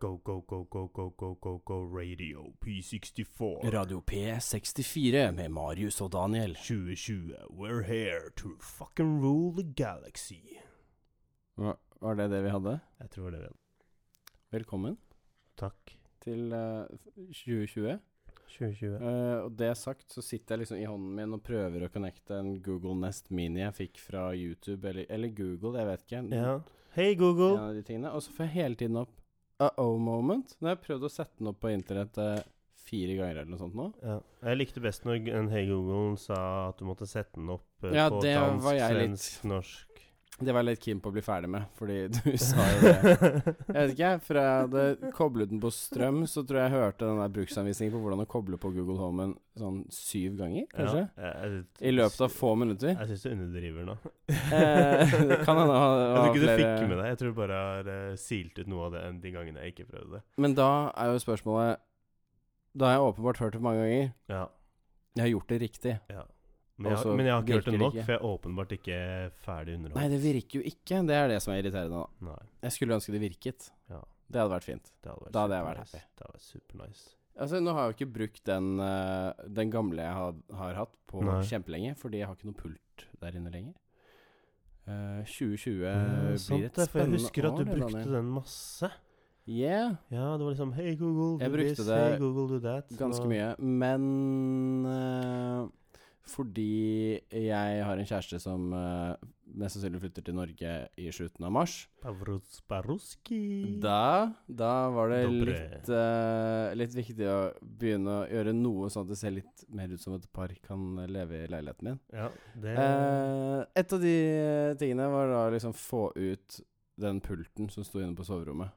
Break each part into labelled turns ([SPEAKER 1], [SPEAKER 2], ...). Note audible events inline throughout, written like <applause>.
[SPEAKER 1] Go, go, go, go, go, go, go, go, radio P64.
[SPEAKER 2] Radio P64 med Marius og Daniel.
[SPEAKER 1] 2020, we're here to fucking rule the galaxy.
[SPEAKER 2] Hva, var det det vi hadde?
[SPEAKER 1] Jeg tror det vel.
[SPEAKER 2] Velkommen
[SPEAKER 1] Takk.
[SPEAKER 2] til eh, 2020.
[SPEAKER 1] 2020.
[SPEAKER 2] Eh, og det sagt, så sitter jeg liksom i hånden min og prøver å connecte en Google Nest Mini jeg fikk fra YouTube, eller, eller Google, jeg vet ikke.
[SPEAKER 1] Ja. Hei,
[SPEAKER 2] En
[SPEAKER 1] Google.
[SPEAKER 2] av de tingene. Og så får jeg hele tiden opp uh-oh moment. Når jeg har prøvd å sette den opp på internett eh, fire ganger eller noe sånt nå.
[SPEAKER 1] Ja. Jeg likte best når en Hei Google sa at du måtte sette den opp eh,
[SPEAKER 2] Ja,
[SPEAKER 1] på
[SPEAKER 2] det
[SPEAKER 1] dansk,
[SPEAKER 2] var jeg litt-
[SPEAKER 1] svensk, norsk.
[SPEAKER 2] Det var jeg litt keen på å bli ferdig med, fordi <laughs> du sa jo det. Jeg vet ikke, for jeg hadde koblet den på strøm, så tror jeg jeg hørte den der bruksanvisningen på hvordan å koble på Google Homen sånn syv ganger, kanskje?
[SPEAKER 1] Ja, jeg- jeg-
[SPEAKER 2] I løpet av få
[SPEAKER 1] <laughs>
[SPEAKER 2] minutter.
[SPEAKER 1] Jeg syns du underdriver nå.
[SPEAKER 2] Eh, <laughs> det kan hende ha,
[SPEAKER 1] Jeg
[SPEAKER 2] ha
[SPEAKER 1] tror ikke du
[SPEAKER 2] flere-
[SPEAKER 1] fikk med deg. Jeg tror du bare har eh, silt ut noe av det enn de gangene jeg ikke prøvde det.
[SPEAKER 2] Men da er jo spørsmålet Da har jeg åpenbart hørt det mange ganger.
[SPEAKER 1] Ja,
[SPEAKER 2] Jeg har gjort det riktig.
[SPEAKER 1] ja. Men, jeg,
[SPEAKER 2] Og så
[SPEAKER 1] men jeg har ikke hørt det
[SPEAKER 2] virker det
[SPEAKER 1] nok,
[SPEAKER 2] ikke.
[SPEAKER 1] for jeg er åpenbart ikke ferdig
[SPEAKER 2] Nei,
[SPEAKER 1] underholdt.
[SPEAKER 2] det virker jo ikke. Det er det som er irriterende. da.
[SPEAKER 1] Nei,
[SPEAKER 2] Jeg skulle ønske det virket.
[SPEAKER 1] Ja.
[SPEAKER 2] Det hadde vært fint.
[SPEAKER 1] det hadde vært
[SPEAKER 2] Da hadde jeg vært
[SPEAKER 1] supernice. Det hadde vært supernice.
[SPEAKER 2] Altså, nå har jeg jo ikke brukt den, eh, den gamle jeg har, har hatt på
[SPEAKER 1] Nei.
[SPEAKER 2] kjempelenge, fordi jeg har ikke noe pult der inne lenger. Eh, 2020
[SPEAKER 1] Ja,
[SPEAKER 2] blir
[SPEAKER 1] sant det,
[SPEAKER 2] et
[SPEAKER 1] for jeg
[SPEAKER 2] spennende
[SPEAKER 1] husker at
[SPEAKER 2] år,
[SPEAKER 1] du
[SPEAKER 2] det,
[SPEAKER 1] brukte
[SPEAKER 2] Daniel.
[SPEAKER 1] den masse.
[SPEAKER 2] Yeah,
[SPEAKER 1] Ja, det var liksom Hey Google,
[SPEAKER 2] Jeg
[SPEAKER 1] do
[SPEAKER 2] brukte
[SPEAKER 1] this,
[SPEAKER 2] det
[SPEAKER 1] hey Google, do that.
[SPEAKER 2] ganske
[SPEAKER 1] og-
[SPEAKER 2] mye. Men eh, fordi jeg har en kjæreste som eh, mest sannsynlig flytter til Norge i slutten av mars,
[SPEAKER 1] Pavruz Paruski.
[SPEAKER 2] da, da var det
[SPEAKER 1] Dobre.
[SPEAKER 2] litt, eh, litt viktig å begynne å gjøre noe sånn at det ser litt mer ut som et par kan leve i leiligheten min.
[SPEAKER 1] Ja, det
[SPEAKER 2] Eh, et av de tingene var da liksom få ut den pulten som sto inne på soverommet.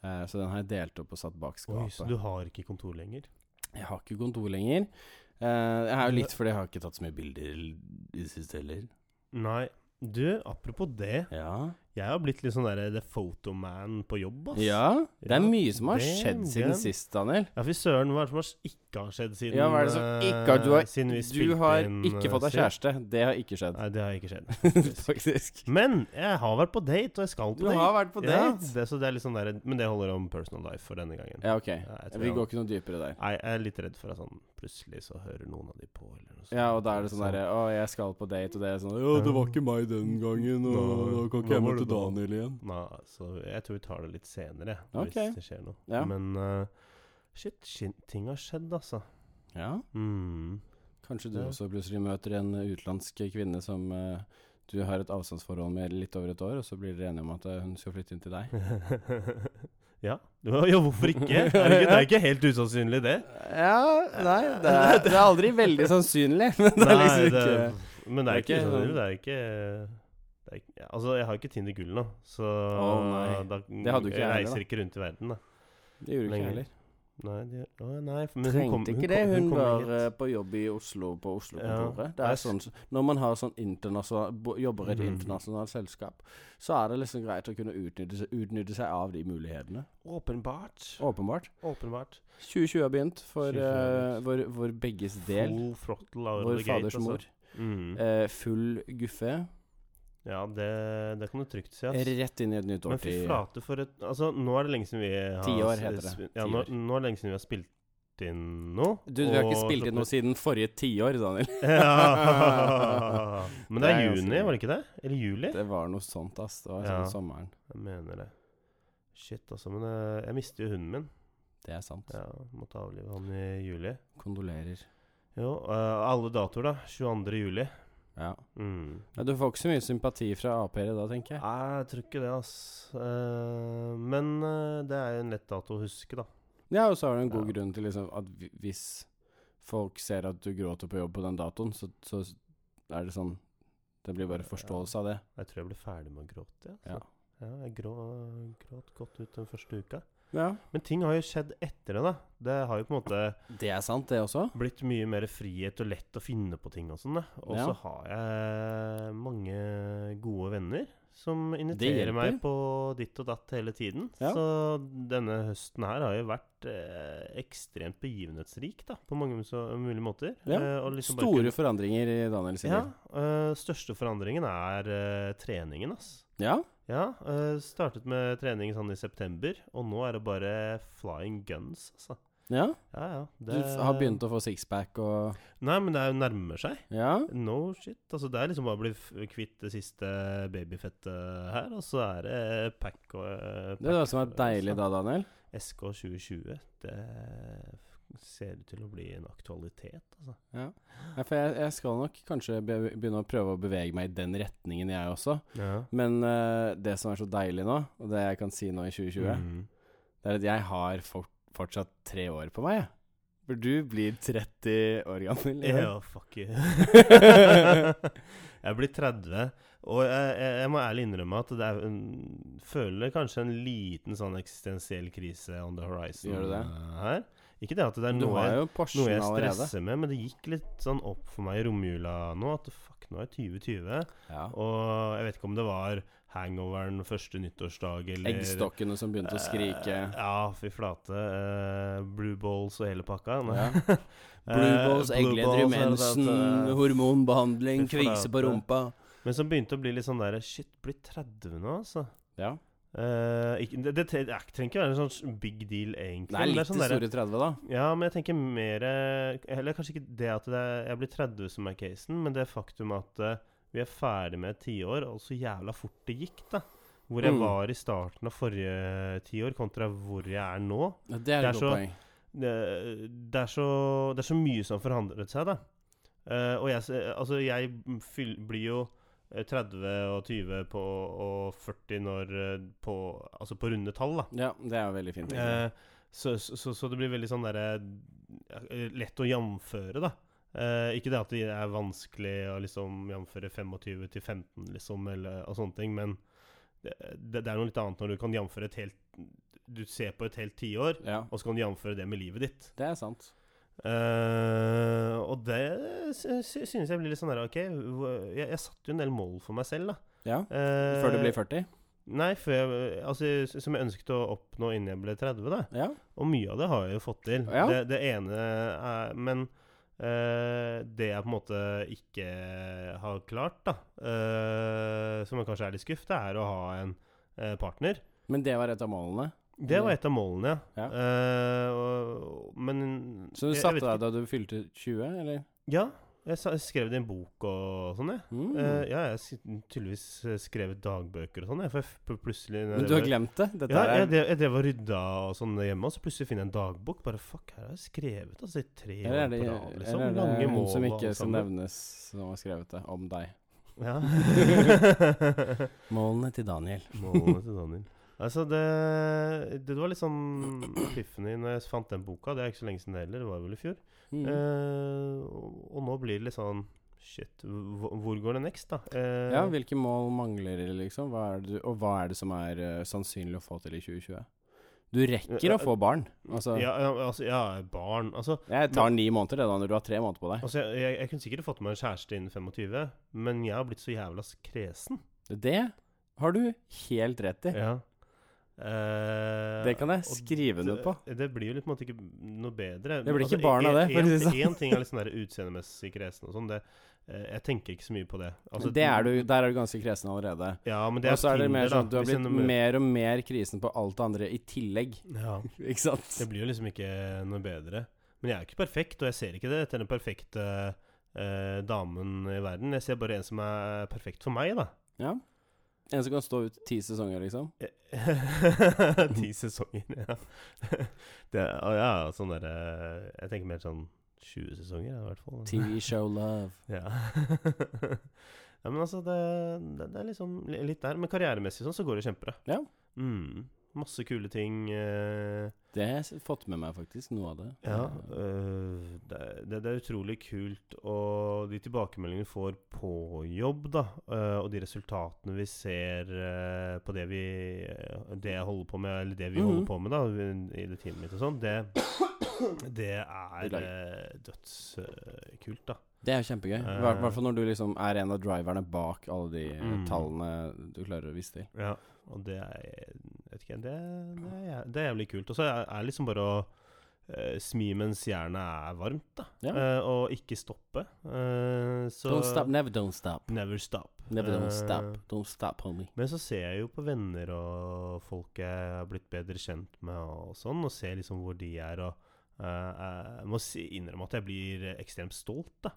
[SPEAKER 2] Eh, så den har jeg delt opp og satt bak
[SPEAKER 1] Oi,
[SPEAKER 2] skapet.
[SPEAKER 1] så du har ikke kontor lenger?
[SPEAKER 2] Jeg har ikke kontor lenger. Eh, jeg er jo litt fordi jeg har ikke tatt så mye bilder i det siste heller.
[SPEAKER 1] Nei. Du, apropos det.
[SPEAKER 2] Ja.
[SPEAKER 1] Jeg har blitt litt sånn derre The Photoman på jobb, ass.
[SPEAKER 2] ja. Det er
[SPEAKER 1] Ja,
[SPEAKER 2] mye som har
[SPEAKER 1] det er
[SPEAKER 2] skjedd siden
[SPEAKER 1] det.
[SPEAKER 2] sist, Daniel.
[SPEAKER 1] Ja, fy søren, hva er det som har- ikke har skjedd siden
[SPEAKER 2] Ja, hva er det som
[SPEAKER 1] eh,
[SPEAKER 2] ikke har Du har,
[SPEAKER 1] siden vi
[SPEAKER 2] du
[SPEAKER 1] spilte
[SPEAKER 2] har
[SPEAKER 1] inn,
[SPEAKER 2] ikke fått deg
[SPEAKER 1] eh,
[SPEAKER 2] kjæreste. Det har ikke
[SPEAKER 1] sist?
[SPEAKER 2] skjedd,
[SPEAKER 1] Nei, det har ikke skjedd.
[SPEAKER 2] <laughs> faktisk.
[SPEAKER 1] Men jeg har vært på date, og jeg skal på
[SPEAKER 2] Du
[SPEAKER 1] date.
[SPEAKER 2] har vært på date.
[SPEAKER 1] Ja, det, så det er litt sånn der, men det holder om personal life for denne gangen.
[SPEAKER 2] Ja, ok.
[SPEAKER 1] Ja, jeg tror
[SPEAKER 2] Vi
[SPEAKER 1] jeg-
[SPEAKER 2] går ikke noe dypere der.
[SPEAKER 1] Nei, jeg er litt redd for at sånn plutselig så hører noen av de på, eller noe sånt.
[SPEAKER 2] Ja, og da er det sånn
[SPEAKER 1] Så-
[SPEAKER 2] derre Å, jeg skal på date, og det er sånn Å, det var ikke meg den gangen, og da kan ikke jeg
[SPEAKER 1] Nei, hva var
[SPEAKER 2] møte Daniel igjen.
[SPEAKER 1] Nei, så jeg tror vi tar det litt senere,
[SPEAKER 2] Ok.
[SPEAKER 1] hvis det skjer noe.
[SPEAKER 2] Ja.
[SPEAKER 1] Men eh, shit, shin- ting har skjedd, altså.
[SPEAKER 2] Ja,
[SPEAKER 1] Mm.
[SPEAKER 2] kanskje du
[SPEAKER 1] Ja.
[SPEAKER 2] også plutselig møter en utenlandsk kvinne som eh, du har et avstandsforhold med litt over et år, og så blir dere enige om at eh, hun skal flytte inn til deg.
[SPEAKER 1] <laughs> ja. ja, hvorfor ikke? Er det, ikke? det er ikke helt usannsynlig,
[SPEAKER 2] <laughs>
[SPEAKER 1] det.
[SPEAKER 2] Ja, nei, det er, <laughs> det er aldri veldig sannsynlig, men det er
[SPEAKER 1] Nei,
[SPEAKER 2] liksom
[SPEAKER 1] det-
[SPEAKER 2] ikke
[SPEAKER 1] Men det er
[SPEAKER 2] det er
[SPEAKER 1] ikke
[SPEAKER 2] ikke sånn-
[SPEAKER 1] usannsynlig. Det er ikke det er, ikke- Altså, jeg har jo ikke Tinder gull nå, så
[SPEAKER 2] Å, nei.
[SPEAKER 1] da
[SPEAKER 2] Det hadde du ikke
[SPEAKER 1] jeg
[SPEAKER 2] heller,
[SPEAKER 1] reiser
[SPEAKER 2] da.
[SPEAKER 1] ikke rundt i verden, da.
[SPEAKER 2] Det gjorde ikke
[SPEAKER 1] Lenger.
[SPEAKER 2] jeg heller.
[SPEAKER 1] Nei, de, å, nei for- men hun kom,
[SPEAKER 2] Trengte ikke det.
[SPEAKER 1] kom-
[SPEAKER 2] Hun
[SPEAKER 1] kom
[SPEAKER 2] var
[SPEAKER 1] hit.
[SPEAKER 2] eh, på jobb i Oslo, på Oslo-kontoret.
[SPEAKER 1] Ja.
[SPEAKER 2] Det er sånn Når man har sånn internasjonal bo- jobber i et
[SPEAKER 1] Mm.
[SPEAKER 2] internasjonalt selskap, så er det liksom greit å kunne utnytte seg, utnytte seg av de mulighetene.
[SPEAKER 1] Åpenbart.
[SPEAKER 2] Åpenbart.
[SPEAKER 1] Åpenbart.
[SPEAKER 2] 2020 har begynt for
[SPEAKER 1] 2020 har
[SPEAKER 2] eh, vår, vår begges del.
[SPEAKER 1] Full throttle out of
[SPEAKER 2] Vår
[SPEAKER 1] the gate,
[SPEAKER 2] faders mor.
[SPEAKER 1] Altså. Mm.
[SPEAKER 2] Eh, full guffe.
[SPEAKER 1] Ja, det, det kan du trygt si. ass.
[SPEAKER 2] Rett inn i et nytt
[SPEAKER 1] Men fy
[SPEAKER 2] årtid.
[SPEAKER 1] flate for et Altså, nå er det lenge siden vi har
[SPEAKER 2] Ti år heter det.
[SPEAKER 1] Ja,
[SPEAKER 2] Ti
[SPEAKER 1] nå,
[SPEAKER 2] år.
[SPEAKER 1] nå er det lenge siden vi har spilt inn noe.
[SPEAKER 2] Du, du har ikke
[SPEAKER 1] og-
[SPEAKER 2] spilt inn noe siden forrige tiår, Daniel.
[SPEAKER 1] <laughs> ja. Men det
[SPEAKER 2] Det
[SPEAKER 1] er
[SPEAKER 2] er ganske
[SPEAKER 1] juni, var det ikke det? Eller juli?
[SPEAKER 2] Det var noe sånt, ass. Det var
[SPEAKER 1] Ja.
[SPEAKER 2] sånn sommeren.
[SPEAKER 1] Jeg mener det. Shit, altså. Men eh, jeg mister jo hunden min.
[SPEAKER 2] Det er sant.
[SPEAKER 1] Ja, Måtte avlive han i juli.
[SPEAKER 2] Kondolerer.
[SPEAKER 1] Jo, eh, alle datoer, da. 22. juli.
[SPEAKER 2] Ja.
[SPEAKER 1] Mm.
[SPEAKER 2] Ja, du får ikke så mye sympati fra Ap-ere da, tenker jeg.
[SPEAKER 1] Nei, jeg tror ikke det, ass. Eh, men eh, det er jo en lett dato å huske, da.
[SPEAKER 2] Ja, og så har du en god
[SPEAKER 1] Ja.
[SPEAKER 2] grunn til liksom, at hvi- hvis folk ser at du gråter på jobb på den datoen, så, så er det sånn Det blir bare forståelse av det.
[SPEAKER 1] Jeg tror jeg ble ferdig med å gråte. jeg,
[SPEAKER 2] Ja.
[SPEAKER 1] Altså. Ja. jeg grå, gråt godt ut den første uka.
[SPEAKER 2] ja.
[SPEAKER 1] Men ting har jo skjedd etter det, da. Det har jo på en måte
[SPEAKER 2] Det er sant, det også.
[SPEAKER 1] blitt mye mer frihet og lett å finne på ting og sånn. da. Og så
[SPEAKER 2] Ja.
[SPEAKER 1] har jeg mange gode venner som
[SPEAKER 2] hjelper.
[SPEAKER 1] inviterer meg på ditt og datt hele tiden.
[SPEAKER 2] Ja.
[SPEAKER 1] Så denne høsten her har jo vært eh, ekstremt begivenhetsrik da, på mange så, mulige måter.
[SPEAKER 2] Ja.
[SPEAKER 1] Eh, og liksom bare
[SPEAKER 2] Store forandringer i Daniel
[SPEAKER 1] kunne-
[SPEAKER 2] sitt
[SPEAKER 1] ja,
[SPEAKER 2] liv.
[SPEAKER 1] eh, største forandringen er eh, treningen, ass.
[SPEAKER 2] Ja.
[SPEAKER 1] Ja, eh, startet med trening sånn i september, og nå er det bare flying guns, altså.
[SPEAKER 2] Ja,
[SPEAKER 1] Ja, ja.
[SPEAKER 2] du f- har begynt å få sixpack og
[SPEAKER 1] Nei, men det er jo nærmer seg.
[SPEAKER 2] Ja.
[SPEAKER 1] No shit. Altså, det er liksom bare å bli f- kvitt det siste babyfettet her, og så er det pack og eh,
[SPEAKER 2] Det er det
[SPEAKER 1] pack,
[SPEAKER 2] som er deilig da, Daniel.
[SPEAKER 1] altså. SK 2020, det f- ser ut til å bli en aktualitet, altså.
[SPEAKER 2] Ja, for jeg, jeg skal nok kanskje be begynne å prøve å bevege meg i den retningen, jeg også.
[SPEAKER 1] Ja.
[SPEAKER 2] Men eh, det som er så deilig nå, og det jeg kan si nå i 2020,
[SPEAKER 1] Mm.
[SPEAKER 2] det er at jeg har fort, fortsatt tre år på meg. jeg. For du blir 30 år gammel. i år.
[SPEAKER 1] Ja, fuck you. <laughs> jeg blir 30, og jeg, jeg, jeg må ærlig innrømme at det er en, føler kanskje en liten sånn eksistensiell krise on the horizon
[SPEAKER 2] Gjør du det?
[SPEAKER 1] eh, her. Ikke det at det er
[SPEAKER 2] Du
[SPEAKER 1] noe
[SPEAKER 2] har
[SPEAKER 1] jeg,
[SPEAKER 2] jo Porschen
[SPEAKER 1] noe jeg
[SPEAKER 2] allerede.
[SPEAKER 1] stresser med, men det gikk litt sånn opp for meg i romjula nå at fuck, nå er jeg 2020.
[SPEAKER 2] Ja.
[SPEAKER 1] Og jeg vet ikke om det var hangoveren første nyttårsdag eller
[SPEAKER 2] Eggstokkene som begynte å skrike.
[SPEAKER 1] Eh, Ja, fy flate. eh, blue balls og hele pakka. Nei.
[SPEAKER 2] Ja.
[SPEAKER 1] <laughs> Eh,
[SPEAKER 2] Blue balls,
[SPEAKER 1] blue
[SPEAKER 2] eggleder i
[SPEAKER 1] balls, er det det at,
[SPEAKER 2] mensen,
[SPEAKER 1] eh,
[SPEAKER 2] hormonbehandling,
[SPEAKER 1] fy
[SPEAKER 2] kvise på
[SPEAKER 1] flate.
[SPEAKER 2] rumpa.
[SPEAKER 1] Men som begynte å bli litt sånn der Shit, blir 30 nå, altså.
[SPEAKER 2] Ja.
[SPEAKER 1] Eh, ikke, det, det tre- det er ikke- trenger ikke være en sånn big deal, egentlig.
[SPEAKER 2] Det er
[SPEAKER 1] men
[SPEAKER 2] litt
[SPEAKER 1] sånn
[SPEAKER 2] i
[SPEAKER 1] derre-
[SPEAKER 2] store 30, da.
[SPEAKER 1] Ja, men jeg tenker mer eh, Eller kanskje ikke det at det er, jeg blir 30 som er casen, men det faktum at eh, vi er ferdig med et tiår, og så jævla fort det gikk, da. Hvor jeg
[SPEAKER 2] Mm.
[SPEAKER 1] var i starten av forrige tiår, kontra hvor jeg er nå.
[SPEAKER 2] Ja, det er
[SPEAKER 1] Det er
[SPEAKER 2] et
[SPEAKER 1] så-
[SPEAKER 2] godt poeng.
[SPEAKER 1] det, det, er så, det er så mye som forandret seg, da. Eh, og jeg, se- altså, jeg fyll, blir jo eh, 30 og 20 på, og 40 når eh, på, Altså på runde tall, da.
[SPEAKER 2] Ja, det er jo veldig fint. egentlig.
[SPEAKER 1] Eh, så, så, så det blir veldig sånn derre eh, Lett å jamføre, da. Eh, ikke det at det er vanskelig å liksom jamføre 25 til 15, liksom, eller, og sånne ting, men det, det det er noe litt annet når du kan jamføre et helt Du ser på et helt tiår,
[SPEAKER 2] Ja,
[SPEAKER 1] og så kan du jamføre det med livet ditt.
[SPEAKER 2] det er sant.
[SPEAKER 1] Eh, og det sy- sy- synes jeg blir litt sånn der OK, hvor- jeg, jeg satte jo en del mål for meg selv, da.
[SPEAKER 2] Ja.
[SPEAKER 1] Eh,
[SPEAKER 2] Før du blir 40?
[SPEAKER 1] Nei, før jeg, altså, s- som jeg ønsket å oppnå innen jeg ble 30, da.
[SPEAKER 2] Ja.
[SPEAKER 1] Og mye av det har jeg jo fått til.
[SPEAKER 2] Ja.
[SPEAKER 1] Det, det ene er Men eh, det jeg på en måte ikke har klart, da, eh, som jeg kanskje er litt skuffet, er å ha en eh, partner.
[SPEAKER 2] Men det var et av målene.
[SPEAKER 1] Det var et av målene, ja.
[SPEAKER 2] Mm. Ja.
[SPEAKER 1] Eh, og, men
[SPEAKER 2] Så du
[SPEAKER 1] jeg- jeg
[SPEAKER 2] satte
[SPEAKER 1] vet
[SPEAKER 2] deg da du fylte 20, eller?
[SPEAKER 1] Ja, jeg sa- jeg skrev det i en bok og sånn, jeg.
[SPEAKER 2] Mm.
[SPEAKER 1] Eh, ja, jeg har s- tydeligvis eh, skrevet dagbøker og sånn, jeg. For jeg f- pl- plutselig når
[SPEAKER 2] Men
[SPEAKER 1] jeg
[SPEAKER 2] du har
[SPEAKER 1] var-
[SPEAKER 2] glemt det? Dette
[SPEAKER 1] ja, jeg,
[SPEAKER 2] er,
[SPEAKER 1] drev- jeg drev og rydda og sånn hjemme, og så plutselig finner jeg en dagbok. Bare fuck, her har jeg skrevet altså i tre
[SPEAKER 2] eller er
[SPEAKER 1] år
[SPEAKER 2] det,
[SPEAKER 1] på rad, liksom.
[SPEAKER 2] eller er det
[SPEAKER 1] Lange
[SPEAKER 2] hun
[SPEAKER 1] mål og
[SPEAKER 2] som
[SPEAKER 1] sånn, alt
[SPEAKER 2] ikke skal
[SPEAKER 1] sammen.
[SPEAKER 2] nevnes, som har skrevet det om deg?
[SPEAKER 1] Ja. <laughs>
[SPEAKER 2] Målene til Daniel.
[SPEAKER 1] Målene til Daniel. Altså, det, det var litt sånn epiphany når jeg fant den boka. Det er ikke så lenge siden det heller, det var vel i fjor.
[SPEAKER 2] Mm.
[SPEAKER 1] Eh, og, og nå blir det litt sånn Shit, hvor, hvor går det next, da? Eh,
[SPEAKER 2] ja, hvilke mål mangler det, liksom? Hva er det, du- og hva er det som er eh, sannsynlig å få til i 2020? Du rekker å få barn. Altså,
[SPEAKER 1] Eh, ja, ja, altså, ja, barn Altså,
[SPEAKER 2] jeg tar ni måneder, det, da, når du har tre måneder på deg.
[SPEAKER 1] altså jeg, jeg, jeg kunne sikkert fått meg en kjæreste innen 25, men jeg har blitt så jævla s- kresen.
[SPEAKER 2] Det har du helt rett i.
[SPEAKER 1] Ja. Eh,
[SPEAKER 2] Det kan jeg
[SPEAKER 1] og
[SPEAKER 2] skrive under på.
[SPEAKER 1] Det, det blir jo litt, på en måte ikke noe bedre. Altså,
[SPEAKER 2] Det blir ikke barn av det, for å si det
[SPEAKER 1] Én ting er litt sånn der utseendemessig kresen og sånn. det- eh, Jeg tenker ikke så mye på det. Altså,
[SPEAKER 2] det er du, der er du ganske kresen allerede.
[SPEAKER 1] Ja, men det
[SPEAKER 2] Og så er det mer
[SPEAKER 1] Tinder, da.
[SPEAKER 2] sånn at du har
[SPEAKER 1] Hvis
[SPEAKER 2] blitt
[SPEAKER 1] en-
[SPEAKER 2] mer og mer krisen på alt det andre i tillegg.
[SPEAKER 1] ja.
[SPEAKER 2] Ikke sant?
[SPEAKER 1] Det blir jo liksom ikke noe bedre. Men jeg er jo ikke perfekt, og jeg ser ikke det etter den perfekte eh, damen i verden. Jeg ser bare en som er perfekt for meg, da.
[SPEAKER 2] Ja. En som kan stå ut ti sesonger, liksom.
[SPEAKER 1] Ti sesonger, ja. <laughs> Det, er- å ja, sånn derre Jeg tenker mer sånn 20 sesonger, ja, i hvert fall.
[SPEAKER 2] TV show love.
[SPEAKER 1] Ja. <laughs> ja, men altså, det, det, det er liksom li- litt der. Men karrieremessig sånn, så går det kjempebra.
[SPEAKER 2] Ja.
[SPEAKER 1] Mm. Masse kule ting. eh,
[SPEAKER 2] Det har jeg s- fått med meg, faktisk. Noe av det.
[SPEAKER 1] Ja, øh, det, er- det, det er utrolig kult, og de tilbakemeldingene vi får på jobb, da, øh, og de resultatene vi ser øh, på det vi øh, Det jeg holder på med, eller det vi holder
[SPEAKER 2] Mhm.
[SPEAKER 1] på med da, i det teamet mitt og sånn, det, det er øh, dødskult, da.
[SPEAKER 2] Det er jo kjempegøy. I
[SPEAKER 1] Eh.
[SPEAKER 2] hvert hvert fall når du liksom er en av driverne bak alle de eh,
[SPEAKER 1] Mm.
[SPEAKER 2] tallene du klarer å vise til.
[SPEAKER 1] Ja, og det er jeg vet ikke, det, det, er, jæv- det er jævlig kult. Og så er det liksom bare å eh, smi mens jernet er varmt, da.
[SPEAKER 2] Ja.
[SPEAKER 1] Eh, og ikke stoppe. Eh, så
[SPEAKER 2] Don't stop, never don't stop.
[SPEAKER 1] Never stop.
[SPEAKER 2] Never don't
[SPEAKER 1] Eh,
[SPEAKER 2] stop. Don't stop, homie.
[SPEAKER 1] Men så ser jeg jo på venner og folk jeg har blitt bedre kjent med og sånn, og ser liksom hvor de er, og eh, jeg må si, innrømme at jeg blir ekstremt stolt, da.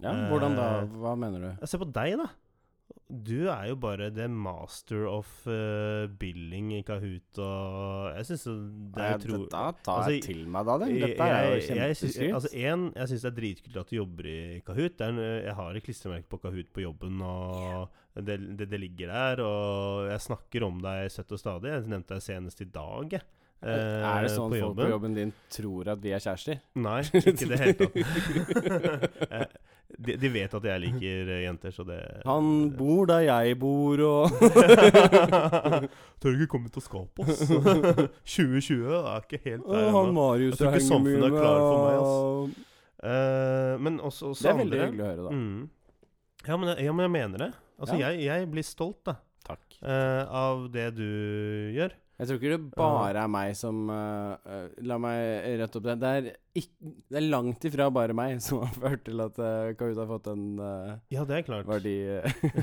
[SPEAKER 2] Ja, hvordan da?
[SPEAKER 1] eh,
[SPEAKER 2] Hva mener du?
[SPEAKER 1] Jeg ser på deg, da. Du er jo bare the master of eh, billing i Kahoot, og jeg syns jo det er
[SPEAKER 2] Nei,
[SPEAKER 1] utro...
[SPEAKER 2] dette tar jeg
[SPEAKER 1] altså,
[SPEAKER 2] til meg, da. Det. Dette er jo
[SPEAKER 1] Jeg- jeg- jeg syns-
[SPEAKER 2] kjempeskryt.
[SPEAKER 1] Altså, en, jeg syns det er dritkult at du jobber i Kahoot. Det er en, jeg har et klistremerke på Kahoot på jobben, og det, det, det ligger der. Og jeg snakker om deg søtt og stadig. Jeg nevnte deg senest i dag, jeg. eh,
[SPEAKER 2] er det sånn folk på jobben din tror at vi er kjærester? <laughs>
[SPEAKER 1] Nei, ikke i det hele tatt. <laughs> Eh, de, de vet at jeg liker eh, jenter, så det
[SPEAKER 2] Han bor der jeg bor, og
[SPEAKER 1] <laughs> Tør du ikke komme til å skape <laughs> oss? 2020 er ikke helt
[SPEAKER 2] og
[SPEAKER 1] der
[SPEAKER 2] han
[SPEAKER 1] ennå.
[SPEAKER 2] Marius
[SPEAKER 1] Jeg tror ikke
[SPEAKER 2] jeg henger mye
[SPEAKER 1] samfunnet er
[SPEAKER 2] med.
[SPEAKER 1] klar for meg,
[SPEAKER 2] og-
[SPEAKER 1] Eh, men også, også
[SPEAKER 2] Det er veldig
[SPEAKER 1] andre-
[SPEAKER 2] hyggelig å høre, da.
[SPEAKER 1] Mm. Ja, men, jeg- ja, men jeg mener det. Altså,
[SPEAKER 2] Ja.
[SPEAKER 1] jeg, jeg blir stolt da,
[SPEAKER 2] Takk.
[SPEAKER 1] eh, av det du gjør.
[SPEAKER 2] Jeg tror ikke det bare er meg som eh, eh, La meg rette opp det. Det er, ikk- det er langt ifra bare meg som har ført til at uh, Kahoot har fått en eh,
[SPEAKER 1] Ja, det er klart. <laughs>
[SPEAKER 2] verdi eh,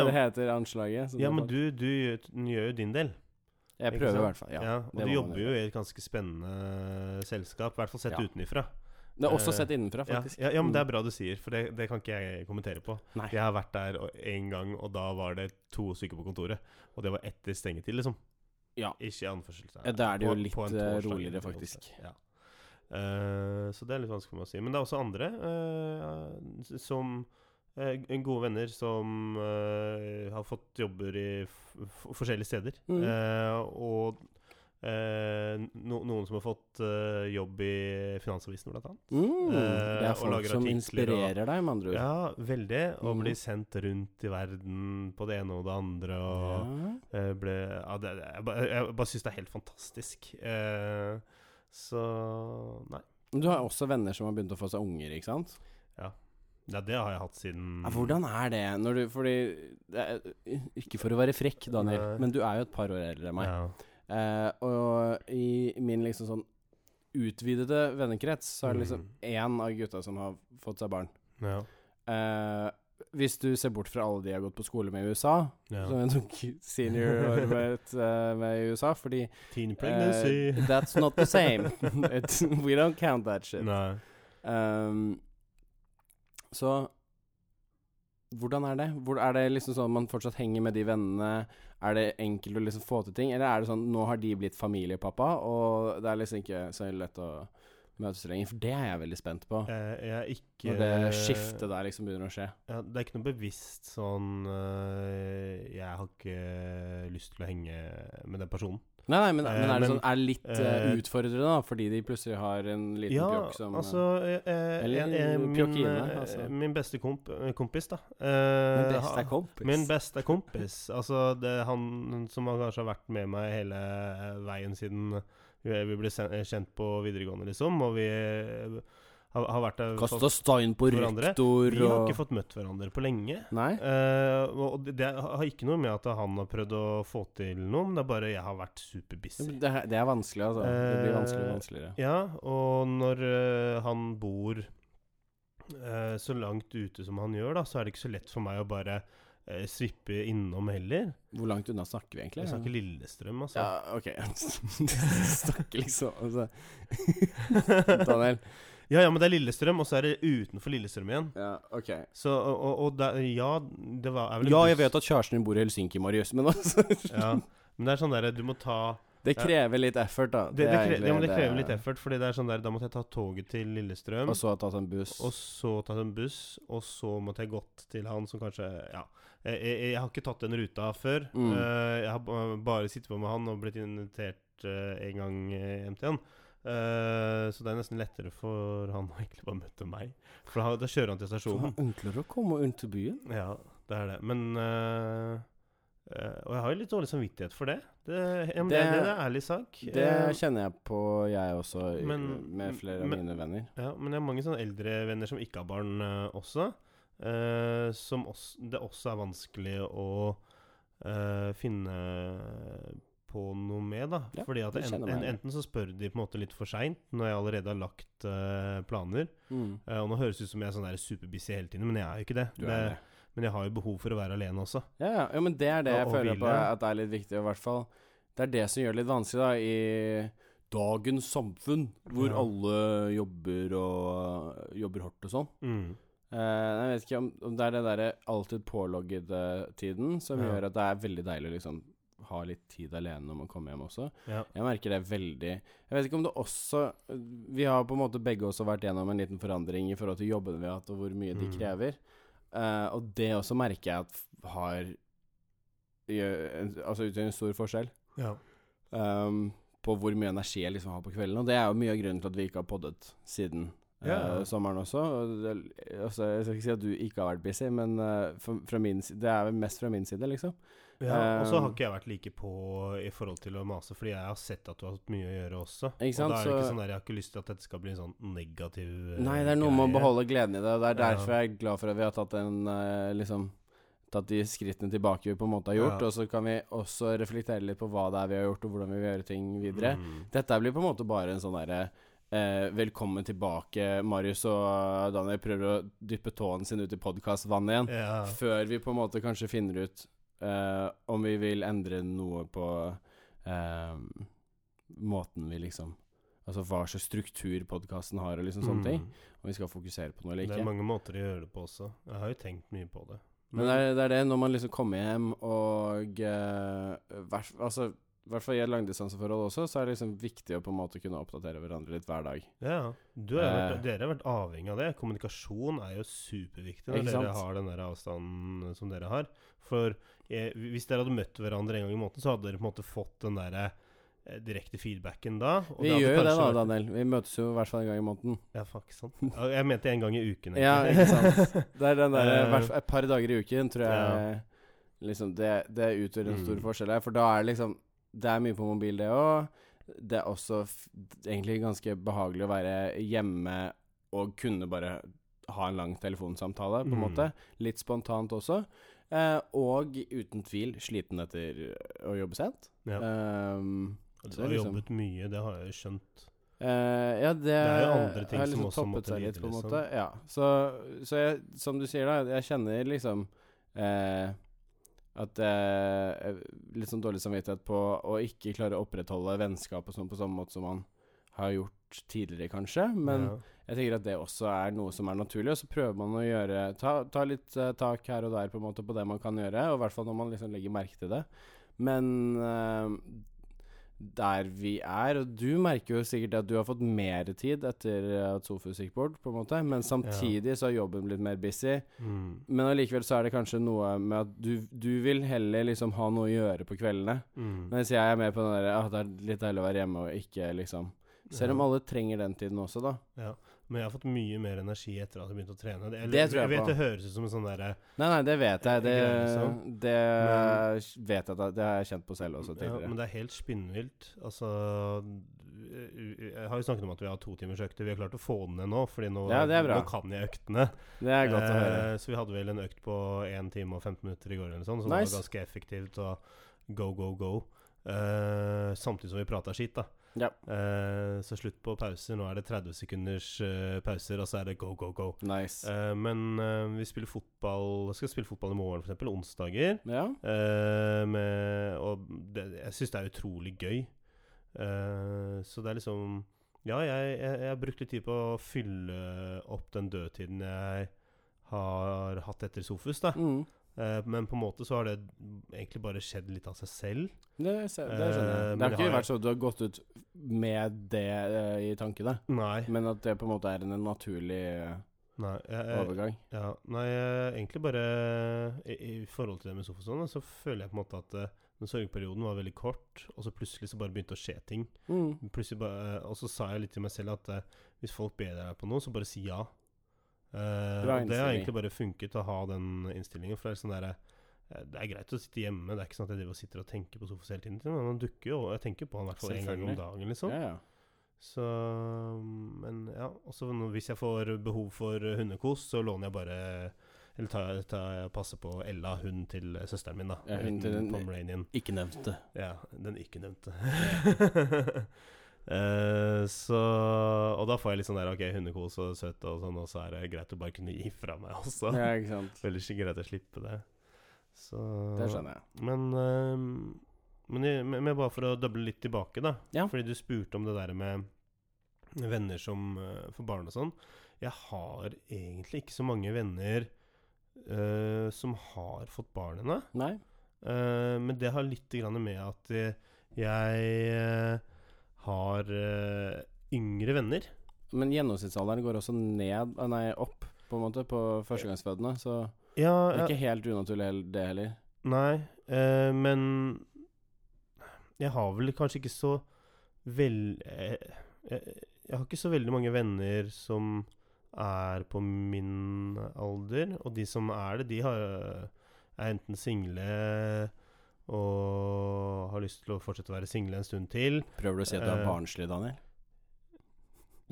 [SPEAKER 1] ja,
[SPEAKER 2] er det
[SPEAKER 1] ja,
[SPEAKER 2] heter anslaget? som
[SPEAKER 1] ja,
[SPEAKER 2] har
[SPEAKER 1] men
[SPEAKER 2] fått?
[SPEAKER 1] du, du gjør- gjør jo din del.
[SPEAKER 2] jeg
[SPEAKER 1] ikke
[SPEAKER 2] prøver i
[SPEAKER 1] sant?
[SPEAKER 2] hvert fall.
[SPEAKER 1] Ja,
[SPEAKER 2] Ja.
[SPEAKER 1] og du
[SPEAKER 2] det må man
[SPEAKER 1] jobber jo i et ganske spennende eh, selskap, i hvert fall sett
[SPEAKER 2] Ja.
[SPEAKER 1] utenifra.
[SPEAKER 2] Det er også
[SPEAKER 1] eh,
[SPEAKER 2] sett innenfra,
[SPEAKER 1] Ja,
[SPEAKER 2] faktisk. Mm.
[SPEAKER 1] ja, ja, men det er bra du sier, for det, det kan ikke jeg kommentere på.
[SPEAKER 2] Nei.
[SPEAKER 1] Jeg har vært der og- en gang, og da var det to stykker på kontoret. Og det var etter stengetid, liksom.
[SPEAKER 2] Ja.
[SPEAKER 1] Ikke i anførselstegn.
[SPEAKER 2] Ja, da er det jo
[SPEAKER 1] På-
[SPEAKER 2] litt,
[SPEAKER 1] på en liksom.
[SPEAKER 2] eh,
[SPEAKER 1] torsdag
[SPEAKER 2] roligere,
[SPEAKER 1] eller
[SPEAKER 2] faktisk.
[SPEAKER 1] onsdag. Ja. Eh, så det er litt vanskelig for meg å si. Men det er også andre eh, s- som eh, gode venner som eh, har fått jobber i f f forskjellige steder.
[SPEAKER 2] Mm.
[SPEAKER 1] Eh, og eh, no noen som har fått eh, jobb i Finansavisen, blant annet.
[SPEAKER 2] Mm,
[SPEAKER 1] eh, og
[SPEAKER 2] det er folk
[SPEAKER 1] lager artikler
[SPEAKER 2] som
[SPEAKER 1] og-
[SPEAKER 2] inspirerer deg, med andre ord.
[SPEAKER 1] Ja, veldig. Og
[SPEAKER 2] Mhm.
[SPEAKER 1] bli sendt rundt i verden på det ene og det andre. Og
[SPEAKER 2] Ja.
[SPEAKER 1] eh, ble, ja, det, det- jeg, ba- jeg bare syns det er helt fantastisk. Eh, så Nei.
[SPEAKER 2] Men Du har også venner som har begynt å få seg unger, ikke sant?
[SPEAKER 1] Ja, det har jeg hatt siden
[SPEAKER 2] Ja, hvordan er det når du Fordi det er, Ikke for å være frekk, Daniel,
[SPEAKER 1] Nei.
[SPEAKER 2] men du er jo et par år eldre enn meg.
[SPEAKER 1] Ja.
[SPEAKER 2] Eh, og i min liksom sånn utvidede vennekrets, så er det liksom
[SPEAKER 1] Mm.
[SPEAKER 2] én av gutta som har fått seg barn.
[SPEAKER 1] Ja.
[SPEAKER 2] Eh, hvis du ser bort fra alle de jeg har gått på skole med i USA, som
[SPEAKER 1] ja.
[SPEAKER 2] sånn jeg tok seniorår med, eh, med i USA, fordi eh,
[SPEAKER 1] Teen pregnancy.
[SPEAKER 2] <laughs> That's not
[SPEAKER 1] <laughs>
[SPEAKER 2] the same. It, we don't count that shit.
[SPEAKER 1] Nei.
[SPEAKER 2] Ehm, så hvordan er det? Hvor, er det liksom sånn at man fortsatt henger med de vennene? Er det enkelt å liksom få til ting? Eller er det sånn nå har de blitt familiepappa, og det er liksom ikke så lett å møtes lenger? For det er jeg veldig spent på.
[SPEAKER 1] Eh, jeg er ikke
[SPEAKER 2] Når det skiftet der liksom begynner å skje.
[SPEAKER 1] ja, Det er ikke noe bevisst sånn eh, Jeg har ikke lyst til å henge med den personen.
[SPEAKER 2] Nei, nei, men,
[SPEAKER 1] Eh,
[SPEAKER 2] men er det
[SPEAKER 1] men-
[SPEAKER 2] sånn er det litt eh,
[SPEAKER 1] eh,
[SPEAKER 2] utfordrende, da? Fordi de plutselig har en liten pjokk som
[SPEAKER 1] altså eh, eh,
[SPEAKER 2] Eller
[SPEAKER 1] en- eh, min,
[SPEAKER 2] pjokkine,
[SPEAKER 1] eh,
[SPEAKER 2] altså.
[SPEAKER 1] min beste komp kompis, da. Eh,
[SPEAKER 2] eh, Min beste
[SPEAKER 1] ha-
[SPEAKER 2] kompis.
[SPEAKER 1] Min beste kompis. Altså det er han som har kanskje har vært med meg hele eh, veien siden vi vi ble sen- eh, kjent på videregående, liksom. Og vi eh, har, har vært der fast-
[SPEAKER 2] Kasta stein på
[SPEAKER 1] Hverandre.
[SPEAKER 2] rektor
[SPEAKER 1] Vi har
[SPEAKER 2] og
[SPEAKER 1] ikke fått møtt hverandre på lenge.
[SPEAKER 2] Nei?
[SPEAKER 1] Eh, og det- det har ikke noe med at han har prøvd å få til noe, men det er bare jeg har vært superbusy.
[SPEAKER 2] Det, er- det er vanskelig, altså. Det blir
[SPEAKER 1] Eh,
[SPEAKER 2] vanskeligere og vanskeligere.
[SPEAKER 1] Ja, og når eh, han bor eh, så langt ute som han gjør, da, så er det ikke så lett for meg å bare eh, svippe innom heller.
[SPEAKER 2] Hvor langt unna snakker vi egentlig?
[SPEAKER 1] Jeg snakker Lillestrøm, altså.
[SPEAKER 2] Ja, ok. <laughs> snakker liksom altså. <laughs> Daniel.
[SPEAKER 1] ja, ja, men det er Lillestrøm, og så er det utenfor Lillestrøm igjen.
[SPEAKER 2] Ja, ok.
[SPEAKER 1] Så, og, og, og det, ja, det var, er vel en
[SPEAKER 2] Ja,
[SPEAKER 1] buss-
[SPEAKER 2] jeg vet at kjæresten din bor i Helsinki, Marius, men altså <laughs>
[SPEAKER 1] ja. Men det er sånn derre Du må ta
[SPEAKER 2] Det krever litt effort, da.
[SPEAKER 1] Det, det,
[SPEAKER 2] er
[SPEAKER 1] kre,
[SPEAKER 2] egentlig
[SPEAKER 1] ja, men det krever
[SPEAKER 2] det-
[SPEAKER 1] litt effort, Fordi det er sånn der da måtte jeg ta toget til Lillestrøm.
[SPEAKER 2] Og så har jeg tatt en buss.
[SPEAKER 1] Og så tatt en buss, og så måtte jeg gått til han som kanskje Ja. Jeg, jeg, jeg har ikke tatt den ruta før.
[SPEAKER 2] Mm.
[SPEAKER 1] Eh, jeg har ba- bare sittet på med han og blitt invitert eh, en gang eh, hjem til han. Eh, så det er nesten lettere for han å egentlig bare møte meg. For han, da kjører han til
[SPEAKER 2] Så
[SPEAKER 1] stasjonen.
[SPEAKER 2] det er enklere å komme rundt til byen.
[SPEAKER 1] Ja, det er det. Men eh, eh, Og jeg har jo litt dårlig samvittighet for det. Det, ja, men det,
[SPEAKER 2] Det-
[SPEAKER 1] det, er en ærlig sak. Eh,
[SPEAKER 2] Det kjenner jeg på, jeg også, i-
[SPEAKER 1] Men-
[SPEAKER 2] med flere av
[SPEAKER 1] men-
[SPEAKER 2] mine venner.
[SPEAKER 1] Ja, men jeg har mange sånne eldre venner som ikke har barn eh, også. eh, som også, det også er vanskelig å eh, finne på noe med, da.
[SPEAKER 2] Ja,
[SPEAKER 1] Fordi at
[SPEAKER 2] jeg
[SPEAKER 1] en,
[SPEAKER 2] kjenner meg
[SPEAKER 1] en,
[SPEAKER 2] igjen.
[SPEAKER 1] enten så spør de på en måte litt for seint, når jeg allerede har lagt eh, planer.
[SPEAKER 2] Mm.
[SPEAKER 1] Eh, og nå høres det ut som jeg er sånn der superbusy hele tiden, men jeg er jo ikke det.
[SPEAKER 2] Du er
[SPEAKER 1] det.
[SPEAKER 2] det.
[SPEAKER 1] Men jeg har jo behov for å være alene også.
[SPEAKER 2] Ja, ja. ja, men det er det
[SPEAKER 1] Ja,
[SPEAKER 2] jeg
[SPEAKER 1] og
[SPEAKER 2] føler
[SPEAKER 1] hvile.
[SPEAKER 2] på at er litt viktig, i hvert fall. Det er det som gjør det litt vanskelig, da, i dagens samfunn, hvor
[SPEAKER 1] Ja.
[SPEAKER 2] alle jobber og jobber hardt og sånn.
[SPEAKER 1] Mm.
[SPEAKER 2] Eh, jeg vet ikke om, om det er det derre alltid påloggede tiden som
[SPEAKER 1] Ja.
[SPEAKER 2] gjør at det er veldig deilig å liksom ha litt tid alene når man kommer hjem også.
[SPEAKER 1] Ja.
[SPEAKER 2] Jeg merker det veldig Jeg vet ikke om det også Vi har på en måte begge også vært gjennom en liten forandring i forhold til jobbene vi har hatt, og hvor mye de
[SPEAKER 1] Mm.
[SPEAKER 2] krever. Eh, og det også merker jeg at f- har gjør, en, Altså utgjør en stor forskjell
[SPEAKER 1] Ja.
[SPEAKER 2] um, på hvor mye energi jeg liksom har på kvelden. Og det er jo mye av grunnen til at vi ikke har poddet siden
[SPEAKER 1] Ja.
[SPEAKER 2] eh, sommeren også. Og det, altså, jeg skal ikke si at du ikke har vært busy, men eh, fra, fra min, si- det er vel mest fra min side, liksom.
[SPEAKER 1] Eh, ja. Og så har
[SPEAKER 2] Um,
[SPEAKER 1] ikke jeg vært like på i forhold til å mase, fordi jeg har sett at du har hatt mye å gjøre også.
[SPEAKER 2] Ikke sant,
[SPEAKER 1] Og da er det ikke
[SPEAKER 2] så-
[SPEAKER 1] sånn der, jeg har ikke lyst til at dette skal bli en sånn negativ eh,
[SPEAKER 2] Nei, det er noe med å
[SPEAKER 1] greie.
[SPEAKER 2] beholde gleden i det, og det er
[SPEAKER 1] Ja.
[SPEAKER 2] derfor jeg er glad for at vi har tatt en eh, liksom Tatt de skrittene tilbake vi på en måte har gjort,
[SPEAKER 1] Ja.
[SPEAKER 2] og så kan vi også reflektere litt på hva det er vi har gjort, og hvordan vi vil gjøre ting videre.
[SPEAKER 1] Mm.
[SPEAKER 2] Dette blir på en måte bare en sånn derre eh, Velkommen tilbake, Marius og Daniel prøver å dyppe tåen sin ut i podkastvannet igjen.
[SPEAKER 1] Ja.
[SPEAKER 2] Før vi på en måte kanskje finner ut eh, om vi vil endre noe på eh, måten vi liksom Altså hva slags struktur podkasten har, og liksom sånne ting.
[SPEAKER 1] Mm.
[SPEAKER 2] Om vi skal fokusere på noe eller
[SPEAKER 1] Det
[SPEAKER 2] ikke.
[SPEAKER 1] er mange måter å gjøre det på også. Jeg har jo tenkt mye på det.
[SPEAKER 2] Men det er, det er det, når man liksom kommer hjem og eh, hvert, Altså i hvert fall i et langdistanseforhold også, så er det liksom viktig å på en måte kunne oppdatere hverandre litt hver dag.
[SPEAKER 1] Ja, du har jo vært,
[SPEAKER 2] Eh.
[SPEAKER 1] dere har vært avhengig av det. Kommunikasjon er jo superviktig når dere
[SPEAKER 2] Ikke sant?
[SPEAKER 1] har den der avstanden som dere har. For eh, hvis dere hadde møtt hverandre en gang i måneden, så hadde dere på en måte fått den der eh, direkte feedbacken da. og
[SPEAKER 2] Vi
[SPEAKER 1] hadde
[SPEAKER 2] gjør jo det, da,
[SPEAKER 1] kanskje vært-
[SPEAKER 2] Daniel. Vi møtes jo i hvert fall en gang i måneden.
[SPEAKER 1] Ja, fuck, sant. Ja, Jeg mente en gang i uken. egentlig. <laughs>
[SPEAKER 2] Ja, ikke sant. Det er den der,
[SPEAKER 1] Eh,
[SPEAKER 2] hvert, Et par dager i uken tror jeg liksom det, det utgjør en stor
[SPEAKER 1] Mm.
[SPEAKER 2] forskjell her. For da er det liksom Det er mye på mobil, det òg. Det er også f egentlig ganske behagelig å være hjemme og kunne bare ha en lang telefonsamtale, på en
[SPEAKER 1] Mm.
[SPEAKER 2] måte. Litt spontant også. Eh, og uten tvil sliten etter å jobbe sent.
[SPEAKER 1] Ja.
[SPEAKER 2] Ehm,
[SPEAKER 1] Du har
[SPEAKER 2] liksom-
[SPEAKER 1] jobbet mye, det har jeg jo skjønt.
[SPEAKER 2] Eh, ja, det,
[SPEAKER 1] er jo andre ting
[SPEAKER 2] har
[SPEAKER 1] som
[SPEAKER 2] liksom
[SPEAKER 1] også
[SPEAKER 2] toppet
[SPEAKER 1] måtte
[SPEAKER 2] seg litt,
[SPEAKER 1] lide,
[SPEAKER 2] på en
[SPEAKER 1] liksom.
[SPEAKER 2] måte. Ja. Så, så jeg, som du sier, da, jeg kjenner liksom eh, at eh, Litt sånn dårlig samvittighet på å ikke klare å opprettholde vennskap og sånn på samme måte som man har gjort tidligere, kanskje. Men
[SPEAKER 1] ja.
[SPEAKER 2] jeg tenker at det også er noe som er naturlig, og så prøver man å gjøre Ta, ta litt eh, tak her og der på en måte på det man kan gjøre, og i hvert fall når man liksom legger merke til det. Men eh, der vi er, og du merker jo sikkert at du har fått mer tid etter at Sofus gikk bort, på en måte, men samtidig så har jobben blitt mer busy.
[SPEAKER 1] Mm.
[SPEAKER 2] Men allikevel så er det kanskje noe med at du, du vil heller liksom ha noe å gjøre på kveldene,
[SPEAKER 1] Mm.
[SPEAKER 2] mens jeg er mer på den derre at det er litt deilig å være hjemme og ikke liksom Selv om
[SPEAKER 1] Ja.
[SPEAKER 2] alle trenger den tiden også, da.
[SPEAKER 1] Men jeg har fått mye mer energi etter at jeg begynte å trene. Det, jeg,
[SPEAKER 2] Det tror jeg
[SPEAKER 1] jeg vet
[SPEAKER 2] på.
[SPEAKER 1] det høres ut som en sånn derre
[SPEAKER 2] Nei, nei, det vet jeg. Det,
[SPEAKER 1] Greier, liksom.
[SPEAKER 2] det
[SPEAKER 1] Men-
[SPEAKER 2] vet jeg at Det har jeg kjent på selv også
[SPEAKER 1] Ja,
[SPEAKER 2] Altså, tidligere.
[SPEAKER 1] men det er helt spinnvilt. Altså Jeg har jo snakket om at vi har totimersøkter. Vi har klart å få den ned nå, Fordi nå,
[SPEAKER 2] Ja, det er bra.
[SPEAKER 1] nå kan jeg øktene.
[SPEAKER 2] det er godt å høre.
[SPEAKER 1] Eh, så vi hadde vel en økt på 1 time og 15 minutter i går, eller noe sånt, så det
[SPEAKER 2] Nice.
[SPEAKER 1] var ganske effektivt. Og go, go, go. Eh, samtidig som vi prata skit, da.
[SPEAKER 2] Ja.
[SPEAKER 1] Eh, så slutt på pauser. Nå er det 30 sekunders eh, pauser, og så er det go, go, go.
[SPEAKER 2] Nice.
[SPEAKER 1] Eh, men eh, vi spiller fotball skal spille fotball i morgen, f.eks. Onsdager.
[SPEAKER 2] ja.
[SPEAKER 1] Eh, med, og det, jeg syns det er utrolig gøy. Eh, så det er liksom Ja, jeg, jeg, jeg har brukt litt tid på å fylle opp den dødtiden jeg har hatt etter Sofus, da.
[SPEAKER 2] Mm.
[SPEAKER 1] Eh, men på en måte så har det egentlig bare skjedd litt av seg selv.
[SPEAKER 2] Det, ser, det skjønner
[SPEAKER 1] Eh, men
[SPEAKER 2] jeg. Det har
[SPEAKER 1] det
[SPEAKER 2] ikke
[SPEAKER 1] har-
[SPEAKER 2] vært sånn at du har gått ut med det eh, i tankene,
[SPEAKER 1] Nei.
[SPEAKER 2] men at det på en måte er en naturlig eh,
[SPEAKER 1] nei jeg, jeg,
[SPEAKER 2] overgang.
[SPEAKER 1] ja, nei jeg, egentlig bare i, I forhold til det med Sofus, og sånn, så føler jeg på en måte at eh, den sørgeperioden var veldig kort, og så plutselig så bare begynte å skje ting.
[SPEAKER 2] Mm.
[SPEAKER 1] Plutselig bare, og så sa jeg litt til meg selv at eh, hvis folk ber deg på noe, så bare si ja. Eh,
[SPEAKER 2] Bra
[SPEAKER 1] og det har
[SPEAKER 2] innstilling.
[SPEAKER 1] egentlig bare funket å ha den innstillingen. For det er sånn der, eh, det er greit å sitte hjemme, det er ikke sånn at jeg driver og sitter og tenker på sofaen hele tiden. Men han dukker jo, og jeg tenker på han i hvert fall en gang
[SPEAKER 2] Selvfølgelig.
[SPEAKER 1] om dagen, liksom.
[SPEAKER 2] Ja, ja.
[SPEAKER 1] Så Men ja. Og så nå- hvis jeg får behov for hundekos, så låner jeg bare Eller tar, tar jeg passer på Ella, hun til eh, søsteren min, da.
[SPEAKER 2] Ja, hun til den-
[SPEAKER 1] Pomeranian.
[SPEAKER 2] Ikke nevnte.
[SPEAKER 1] Ja, den ikke
[SPEAKER 2] <laughs>
[SPEAKER 1] nevnte. Eh, så Og da får jeg litt sånn der OK, hundekos og søt og sånn, og så er det greit å bare kunne gi fra meg også.
[SPEAKER 2] Ja, ikke sant.
[SPEAKER 1] Veldig ikke greit å slippe det. Så
[SPEAKER 2] Det skjønner jeg.
[SPEAKER 1] Men, eh, men, jeg, men men bare for å doble litt tilbake, da.
[SPEAKER 2] Ja.
[SPEAKER 1] Fordi du spurte om det der med venner som eh, får barn og sånn. Jeg har egentlig ikke så mange venner eh, som har fått barn ennå.
[SPEAKER 2] Nei?
[SPEAKER 1] Eh, men det har litt grann med at eh, jeg eh, har eh, yngre venner.
[SPEAKER 2] Men gjennomsnittsalderen går også ned, ah, nei, opp, på en måte, på førstegangsfødende, så
[SPEAKER 1] Ja,
[SPEAKER 2] det er
[SPEAKER 1] ja
[SPEAKER 2] ikke helt unaturlig hel- det heller.
[SPEAKER 1] Nei, eh, men jeg har vel kanskje ikke så vel... eh, jeg, jeg har ikke så veldig mange venner som er på min alder, og de som er det, de har, eh, er enten single og har lyst til å fortsette å være single en stund til.
[SPEAKER 2] Prøver du å si at du er
[SPEAKER 1] Eh,
[SPEAKER 2] barnslig, Daniel?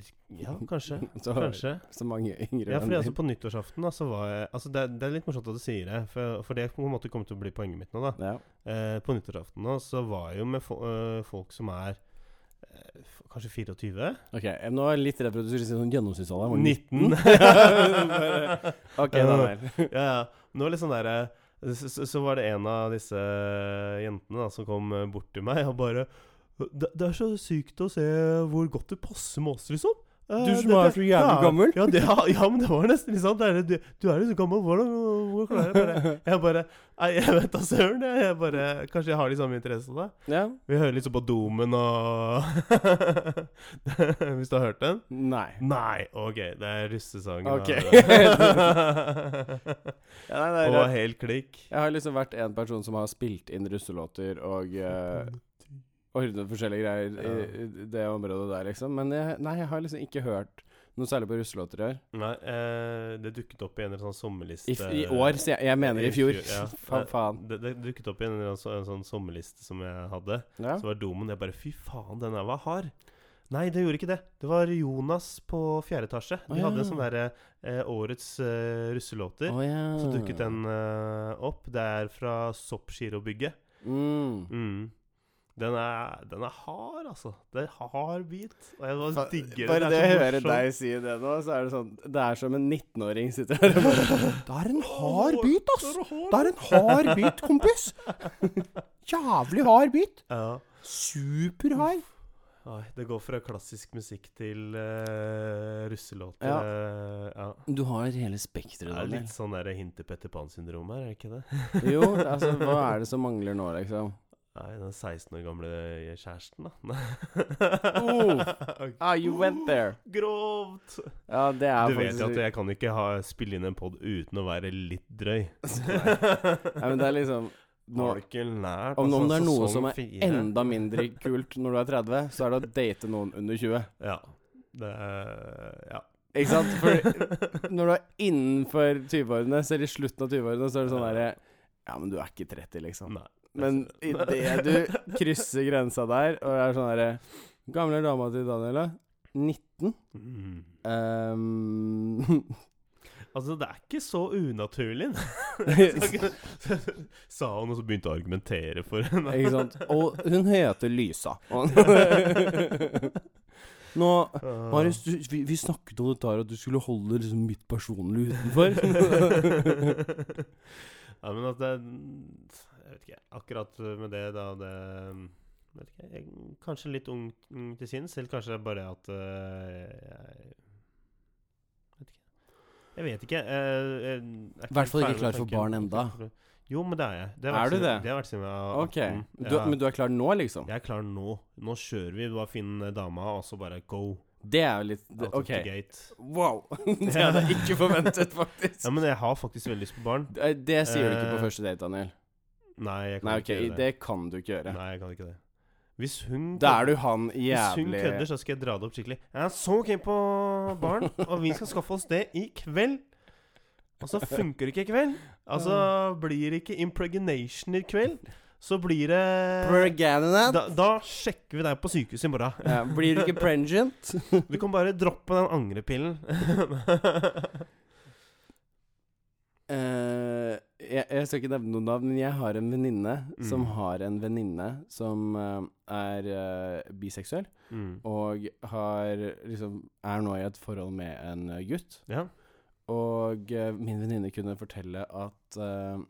[SPEAKER 2] <laughs>
[SPEAKER 1] Ja, kanskje. <laughs>
[SPEAKER 2] Så,
[SPEAKER 1] Kanskje.
[SPEAKER 2] så mange yngre
[SPEAKER 1] Ja, fordi
[SPEAKER 2] venner.
[SPEAKER 1] altså på nyttårsaften da, så var jeg Altså det, er- det er litt morsomt at du sier det, for, for det på en måte kommer til å bli poenget mitt nå, da.
[SPEAKER 2] Ja.
[SPEAKER 1] Eh, på nyttårsaften nå så var jeg jo med fo eh, folk som er eh, f- kanskje 24?
[SPEAKER 2] Ok, jeg- nå er jeg litt redd for at du skulle si sånn gjennomsnittsalderen var <laughs>
[SPEAKER 1] 19? <laughs>
[SPEAKER 2] Bare- Ok, Daniel.
[SPEAKER 1] ja, ja. Nå litt sånn der, eh, så, så- så var det en av disse jentene da, som kom eh, bort til meg og bare det, det er så sykt å se hvor godt det passer med oss, liksom. Eh,
[SPEAKER 2] Du som
[SPEAKER 1] det-
[SPEAKER 2] er
[SPEAKER 1] det-
[SPEAKER 2] så jævlig
[SPEAKER 1] ja,
[SPEAKER 2] gammel.
[SPEAKER 1] Ja, det, ja, ja, men det var nesten litt sånn. Det er, det- du, du er jo så gammel, hvordan hvor klarer jeg bare Jeg bare Nei, jeg vet da søren. jeg. Jeg bare Kanskje jeg har de samme interessene? da.
[SPEAKER 2] <laughs> Ja.
[SPEAKER 1] Vi hører litt sånn på Domen og <laughs> Hvis du har hørt den?
[SPEAKER 2] Nei.
[SPEAKER 1] Nei, OK. Det er russesangen.
[SPEAKER 2] Ok. <laughs>
[SPEAKER 1] og
[SPEAKER 2] Ja, nei, nei, det-
[SPEAKER 1] helt klikk.
[SPEAKER 2] Jeg har liksom vært en person som har spilt inn russelåter og uh, ordnet forskjellige greier i, i det området der, liksom. Men jeg, nei, jeg har liksom ikke hørt noe særlig på russelåter i år.
[SPEAKER 1] Nei, eh, det dukket opp i en eller annen sånn sommerliste
[SPEAKER 2] I, f i år, sier jeg. Jeg mener i fjor.
[SPEAKER 1] ja.
[SPEAKER 2] <laughs>
[SPEAKER 1] Eh,
[SPEAKER 2] Faen, faen.
[SPEAKER 1] Det, det dukket opp i en eller annen så, en sånn sommerliste som jeg hadde.
[SPEAKER 2] Ja.
[SPEAKER 1] Så var Domen Jeg bare Fy faen, den der var hard. Nei, det gjorde ikke det. Det var Jonas på fjerde etasje.
[SPEAKER 2] Å,
[SPEAKER 1] De
[SPEAKER 2] ja.
[SPEAKER 1] hadde en sånn derre eh, Årets eh, russelåter.
[SPEAKER 2] Å, ja.
[SPEAKER 1] Så dukket den eh, opp. Det er fra Soppgirobygget.
[SPEAKER 2] Mm.
[SPEAKER 1] Mm. Den, er, den er hard, altså. Det er hard bit. Og jeg bare
[SPEAKER 2] Fa-
[SPEAKER 1] digger
[SPEAKER 2] Bare
[SPEAKER 1] den.
[SPEAKER 2] det å
[SPEAKER 1] er så
[SPEAKER 2] høre
[SPEAKER 1] morsom.
[SPEAKER 2] deg si det nå, så er det sånn Det er som en 19-åring sitter her og bare <laughs> Det er en hard bit, ass! Det er en hard bit, <laughs> kompis! Jævlig hard bit!
[SPEAKER 1] Ja.
[SPEAKER 2] Superhard!
[SPEAKER 1] Oi, det går fra klassisk musikk til eh, russelåter.
[SPEAKER 2] Ja.
[SPEAKER 1] Eh, ja.
[SPEAKER 2] Du har hele spekteret,
[SPEAKER 1] Det er litt sånn der hint til Petter Pan-syndrom her, er det ikke det?
[SPEAKER 2] <laughs> Jo, altså, hva er det som mangler nå, liksom?
[SPEAKER 1] Nei, den 16 år gamle eh, kjæresten, da. <laughs> Oh,
[SPEAKER 2] Oh. Ah, you went there!
[SPEAKER 1] Grovt!
[SPEAKER 2] Ja, det er
[SPEAKER 1] Du vet jo
[SPEAKER 2] faktisk
[SPEAKER 1] at jeg kan ikke ha, spille inn en pod uten å være litt
[SPEAKER 2] <laughs>
[SPEAKER 1] drøy.
[SPEAKER 2] Nei, men det er liksom nå,
[SPEAKER 1] Har du ikke lært
[SPEAKER 2] om, om det er noe
[SPEAKER 1] sesong
[SPEAKER 2] som er
[SPEAKER 1] fire-
[SPEAKER 2] enda mindre kult når du er 30, så er det å date noen under 20.
[SPEAKER 1] Ja. Det er Ja.
[SPEAKER 2] Ikke sant? For når du er innenfor 20-årene, selv i slutten av 20-årene, så er det sånn derre Ja, men du er ikke 30, liksom.
[SPEAKER 1] Nei.
[SPEAKER 2] Men idet du krysser grensa der, og er sånn derre Gamle dama til Daniel, da? 19?
[SPEAKER 1] Mm.
[SPEAKER 2] Ehm, <laughs>
[SPEAKER 1] Altså, det er ikke så unaturlig. Sa han, og så begynte å argumentere for henne.
[SPEAKER 2] ikke sant? Og hun heter Lysa. <laughs> Og- Nå
[SPEAKER 1] Ah.
[SPEAKER 2] Marius, du, vi, vi snakket om dette her, at du skulle holde liksom mitt personlig utenfor.
[SPEAKER 1] <laughs> ja, men at det Jeg vet ikke. Akkurat med det, da det vet ikke, jeg, er Kanskje litt ung ung til sinns, eller kanskje det er bare at øh, jeg Vet ikke. Jeg vet ikke. eh, jeg er
[SPEAKER 2] I hvert fall
[SPEAKER 1] ferdig
[SPEAKER 2] ikke
[SPEAKER 1] med
[SPEAKER 2] klar for
[SPEAKER 1] tanken.
[SPEAKER 2] barn enda.
[SPEAKER 1] Jo, men det er jeg. Det har
[SPEAKER 2] Er
[SPEAKER 1] vært
[SPEAKER 2] du
[SPEAKER 1] siden-
[SPEAKER 2] det?
[SPEAKER 1] Det har vært siden jeg var
[SPEAKER 2] Ok.
[SPEAKER 1] 18.
[SPEAKER 2] Du,
[SPEAKER 1] Mm. Ja.
[SPEAKER 2] men du er klar nå, liksom?
[SPEAKER 1] Jeg er klar nå. Nå kjører vi. Bare finn eh, dama, og så bare go.
[SPEAKER 2] Det er jo litt
[SPEAKER 1] Out
[SPEAKER 2] det,
[SPEAKER 1] of the
[SPEAKER 2] OK.
[SPEAKER 1] gate.
[SPEAKER 2] Wow. <laughs> Det hadde jeg ikke forventet, faktisk.
[SPEAKER 1] <laughs> Ja, men jeg har faktisk veldig lyst på barn.
[SPEAKER 2] Det, det sier du ikke på
[SPEAKER 1] Eh,
[SPEAKER 2] første date, Daniel.
[SPEAKER 1] Nei, jeg kan
[SPEAKER 2] Nei, OK,
[SPEAKER 1] ikke gjøre det.
[SPEAKER 2] det kan du ikke gjøre.
[SPEAKER 1] Nei, jeg kan ikke det. Hvis hun
[SPEAKER 2] Da er du han
[SPEAKER 1] Hvis hun
[SPEAKER 2] jævlig
[SPEAKER 1] kødder, så skal jeg dra det opp skikkelig. Jeg er så keen på barn,
[SPEAKER 2] <laughs>
[SPEAKER 1] og vi skal skaffe oss det i kveld. Og så funker det ikke i kveld. Altså blir det ikke impregnation i kveld. Så blir det
[SPEAKER 2] Pregnant?
[SPEAKER 1] da, da sjekker vi deg på sykehuset i <laughs> morgen.
[SPEAKER 2] Ja, blir du ikke pregnant?
[SPEAKER 1] Du kan bare droppe den angrepillen.
[SPEAKER 2] Eh, jeg, jeg skal ikke nevne noen navn, men jeg har en venninne som
[SPEAKER 1] Mm.
[SPEAKER 2] har en venninne som eh, er eh, biseksuell,
[SPEAKER 1] <laughs> Mm.
[SPEAKER 2] og har liksom er nå i et forhold med en eh, gutt.
[SPEAKER 1] Ja.
[SPEAKER 2] Og eh, min venninne kunne fortelle at eh,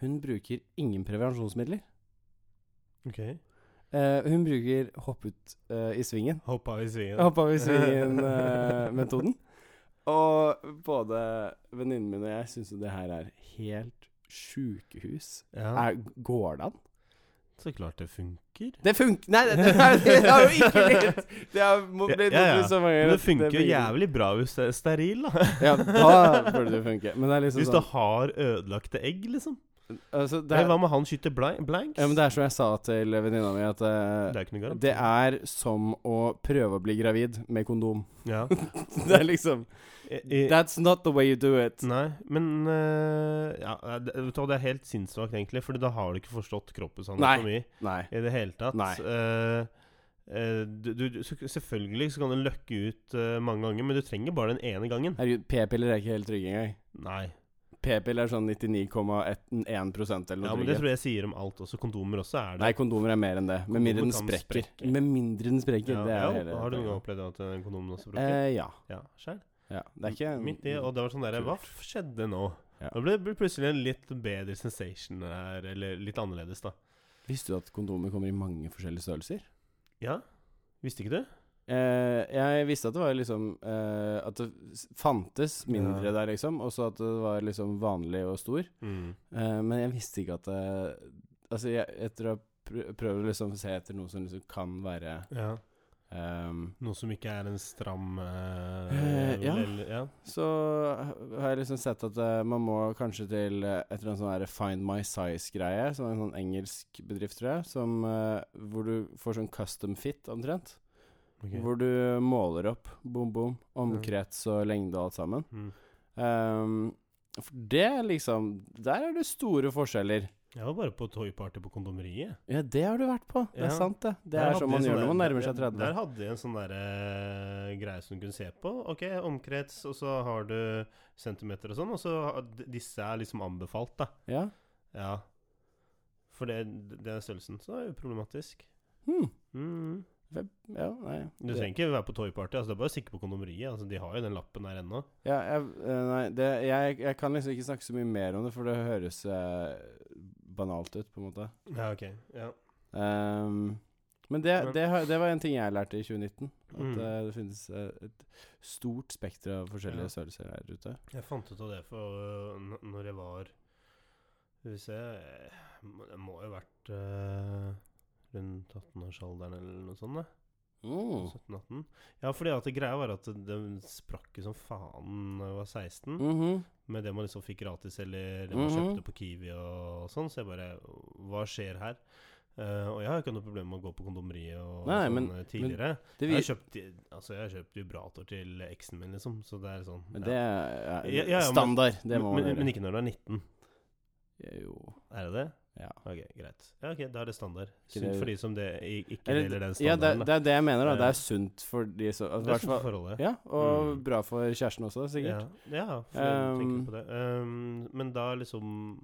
[SPEAKER 2] hun bruker ingen prevensjonsmidler.
[SPEAKER 1] Ok.
[SPEAKER 2] Eh, hun bruker hopp ut eh, i svingen.
[SPEAKER 1] Hoppa i svingen.
[SPEAKER 2] Hoppa ut i
[SPEAKER 1] <laughs>
[SPEAKER 2] svingen-metoden. og både venninnen min og jeg syns jo det her er helt sjukehus.
[SPEAKER 1] Ja.
[SPEAKER 2] Er, går det an?
[SPEAKER 1] Så klart det funker.
[SPEAKER 2] Det funker Nei, det, det, er- det har jo ikke blitt
[SPEAKER 1] <laughs>
[SPEAKER 2] Det har må
[SPEAKER 1] Ja,
[SPEAKER 2] blitt
[SPEAKER 1] ja, ja.
[SPEAKER 2] blitt så mange
[SPEAKER 1] Men det
[SPEAKER 2] ganger at
[SPEAKER 1] funker jo
[SPEAKER 2] blir-
[SPEAKER 1] jævlig bra hvis det er steril, da.
[SPEAKER 2] Ja, da burde det funke. Men det er liksom
[SPEAKER 1] Hvis du
[SPEAKER 2] sånn
[SPEAKER 1] har ødelagte egg, liksom.
[SPEAKER 2] altså, det
[SPEAKER 1] Eller
[SPEAKER 2] er,
[SPEAKER 1] hva med han skyter bla- blanks?
[SPEAKER 2] ja, men det er som jeg sa til venninna mi, at eh,
[SPEAKER 1] Det er jo ikke noe garant.
[SPEAKER 2] det er som å prøve å bli gravid med kondom. <laughs>
[SPEAKER 1] Ja.
[SPEAKER 2] Det er liksom
[SPEAKER 1] I, Mm. i,
[SPEAKER 2] That's not the way you do it.
[SPEAKER 1] Nei, men eh, ja, det, vet du hva, det er helt sinnssvakt, egentlig. For da har du ikke forstått kroppens
[SPEAKER 2] Nei.
[SPEAKER 1] anatomi
[SPEAKER 2] Nei.
[SPEAKER 1] i det hele tatt.
[SPEAKER 2] Nei.
[SPEAKER 1] Eh, eh, du, du, så- selvfølgelig så kan du løkke ut eh, mange ganger, men du trenger bare den ene gangen.
[SPEAKER 2] Herregud, p-piller er ikke helt trygge engang.
[SPEAKER 1] Nei.
[SPEAKER 2] P-piller er sånn 99,1 eller noe
[SPEAKER 1] Ja, men Det
[SPEAKER 2] trygghet.
[SPEAKER 1] tror jeg sier om alt også. Kondomer også er det.
[SPEAKER 2] Nei, kondomer er mer enn det. Med mindre
[SPEAKER 1] Kondomer
[SPEAKER 2] den
[SPEAKER 1] kan
[SPEAKER 2] sprekker.
[SPEAKER 1] sprekke.
[SPEAKER 2] Med mindre den sprekker.
[SPEAKER 1] ja,
[SPEAKER 2] det er
[SPEAKER 1] ja,
[SPEAKER 2] jo hele
[SPEAKER 1] har du noen gang
[SPEAKER 2] poenget.
[SPEAKER 1] opplevd at eh, kondomen også bruker?
[SPEAKER 2] Eh, ja.
[SPEAKER 1] ja, sjøl.
[SPEAKER 2] ja. Det er ikke
[SPEAKER 1] Midt i, og det var sånn der Hva
[SPEAKER 2] kult.
[SPEAKER 1] f- skjedde nå?
[SPEAKER 2] Ja.
[SPEAKER 1] Nå ble det ble plutselig en litt bedre sensation her, eller litt annerledes, da.
[SPEAKER 2] Visste du at kondomer kommer i mange forskjellige størrelser?
[SPEAKER 1] Ja? Visste ikke du?
[SPEAKER 2] Eh, jeg visste at det var liksom eh, At det s- fantes mindre
[SPEAKER 1] Ja.
[SPEAKER 2] der, liksom. Og så at det var liksom vanlig og stor.
[SPEAKER 1] Mm.
[SPEAKER 2] Eh, men jeg visste ikke at det Altså, jeg, jeg tror jeg pr- prøver liksom å se etter noe som liksom kan være
[SPEAKER 1] Ja.
[SPEAKER 2] ehm,
[SPEAKER 1] Noe som ikke er en stram eh,
[SPEAKER 2] Eh, ja.
[SPEAKER 1] eller- ja.
[SPEAKER 2] Så har jeg liksom sett at eh, man må kanskje til eh, et eller annet sånn her Find My Size-greie, som er en sånn engelsk bedrift, tror jeg, som, eh, hvor du får sånn custom fit, omtrent.
[SPEAKER 1] ok.
[SPEAKER 2] Hvor du måler opp bom, bom, omkrets og lengde og alt sammen.
[SPEAKER 1] Mm.
[SPEAKER 2] Ehm, for det er liksom Der er det store forskjeller.
[SPEAKER 1] Jeg var bare på toyparty på kondomeriet.
[SPEAKER 2] Ja, det har du vært på. Det
[SPEAKER 1] Ja.
[SPEAKER 2] er sant, det. Det
[SPEAKER 1] Der
[SPEAKER 2] er
[SPEAKER 1] hadde jeg
[SPEAKER 2] sånn man
[SPEAKER 1] sånn
[SPEAKER 2] gjør når man
[SPEAKER 1] der-
[SPEAKER 2] nærmer seg
[SPEAKER 1] der-
[SPEAKER 2] 30.
[SPEAKER 1] Der hadde jeg en sånn der, eh, greie som du kunne se på. Ok, omkrets, og så har du centimeter og sånn. Og så har- d- disse er liksom anbefalt, da.
[SPEAKER 2] Ja.
[SPEAKER 1] Ja. For det, det er størrelsen. Så det er jo problematisk.
[SPEAKER 2] Hm.
[SPEAKER 1] Mm.
[SPEAKER 2] ja, nei.
[SPEAKER 1] Du
[SPEAKER 2] Det-
[SPEAKER 1] trenger ikke være på toyparty. Altså, det er bare å stikke på kondomeriet. Altså, de har jo den lappen der ennå.
[SPEAKER 2] Ja, jeg, eh, nei, det, jeg, jeg kan liksom ikke snakke så mye mer om det, for det høres eh, banalt ut, på en måte.
[SPEAKER 1] Ja, ok. Ja.
[SPEAKER 2] Ehm, men det,
[SPEAKER 1] Men-
[SPEAKER 2] det, har- det var en ting jeg lærte i 2019. At
[SPEAKER 1] Mm.
[SPEAKER 2] eh, det finnes eh, et stort spekter av
[SPEAKER 1] Ja.
[SPEAKER 2] forskjellige størrelser her ute.
[SPEAKER 1] Jeg fant ut av det for øh, n- når jeg var Skal vi se må- Det må jo ha vært øh, rundt 18-årsalderen eller noe sånt. da.
[SPEAKER 2] Mm.
[SPEAKER 1] Mm. 17-18. Ja, fordi at det greia var at det- den sprakk jo som faen da jeg var 16.
[SPEAKER 2] Mhm.
[SPEAKER 1] Med det man liksom fikk gratis, eller det man
[SPEAKER 2] Mhm.
[SPEAKER 1] kjøpte på Kiwi og sånn. Så jeg bare Hva skjer her? Eh, og jeg har ikke noe problem med å gå på kondomeriet og
[SPEAKER 2] Nei,
[SPEAKER 1] sånn
[SPEAKER 2] men-
[SPEAKER 1] eh, tidligere. jeg
[SPEAKER 2] Det, vi,
[SPEAKER 1] har kjøpt altså jeg har kjøpt vibrator til eksen min, liksom. Så det er sånn.
[SPEAKER 2] men
[SPEAKER 1] ja.
[SPEAKER 2] det er
[SPEAKER 1] Ja, ja, ja, men-
[SPEAKER 2] standard. Det må
[SPEAKER 1] men,
[SPEAKER 2] man
[SPEAKER 1] men, men
[SPEAKER 2] gjøre.
[SPEAKER 1] ikke når du er 19.
[SPEAKER 2] Jo.
[SPEAKER 1] Er det det?
[SPEAKER 2] Ja.
[SPEAKER 1] Ok, greit. Ja, ok, Da er det standard.
[SPEAKER 2] Ikke
[SPEAKER 1] Synd
[SPEAKER 2] det-
[SPEAKER 1] for de som det, i- ikke
[SPEAKER 2] Eller-
[SPEAKER 1] deler den
[SPEAKER 2] Ja, det,
[SPEAKER 1] standarden. da.
[SPEAKER 2] det er det jeg mener. da Det
[SPEAKER 1] Ja.
[SPEAKER 2] er sunt for de som
[SPEAKER 1] det,
[SPEAKER 2] altså,
[SPEAKER 1] er sånn
[SPEAKER 2] hvertfall-
[SPEAKER 1] for forholdet.
[SPEAKER 2] Ja, og
[SPEAKER 1] Mm.
[SPEAKER 2] bra for kjæresten også, sikkert.
[SPEAKER 1] Ja, ja for jeg tenker
[SPEAKER 2] Um,
[SPEAKER 1] på det. Um, men da liksom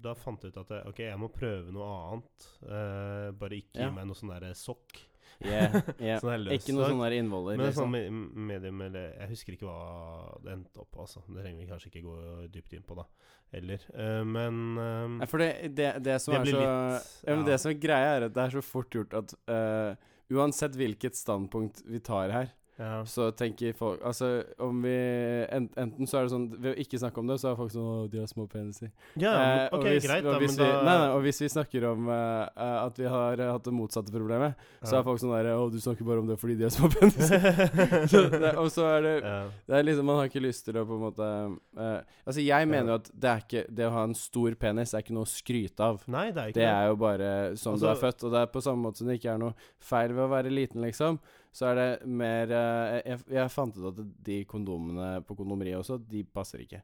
[SPEAKER 1] Da fant jeg ut at jeg, ok, jeg må prøve noe annet. Eh, bare ikke gi
[SPEAKER 2] Ja.
[SPEAKER 1] meg noe sånn derre sokk.
[SPEAKER 2] <laughs>
[SPEAKER 1] <laughs>
[SPEAKER 2] Yeah, yeah.
[SPEAKER 1] Sånn der
[SPEAKER 2] Ikke noe
[SPEAKER 1] løssokk.
[SPEAKER 2] sånn der innvoller.
[SPEAKER 1] Men det er
[SPEAKER 2] liksom.
[SPEAKER 1] sånn me- medium eller Jeg husker ikke hva det endte opp på, altså. Det trenger vi kanskje ikke gå dypt inn på, da. Eller. Eh, men um,
[SPEAKER 2] Nei, for det, det, det som
[SPEAKER 1] Det
[SPEAKER 2] er
[SPEAKER 1] blir
[SPEAKER 2] så
[SPEAKER 1] litt,
[SPEAKER 2] ja.
[SPEAKER 1] ja.
[SPEAKER 2] men Det som er greia, er at det er så fort gjort at eh, uansett hvilket standpunkt vi tar her,
[SPEAKER 1] ja.
[SPEAKER 2] så tenker folk Altså, om vi en, Enten så er det sånn Ved å ikke snakke om det, så er folk sånn Å, de har små peniser.
[SPEAKER 1] ja, men,
[SPEAKER 2] Eh, og
[SPEAKER 1] ok,
[SPEAKER 2] hvis-
[SPEAKER 1] greit,
[SPEAKER 2] og
[SPEAKER 1] da,
[SPEAKER 2] hvis
[SPEAKER 1] men da
[SPEAKER 2] vi, nei, nei, og hvis vi snakker om eh, eh, at vi har eh, hatt det motsatte problemet, så
[SPEAKER 1] Ja.
[SPEAKER 2] er folk sånn der Å, du snakker bare om det fordi de har små peniser.
[SPEAKER 1] <laughs>
[SPEAKER 2] så, det, og så er det
[SPEAKER 1] Ja.
[SPEAKER 2] det er liksom, Man har ikke lyst til å på en måte eh, Altså, jeg mener jo at det, er ikke, det å ha en stor penis er ikke noe å skryte av.
[SPEAKER 1] Nei, det er ikke
[SPEAKER 2] Det er jo bare sånn du er
[SPEAKER 1] Altså-
[SPEAKER 2] født, og det er på samme måte som det ikke er noe feil ved å være liten, liksom. Så er det mer eh, jeg, jeg fant ut at de kondomene på kondomeriet også, de passer ikke.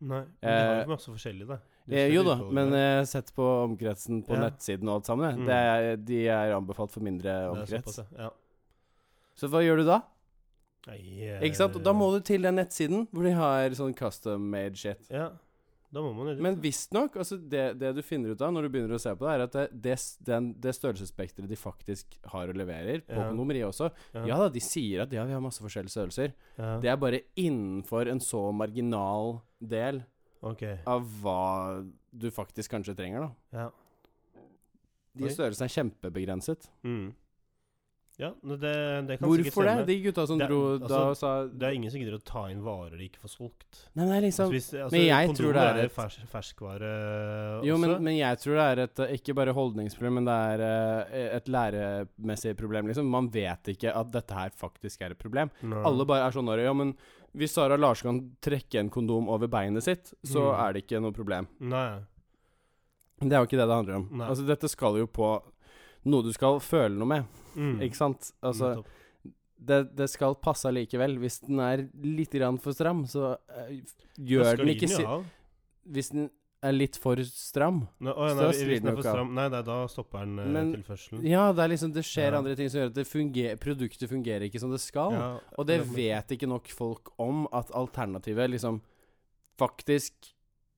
[SPEAKER 1] Nei, men det har
[SPEAKER 2] Eh,
[SPEAKER 1] jo masse forskjellig, da. Du
[SPEAKER 2] Eh,
[SPEAKER 1] ser
[SPEAKER 2] jo
[SPEAKER 1] det
[SPEAKER 2] da,
[SPEAKER 1] utvalget
[SPEAKER 2] men
[SPEAKER 1] der.
[SPEAKER 2] jeg har sett på omkretsen på
[SPEAKER 1] Ja.
[SPEAKER 2] nettsiden og alt sammen. jeg.
[SPEAKER 1] Mm.
[SPEAKER 2] Det er, de er anbefalt for mindre
[SPEAKER 1] Det er
[SPEAKER 2] omkrets.
[SPEAKER 1] såpass, ja.
[SPEAKER 2] Så hva gjør du da?
[SPEAKER 1] Nei, eh,
[SPEAKER 2] Ikke sant? Og da må du til den nettsiden hvor de har sånn custom made shit.
[SPEAKER 1] Ja. Da må man jo dit.
[SPEAKER 2] Men visstnok, altså det, det du finner ut av når du begynner å se på det, er at det, det, s- den, det størrelsesspekteret de faktisk har og leverer, på
[SPEAKER 1] Ja.
[SPEAKER 2] kondomeriet også
[SPEAKER 1] Ja.
[SPEAKER 2] Ja da, de sier at ja, vi har masse forskjellige størrelser.
[SPEAKER 1] ja.
[SPEAKER 2] Det er bare innenfor en så marginal del
[SPEAKER 1] Ok.
[SPEAKER 2] av hva du faktisk kanskje trenger, da.
[SPEAKER 1] Ja.
[SPEAKER 2] De
[SPEAKER 1] Oi.
[SPEAKER 2] størrelsene er kjempebegrenset.
[SPEAKER 1] Mm. Ja, men det, det kan sikkert
[SPEAKER 2] Hvorfor det?
[SPEAKER 1] stemme.
[SPEAKER 2] De gutta som
[SPEAKER 1] Det er-
[SPEAKER 2] dro da
[SPEAKER 1] altså,
[SPEAKER 2] og sa
[SPEAKER 1] Det er ingen som gidder å ta inn varer de ikke får solgt.
[SPEAKER 2] Nei, nei,
[SPEAKER 1] Altså,
[SPEAKER 2] liksom
[SPEAKER 1] hvis, altså,
[SPEAKER 2] men jeg
[SPEAKER 1] kondomer
[SPEAKER 2] tror det er et-
[SPEAKER 1] fers, ferskvare
[SPEAKER 2] Jo, men,
[SPEAKER 1] også.
[SPEAKER 2] men jeg tror det er et eh, ikke bare holdningsproblem, men det er eh, et læremessig problem, liksom. Man vet ikke at dette her faktisk er et problem.
[SPEAKER 1] Nei.
[SPEAKER 2] Alle bare er sånn der, Ja, men hvis Sara Larsen kan trekke en kondom over beinet sitt, så
[SPEAKER 1] Mm.
[SPEAKER 2] er det ikke noe problem.
[SPEAKER 1] Nei.
[SPEAKER 2] Men Det er jo ikke det det handler om.
[SPEAKER 1] Nei.
[SPEAKER 2] Altså, dette skal jo på noe du skal føle noe med,
[SPEAKER 1] Mm.
[SPEAKER 2] ikke sant? Altså,
[SPEAKER 1] Nettopp.
[SPEAKER 2] det, det skal passe allikevel. Hvis den er litt grann for stram, så eh, gjør
[SPEAKER 1] Da skal
[SPEAKER 2] den
[SPEAKER 1] vi
[SPEAKER 2] ikke
[SPEAKER 1] den
[SPEAKER 2] si...
[SPEAKER 1] jo av.
[SPEAKER 2] Hvis den er litt for stram
[SPEAKER 1] Nei, å, ja,
[SPEAKER 2] Så
[SPEAKER 1] nei,
[SPEAKER 2] da
[SPEAKER 1] hvis
[SPEAKER 2] strir
[SPEAKER 1] den
[SPEAKER 2] den
[SPEAKER 1] er
[SPEAKER 2] jo
[SPEAKER 1] for
[SPEAKER 2] ikke av.
[SPEAKER 1] stram Nei, nei, da stopper den eh,
[SPEAKER 2] Men-
[SPEAKER 1] tilførselen.
[SPEAKER 2] Ja, det er liksom Det skjer
[SPEAKER 1] Ja.
[SPEAKER 2] andre ting som gjør at det funger, produktet fungerer ikke som det skal.
[SPEAKER 1] Ja,
[SPEAKER 2] Og det
[SPEAKER 1] men-
[SPEAKER 2] vet ikke nok folk om at alternativet liksom faktisk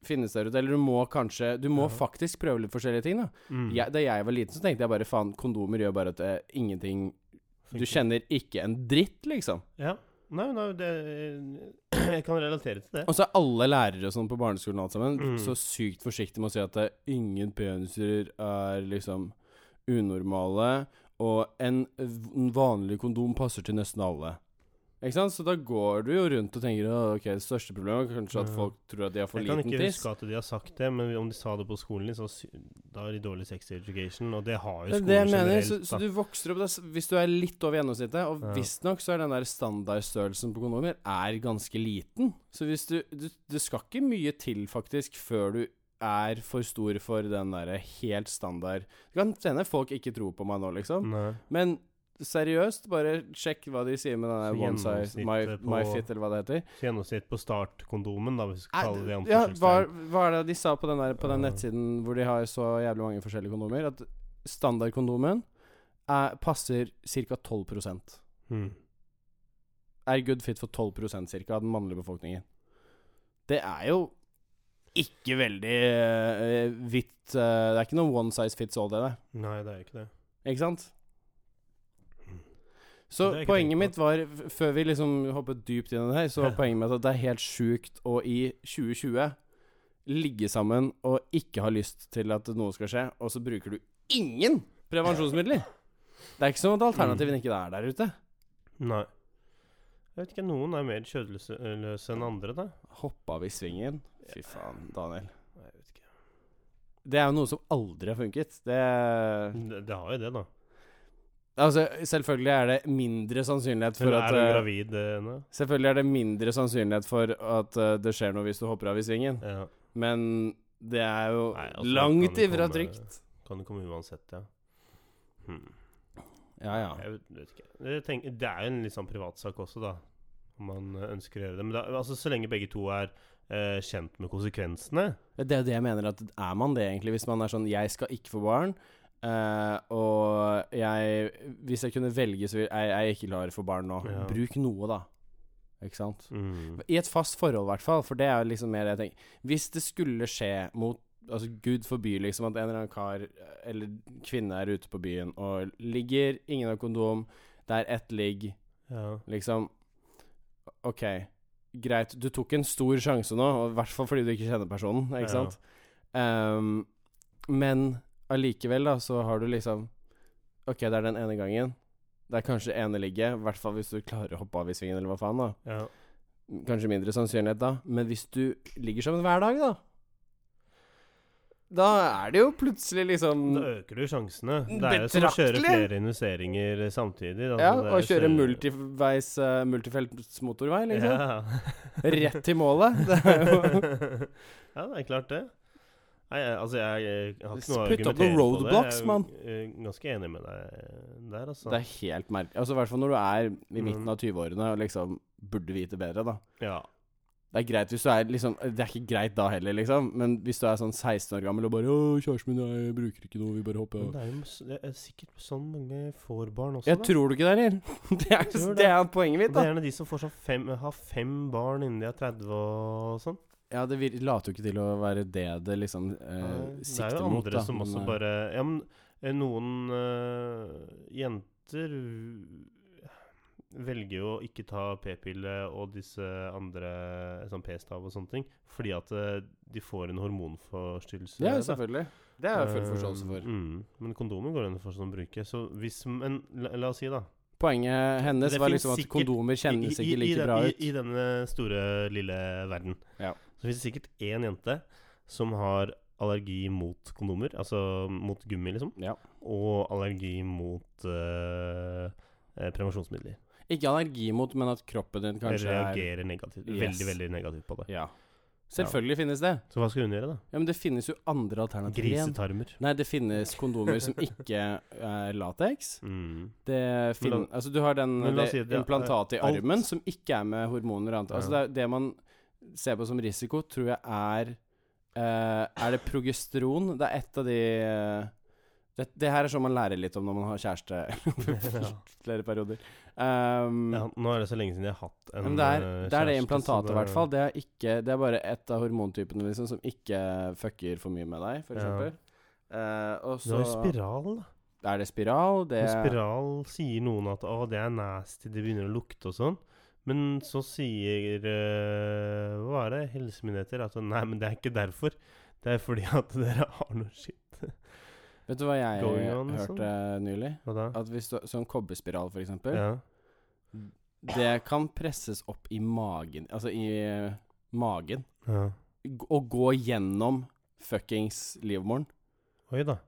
[SPEAKER 2] finnes der ute. Eller du må kanskje Du må
[SPEAKER 1] Ja.
[SPEAKER 2] faktisk prøve litt forskjellige ting, da.
[SPEAKER 1] Mm.
[SPEAKER 2] Jeg, da jeg var liten, så tenkte jeg bare faen, kondomer gjør bare at eh, ingenting Du
[SPEAKER 1] Funker.
[SPEAKER 2] kjenner ikke en dritt, liksom.
[SPEAKER 1] Ja. Nei, nei, det Jeg kan relatere til det.
[SPEAKER 2] Og så er alle lærere og sånn på barneskolen og alt sammen
[SPEAKER 1] Mm.
[SPEAKER 2] så sykt forsiktige med å si at det er ingen peniser er liksom unormale, og en v- en vanlig kondom passer til nesten alle. Ikke sant? Så da går du jo rundt og tenker at ok, det største problemet er kanskje at
[SPEAKER 1] Ja.
[SPEAKER 2] folk tror at de har for
[SPEAKER 1] jeg kan
[SPEAKER 2] liten
[SPEAKER 1] ikke
[SPEAKER 2] tiss.
[SPEAKER 1] huske at de har sagt det, men om de sa det på skolen, din, så sy- da har de dårlig sex education, og det har jo
[SPEAKER 2] Det er
[SPEAKER 1] skolen
[SPEAKER 2] det jeg mener.
[SPEAKER 1] generelt.
[SPEAKER 2] Så, så du vokser opp da, s- hvis du er litt over gjennomsnittet, og
[SPEAKER 1] Ja.
[SPEAKER 2] visstnok så er den der standardstørrelsen på kondomer er ganske liten. Så hvis du, du Det skal ikke mye til, faktisk, før du er for stor for den derre helt standard Det kan hende folk ikke tror på meg nå,
[SPEAKER 1] da.
[SPEAKER 2] liksom,
[SPEAKER 1] Nei.
[SPEAKER 2] men seriøst, bare sjekk hva de sier med den der
[SPEAKER 1] Så
[SPEAKER 2] one size, my,
[SPEAKER 1] gjennomsnittet på-
[SPEAKER 2] my fit, eller hva det heter.
[SPEAKER 1] Så gjennomsnitt på startkondomen, da, hvis vi skal kalle det
[SPEAKER 2] ja, hva,
[SPEAKER 1] anførselstegn.
[SPEAKER 2] hva er det de sa på den, der, på den
[SPEAKER 1] Ja.
[SPEAKER 2] nettsiden hvor de har så jævlig mange forskjellige kondomer? At standardkondomen er, passer ca. 12 Er
[SPEAKER 1] Mm.
[SPEAKER 2] good fit for 12 cirka, av den mannlige befolkningen. Det er jo ikke veldig eh, hvitt eh, Det er ikke noe one size fits all, det der.
[SPEAKER 1] Nei, det er jo ikke det.
[SPEAKER 2] Ikke sant?
[SPEAKER 1] Mm.
[SPEAKER 2] Så
[SPEAKER 1] Det har jeg ikke
[SPEAKER 2] poenget
[SPEAKER 1] tenkt
[SPEAKER 2] mitt var, f- før vi liksom hoppet dypt inn i det her, så var
[SPEAKER 1] Ja.
[SPEAKER 2] poenget mitt at det er helt sjukt å i 2020 ligge sammen og ikke ha lyst til at noe skal skje, og så bruker du ingen prevensjonsmidler. Det er ikke som at alternativene
[SPEAKER 1] Mm.
[SPEAKER 2] ikke er der ute.
[SPEAKER 1] Nei. Jeg vet ikke, noen er mer kjødeløse løse enn andre, da.
[SPEAKER 2] Hoppa vi i svingen? Fy faen, Daniel.
[SPEAKER 1] Nei, jeg vet ikke.
[SPEAKER 2] Det er jo noe som aldri har funket. Det
[SPEAKER 1] Det, det har jo det, da.
[SPEAKER 2] Altså, selvfølgelig er det mindre sannsynlighet for
[SPEAKER 1] Men
[SPEAKER 2] at
[SPEAKER 1] er du
[SPEAKER 2] eh,
[SPEAKER 1] gravid eh, nå?
[SPEAKER 2] Selvfølgelig er det mindre sannsynlighet for at eh, det skjer noe hvis du hopper av i svingen.
[SPEAKER 1] Ja.
[SPEAKER 2] Men det er jo
[SPEAKER 1] Nei, altså,
[SPEAKER 2] langt
[SPEAKER 1] det kan
[SPEAKER 2] ifra
[SPEAKER 1] komme-
[SPEAKER 2] trygt.
[SPEAKER 1] Kan det komme uansett, ja. Hmm.
[SPEAKER 2] Ja, ja.
[SPEAKER 1] Jeg vet, vet ikke. Jeg tenker, det er jo en litt sånn privatsak også, da. Om man eh, ønsker å gjøre det. Men da, altså, så lenge begge to er eh, kjent med konsekvensene
[SPEAKER 2] Det er jo det jeg mener, at er man det egentlig? Hvis man er sånn 'jeg skal ikke få barn', eh, og jeg Hvis jeg kunne velge, så vil jeg, jeg er ikke klar for barn nå.
[SPEAKER 1] Ja.
[SPEAKER 2] Bruk noe, da. Ikke sant?
[SPEAKER 1] mm.
[SPEAKER 2] I et fast forhold, i hvert fall, for det er jo liksom mer det jeg tenker. Hvis det skulle skje mot Altså, Gud forbyr liksom at en eller annen kar eller kvinne er ute på byen og ligger, ingen har kondom, det er ett ligg,
[SPEAKER 1] ja.
[SPEAKER 2] Liksom OK, greit. Du tok en stor sjanse nå, og i hvert fall fordi du ikke kjenner personen,
[SPEAKER 1] Ja.
[SPEAKER 2] ikke sant? Ehm, men allikevel, da, så har du liksom OK, det er den ene gangen. Det er kanskje ene ligget, i hvert fall hvis du klarer å hoppe av i svingen, eller hva faen, da.
[SPEAKER 1] ja.
[SPEAKER 2] Kanskje mindre sannsynlighet da, men hvis du ligger sammen hver dag, da Da er det jo plutselig liksom
[SPEAKER 1] Da øker du sjansene. Det er jo som å kjøre
[SPEAKER 2] Mm, Betraktelig.
[SPEAKER 1] flere investeringer samtidig. da.
[SPEAKER 2] Ja,
[SPEAKER 1] Så det er
[SPEAKER 2] å
[SPEAKER 1] jo
[SPEAKER 2] kjøre
[SPEAKER 1] større-
[SPEAKER 2] multiveis eh, multifeltsmotorvei, liksom.
[SPEAKER 1] Ja.
[SPEAKER 2] Rett til
[SPEAKER 1] <laughs>
[SPEAKER 2] målet. <laughs> Det er jo
[SPEAKER 1] ja, det er klart det. Nei, jeg- altså, jeg, jeg har ikke noe å
[SPEAKER 2] Putt opp
[SPEAKER 1] argumentere på
[SPEAKER 2] noen
[SPEAKER 1] det.
[SPEAKER 2] roadblocks,
[SPEAKER 1] Jeg er
[SPEAKER 2] mann.
[SPEAKER 1] eh, ganske enig med deg der, altså.
[SPEAKER 2] Det er helt merkelig. Altså, I hvert fall når du er i midten
[SPEAKER 1] Mm.
[SPEAKER 2] av 20-årene og liksom burde vite bedre, da.
[SPEAKER 1] Ja.
[SPEAKER 2] Det er greit hvis du er liksom Det er ikke greit da heller, liksom, men hvis du er sånn 16 år gammel og bare 'Å, kjæresten min, jeg bruker ikke noe, vi bare hopper
[SPEAKER 1] Men
[SPEAKER 2] av'.
[SPEAKER 1] det er jo s- det er sikkert sånn mange får barn også,
[SPEAKER 2] Jeg
[SPEAKER 1] da.
[SPEAKER 2] tror du ikke det, Lill. <laughs> Det, er-
[SPEAKER 1] Tror det.
[SPEAKER 2] det er poenget mitt,
[SPEAKER 1] Og Det
[SPEAKER 2] da.
[SPEAKER 1] er gjerne de som får sånn fem, har fem barn innen de er 30 og sånn.
[SPEAKER 2] Ja, det vir- later jo ikke til å være det det liksom eh,
[SPEAKER 1] det er
[SPEAKER 2] sikter
[SPEAKER 1] jo
[SPEAKER 2] mot,
[SPEAKER 1] andre
[SPEAKER 2] da.
[SPEAKER 1] som
[SPEAKER 2] men,
[SPEAKER 1] også
[SPEAKER 2] eh,
[SPEAKER 1] bare Ja, men eh, noen eh, jenter v- velger jo å ikke ta p-pille og disse andre eh, sånn p-stav og sånne ting, fordi at eh, de får en hormonforstyrrelse.
[SPEAKER 2] Ja,
[SPEAKER 1] da.
[SPEAKER 2] selvfølgelig. Det har jeg full
[SPEAKER 1] Eh,
[SPEAKER 2] forståelse for.
[SPEAKER 1] Mm, men kondomer går det an for sånn å bruke. Så hvis Men la, la oss si, da.
[SPEAKER 2] Poenget hennes
[SPEAKER 1] Det
[SPEAKER 2] var
[SPEAKER 1] finnes
[SPEAKER 2] liksom at
[SPEAKER 1] sikkert-
[SPEAKER 2] kondomer kjennes
[SPEAKER 1] I- i-
[SPEAKER 2] ikke
[SPEAKER 1] i
[SPEAKER 2] like
[SPEAKER 1] den-
[SPEAKER 2] bra
[SPEAKER 1] i,
[SPEAKER 2] ut.
[SPEAKER 1] I denne store, lille verden.
[SPEAKER 2] Ja.
[SPEAKER 1] Så finnes det sikkert én jente som har allergi mot kondomer, altså mot gummi, liksom.
[SPEAKER 2] Ja.
[SPEAKER 1] Og allergi mot eh, eh, prevensjonsmidler.
[SPEAKER 2] Ikke allergi mot, men at kroppen din kanskje er
[SPEAKER 1] Reagerer negativt.
[SPEAKER 2] Yes.
[SPEAKER 1] Veldig, veldig negativt på det.
[SPEAKER 2] Ja. Selvfølgelig finnes det.
[SPEAKER 1] Så hva skal hun gjøre, da?
[SPEAKER 2] Ja, Men det finnes jo andre alternativer igjen. <laughs>
[SPEAKER 1] Grisetarmer.
[SPEAKER 2] Nei, det finnes kondomer som ikke er lateks.
[SPEAKER 1] Mm. <laughs>
[SPEAKER 2] Det
[SPEAKER 1] Men la-
[SPEAKER 2] fin altså, du har den
[SPEAKER 1] Men la
[SPEAKER 2] det
[SPEAKER 1] oss si at det er-
[SPEAKER 2] implantatet i
[SPEAKER 1] alt-
[SPEAKER 2] armen som ikke er med hormoner og annet. Altså,
[SPEAKER 1] Ja.
[SPEAKER 2] det, er- det man ser på som risiko, tror jeg er eh, Er det progesteron? Det er et av de eh, det, det her er sånn man lærer litt om når man har kjæreste <laughs>
[SPEAKER 1] Ja.
[SPEAKER 2] flere perioder. Um,
[SPEAKER 1] Ja, nå er det så lenge siden jeg har hatt en
[SPEAKER 2] men det
[SPEAKER 1] eh,
[SPEAKER 2] er det, er det
[SPEAKER 1] kjæreste, så
[SPEAKER 2] implantatet,
[SPEAKER 1] det-
[SPEAKER 2] i hvert fall. Det er, ikke, det er bare ett av hormontypene liksom, som ikke fucker for mye med deg, for
[SPEAKER 1] Ja.
[SPEAKER 2] eksempel. Eh, og
[SPEAKER 1] Du har jo
[SPEAKER 2] så
[SPEAKER 1] spiral, da.
[SPEAKER 2] er det spiral. Det
[SPEAKER 1] Men spiral sier noen at å, det er nasty, det begynner å lukte og sånn. Men så sier eh, hva er det, helsemyndigheter at nei, men det er ikke derfor. Det er fordi at dere har noe <laughs> skitt.
[SPEAKER 2] Vet du hva jeg
[SPEAKER 1] Going on, liksom?
[SPEAKER 2] hørte nylig?
[SPEAKER 1] Hva da?
[SPEAKER 2] At hvis du, Sånn kobberspiral, for eksempel.
[SPEAKER 1] Ja.
[SPEAKER 2] Det kan presses opp i magen. Altså i eh, magen.
[SPEAKER 1] ja.
[SPEAKER 2] G- Og gå gjennom fuckings livmoren.
[SPEAKER 1] Oi da.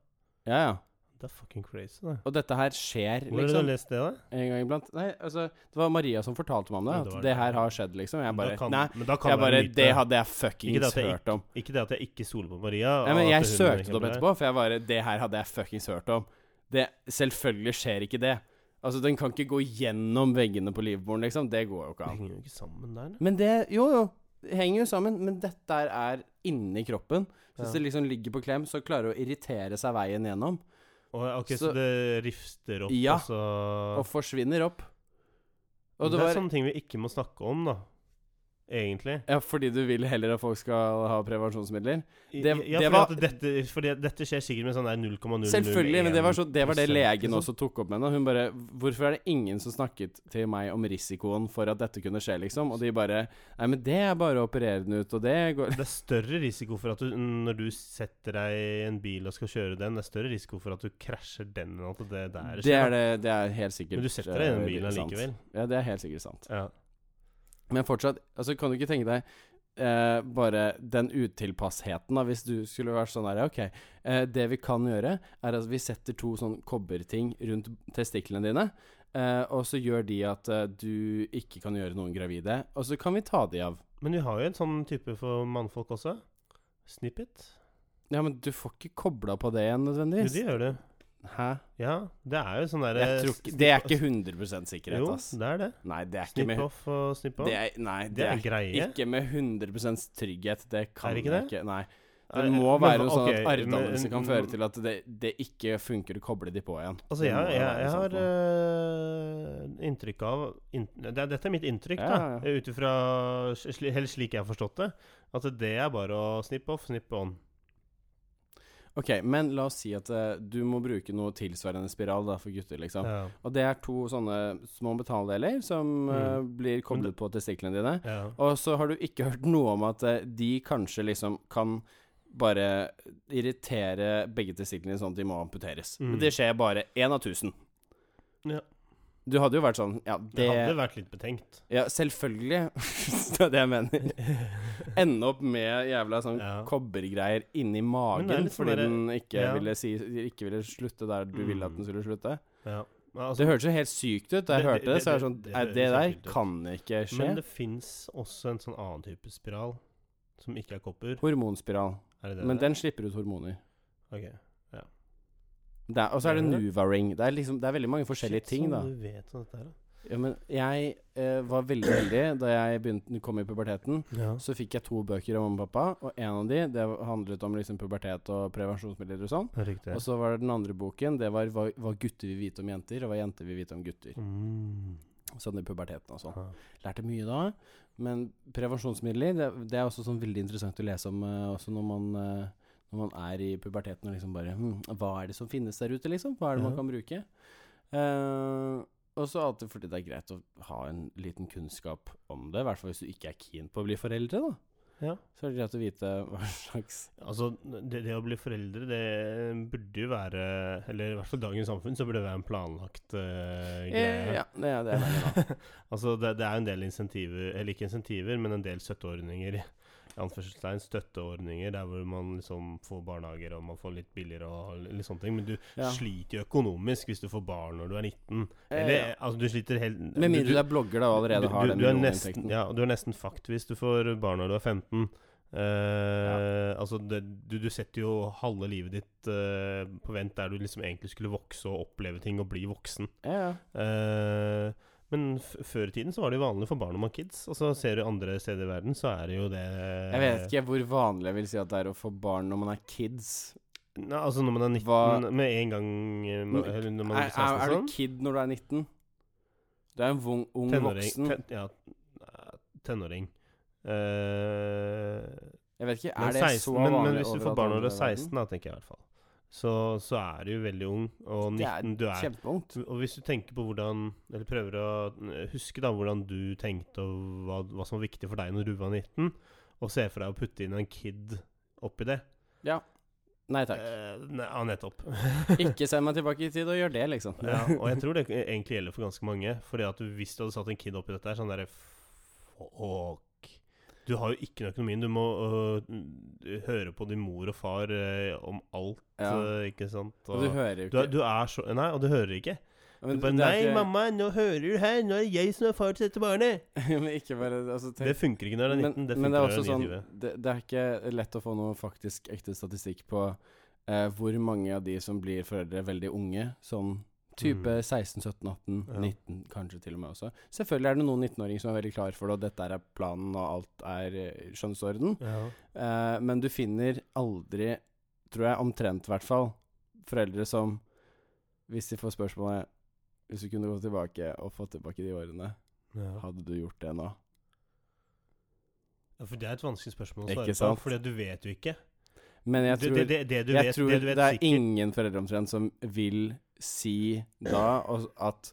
[SPEAKER 2] Ja, ja.
[SPEAKER 1] Det er fucking crazy, det.
[SPEAKER 2] Og dette her skjer,
[SPEAKER 1] Hvor har du
[SPEAKER 2] liksom.
[SPEAKER 1] lest det, da?
[SPEAKER 2] En gang iblant. Nei, altså Det var Maria som fortalte meg om det.
[SPEAKER 1] Ja, det var
[SPEAKER 2] At det,
[SPEAKER 1] det.
[SPEAKER 2] her har skjedd, liksom. Jeg bare
[SPEAKER 1] da kan,
[SPEAKER 2] Nei.
[SPEAKER 1] men da kan
[SPEAKER 2] Jeg
[SPEAKER 1] det være
[SPEAKER 2] bare
[SPEAKER 1] myte.
[SPEAKER 2] Det hadde jeg
[SPEAKER 1] Ikke det
[SPEAKER 2] fuckings
[SPEAKER 1] at jeg
[SPEAKER 2] hørt om.
[SPEAKER 1] Ikke det at jeg ikke stoler på Maria.
[SPEAKER 2] Ja,
[SPEAKER 1] og
[SPEAKER 2] men
[SPEAKER 1] at
[SPEAKER 2] jeg
[SPEAKER 1] hun ikke
[SPEAKER 2] søkte det opp
[SPEAKER 1] er det.
[SPEAKER 2] etterpå, for jeg bare Det her hadde jeg fuckings hørt om. Det, selvfølgelig skjer ikke det. Altså, den kan ikke gå gjennom veggene på livmoren, liksom. Det går jo ikke
[SPEAKER 1] Det
[SPEAKER 2] an.
[SPEAKER 1] henger jo ikke sammen der,
[SPEAKER 2] Men det Jo, jo. det Henger jo sammen. Men dette her er inni kroppen. Så
[SPEAKER 1] Ja.
[SPEAKER 2] hvis det liksom ligger på klem, så klarer det å irritere seg veien gjennom.
[SPEAKER 1] Og, ok, så,
[SPEAKER 2] Så-
[SPEAKER 1] det rifter opp,
[SPEAKER 2] Ja.
[SPEAKER 1] og så
[SPEAKER 2] Og forsvinner opp. Og
[SPEAKER 1] det,
[SPEAKER 2] det
[SPEAKER 1] er sånn-
[SPEAKER 2] var
[SPEAKER 1] sånne ting vi ikke må snakke om, da. Egentlig.
[SPEAKER 2] Ja, fordi du vil heller at folk skal ha prevensjonsmidler?
[SPEAKER 1] I-
[SPEAKER 2] Det-
[SPEAKER 1] ja,
[SPEAKER 2] det
[SPEAKER 1] fordi,
[SPEAKER 2] var-
[SPEAKER 1] at dette, fordi at dette skjer sikkert med sånn der 0,001
[SPEAKER 2] Selvfølgelig, men det var, så, det var det
[SPEAKER 1] prosent,
[SPEAKER 2] legen
[SPEAKER 1] liksom.
[SPEAKER 2] også tok opp med henne. Hun bare 'Hvorfor er det ingen som snakket til meg om risikoen for at dette kunne skje', liksom? Og de bare 'Nei, men det er bare å operere den ut, og det går
[SPEAKER 1] Det er større risiko for at du, når du setter deg i en bil og skal kjøre den, det er større risiko for at du krasjer den enn at det der
[SPEAKER 2] <laughs> Det er, det, det er helt sikkert
[SPEAKER 1] Men du setter deg i den
[SPEAKER 2] eh,
[SPEAKER 1] bilen
[SPEAKER 2] sant.
[SPEAKER 1] allikevel.
[SPEAKER 2] Ja, det er helt sikkert sant.
[SPEAKER 1] Ja.
[SPEAKER 2] Men fortsatt, altså kan du ikke tenke deg eh, bare den utilpassheten, da, hvis du skulle vært sånn her Ok, eh, det vi kan gjøre, er at vi setter to sånn kobberting rundt testiklene dine. eh, og så gjør de at eh, du ikke kan gjøre noen gravide. Og så kan vi ta de av.
[SPEAKER 1] Men vi har jo en sånn type for mannfolk også. Snippet.
[SPEAKER 2] Ja, men du får ikke kobla på det igjen,
[SPEAKER 1] Jo,
[SPEAKER 2] nødvendigvis.
[SPEAKER 1] de gjør det.
[SPEAKER 2] Hæ?
[SPEAKER 1] Ja, det er jo sånn derre
[SPEAKER 2] Jeg tror ikke, det er ikke 100 sikkerhet, ass.
[SPEAKER 1] Jo, det er det.
[SPEAKER 2] Nei, det er ikke
[SPEAKER 1] Snipp
[SPEAKER 2] med
[SPEAKER 1] off og snipp on.
[SPEAKER 2] det er, Nei,
[SPEAKER 1] Det
[SPEAKER 2] det
[SPEAKER 1] er en
[SPEAKER 2] er
[SPEAKER 1] greie.
[SPEAKER 2] ikke med 100 trygghet. Det kan
[SPEAKER 1] Er det
[SPEAKER 2] jeg
[SPEAKER 1] ikke det?
[SPEAKER 2] ikke. Nei.
[SPEAKER 1] Er-
[SPEAKER 2] Det må
[SPEAKER 1] men
[SPEAKER 2] være
[SPEAKER 1] hva-
[SPEAKER 2] sånn
[SPEAKER 1] ok,
[SPEAKER 2] at arvdannelse
[SPEAKER 1] men-
[SPEAKER 2] kan føre til at det, det ikke funker å koble de på igjen.
[SPEAKER 1] Altså,
[SPEAKER 2] Det
[SPEAKER 1] jeg,
[SPEAKER 2] må
[SPEAKER 1] jeg,
[SPEAKER 2] jo være
[SPEAKER 1] jeg
[SPEAKER 2] sånn
[SPEAKER 1] har
[SPEAKER 2] for meg.
[SPEAKER 1] eh, inntrykk av inn, det, er- Dette er mitt inntrykk,
[SPEAKER 2] Ja, ja,
[SPEAKER 1] da. Ut ifra sli- Helt slik jeg har forstått det. At det er bare å snippe off, snippe on.
[SPEAKER 2] Ok, men la oss si at eh, du må bruke noe tilsvarende spiral da, for gutter, liksom.
[SPEAKER 1] Ja.
[SPEAKER 2] Og det er to sånne små metalldeler som eh, blir
[SPEAKER 1] Mm. Men
[SPEAKER 2] koblet på testiklene dine.
[SPEAKER 1] Ja.
[SPEAKER 2] Og så har du ikke hørt noe om at eh, de kanskje liksom kan bare irritere begge testiklene sånn at de må amputeres.
[SPEAKER 1] Mm.
[SPEAKER 2] Det skjer bare én av tusen.
[SPEAKER 1] Ja.
[SPEAKER 2] Du hadde jo vært sånn Ja, det,
[SPEAKER 1] Det hadde vært litt betenkt.
[SPEAKER 2] Ja, selvfølgelig. <laughs> det er det jeg
[SPEAKER 1] <laughs>
[SPEAKER 2] mener. Ende opp med jævla sånn
[SPEAKER 1] Ja.
[SPEAKER 2] kobbergreier
[SPEAKER 1] Men
[SPEAKER 2] inni
[SPEAKER 1] det er
[SPEAKER 2] magen
[SPEAKER 1] litt sånn
[SPEAKER 2] fordi
[SPEAKER 1] derre-
[SPEAKER 2] den ikke,
[SPEAKER 1] ja.
[SPEAKER 2] ville si, ikke ville slutte der du ville at
[SPEAKER 1] Mm.
[SPEAKER 2] den skulle slutte.
[SPEAKER 1] Ja. Men altså,
[SPEAKER 2] Det hørtes jo helt sykt ut. Da jeg
[SPEAKER 1] Det-
[SPEAKER 2] hørte det,
[SPEAKER 1] det-
[SPEAKER 2] så er det
[SPEAKER 1] det-
[SPEAKER 2] sånn
[SPEAKER 1] det
[SPEAKER 2] Nei,
[SPEAKER 1] høres
[SPEAKER 2] det der
[SPEAKER 1] helt sykt ut.
[SPEAKER 2] kan ikke skje.
[SPEAKER 1] men det fins også en sånn annen type spiral som ikke er kopper.
[SPEAKER 2] Hormonspiral.
[SPEAKER 1] Er det det?
[SPEAKER 2] Men
[SPEAKER 1] det?
[SPEAKER 2] den slipper ut hormoner.
[SPEAKER 1] Ok.
[SPEAKER 2] Det er- Og så er det
[SPEAKER 1] Gjør det?
[SPEAKER 2] Nuva-ring. Det, er liksom, det er veldig mange forskjellige
[SPEAKER 1] Shit, sånn-
[SPEAKER 2] ting,
[SPEAKER 1] som
[SPEAKER 2] da.
[SPEAKER 1] Du vet om dette her, da.
[SPEAKER 2] Ja, men jeg eh, var veldig heldig da jeg begynte, kom i puberteten.
[SPEAKER 1] Ja.
[SPEAKER 2] Så fikk jeg to bøker av mamma og pappa, og en av de det handlet om liksom pubertet og prevensjonsmidler og sånn.
[SPEAKER 1] Riktig.
[SPEAKER 2] Og så var det den andre boken, det var hva, hva gutter vil vite om jenter, og hva jenter vil vite om gutter.
[SPEAKER 1] Mm. Ah.
[SPEAKER 2] Sånn i puberteten og sånn.
[SPEAKER 1] Ja.
[SPEAKER 2] Lærte mye da. Men prevensjonsmidler, det, det er også sånn veldig interessant å lese om eh, også når man eh, når man er i puberteten og liksom bare hm, Hva er det som finnes der ute, liksom? Hva er det
[SPEAKER 1] Ja.
[SPEAKER 2] man kan bruke? Eh, og så alltid fordi det er greit å ha en liten kunnskap om det. I hvert fall hvis du ikke er keen på å bli foreldre, da.
[SPEAKER 1] Ja.
[SPEAKER 2] Så er det greit å vite hva slags
[SPEAKER 1] Altså, det, det å bli foreldre, det burde jo være Eller i hvert fall i dagens samfunn, så burde det være en planlagt eh, <laughs>
[SPEAKER 2] Eh,
[SPEAKER 1] greie.
[SPEAKER 2] Ja, det er det. er veldig bra.
[SPEAKER 1] altså, det, det er jo en del insentiver, eller ikke insentiver, men en del støtteordninger. i Anførselstegn støtteordninger der hvor man liksom får barnehager og man får litt billigere og litt sånne ting. Men du <laughs>
[SPEAKER 2] Ja.
[SPEAKER 1] sliter jo økonomisk hvis du får barn når du er 19.
[SPEAKER 2] Eh,
[SPEAKER 1] Eller
[SPEAKER 2] ja.
[SPEAKER 1] altså, du sliter helt
[SPEAKER 2] Med mindre du er blogger da og allerede har
[SPEAKER 1] du
[SPEAKER 2] den
[SPEAKER 1] er
[SPEAKER 2] millionen
[SPEAKER 1] nesten, ja, og du er nesten fucked hvis du får barn når du er 15. Eh, Altså, det, du, du setter jo halve livet ditt eh, på vent der du liksom egentlig skulle vokse og oppleve ting og bli voksen.
[SPEAKER 2] Ja, ja.
[SPEAKER 1] Eh, men f før i tiden så var det jo vanlig for barn å ha kids. Og så ser du andre steder i verden, så er det jo det
[SPEAKER 2] Jeg vet ikke hvor vanlig jeg vil si at det er å få barn når man er kids.
[SPEAKER 1] Nei, altså når man er 19
[SPEAKER 2] Hva-
[SPEAKER 1] med en gang eh,
[SPEAKER 2] Men-
[SPEAKER 1] eller når man sånn. er
[SPEAKER 2] Er, er,
[SPEAKER 1] 16
[SPEAKER 2] er du kid når du er 19? Du er en vung, ung
[SPEAKER 1] sånn.
[SPEAKER 2] voksen.
[SPEAKER 1] Ten, ja, eh, tenåring. Eh,
[SPEAKER 2] Jeg vet ikke,
[SPEAKER 1] men,
[SPEAKER 2] er det
[SPEAKER 1] 16,
[SPEAKER 2] så
[SPEAKER 1] men,
[SPEAKER 2] vanlig
[SPEAKER 1] men hvis du får
[SPEAKER 2] overalt
[SPEAKER 1] barn når du
[SPEAKER 2] andre
[SPEAKER 1] er
[SPEAKER 2] i
[SPEAKER 1] 16,
[SPEAKER 2] verden?
[SPEAKER 1] da, tenker jeg i hvert fall, så, så er du jo veldig ung. Og 19,
[SPEAKER 2] Det er
[SPEAKER 1] du er <laughs>
[SPEAKER 2] Kjempeungt.
[SPEAKER 1] Og hvis du tenker på hvordan Eller prøver å huske da hvordan du tenkte, og hva, hva som var viktig for deg når du var 19, og ser for deg å putte inn en kid oppi det
[SPEAKER 2] Nei takk.
[SPEAKER 1] Eh, ne- ja, nettopp.
[SPEAKER 2] Ikke send meg tilbake i tid og gjør det, liksom.
[SPEAKER 1] ja, og jeg tror det e-, egentlig gjelder for ganske mange. Fordi at du, hvis du hadde satt en kid oppi dette, her, sånn derre Fuck. Du har jo ikke den økonomien. Du må øh, høre på din mor og far øh, om alt,
[SPEAKER 2] Ja.
[SPEAKER 1] øh, ikke sant?
[SPEAKER 2] Og du hører jo
[SPEAKER 1] du,
[SPEAKER 2] ikke.
[SPEAKER 1] er- du er så Nei, og du hører ikke.
[SPEAKER 2] Men
[SPEAKER 1] Du bare,
[SPEAKER 2] det er
[SPEAKER 1] nei,
[SPEAKER 2] ikke- <laughs>
[SPEAKER 1] mamma, nå hører du her. Nå er det jeg som er far til dette barnet.
[SPEAKER 2] Men ikke bare altså, tenk-
[SPEAKER 1] Det funker ikke når det er 19. det funker
[SPEAKER 2] men det er også
[SPEAKER 1] når det er
[SPEAKER 2] sånn
[SPEAKER 1] 29.
[SPEAKER 2] det, det er ikke lett å få noe faktisk ekte statistikk på eh, hvor mange av de som blir foreldre veldig unge, sånn type
[SPEAKER 1] Mm.
[SPEAKER 2] 16, 17, 18,
[SPEAKER 1] Ja.
[SPEAKER 2] 19 kanskje til og med også. Selvfølgelig er det noen 19-åringer som er veldig klar for det, og dette er planen, og alt er eh, skjønnsorden. Eh, men du finner aldri, tror jeg, omtrent i hvert fall, foreldre som, hvis de får spørsmålet hvis du kunne gå tilbake og få tilbake de årene,
[SPEAKER 1] Ja.
[SPEAKER 2] hadde du gjort det nå?
[SPEAKER 1] Ja, for det er et vanskelig spørsmål å
[SPEAKER 2] Ikke
[SPEAKER 1] svare på,
[SPEAKER 2] sant?
[SPEAKER 1] fordi at du vet jo ikke.
[SPEAKER 2] Men jeg
[SPEAKER 1] Du,
[SPEAKER 2] tror
[SPEAKER 1] det, det, det du
[SPEAKER 2] jeg
[SPEAKER 1] vet,
[SPEAKER 2] tror
[SPEAKER 1] det du vet
[SPEAKER 2] det er
[SPEAKER 1] sikkert
[SPEAKER 2] ingen foreldre omtrent som vil si da og- at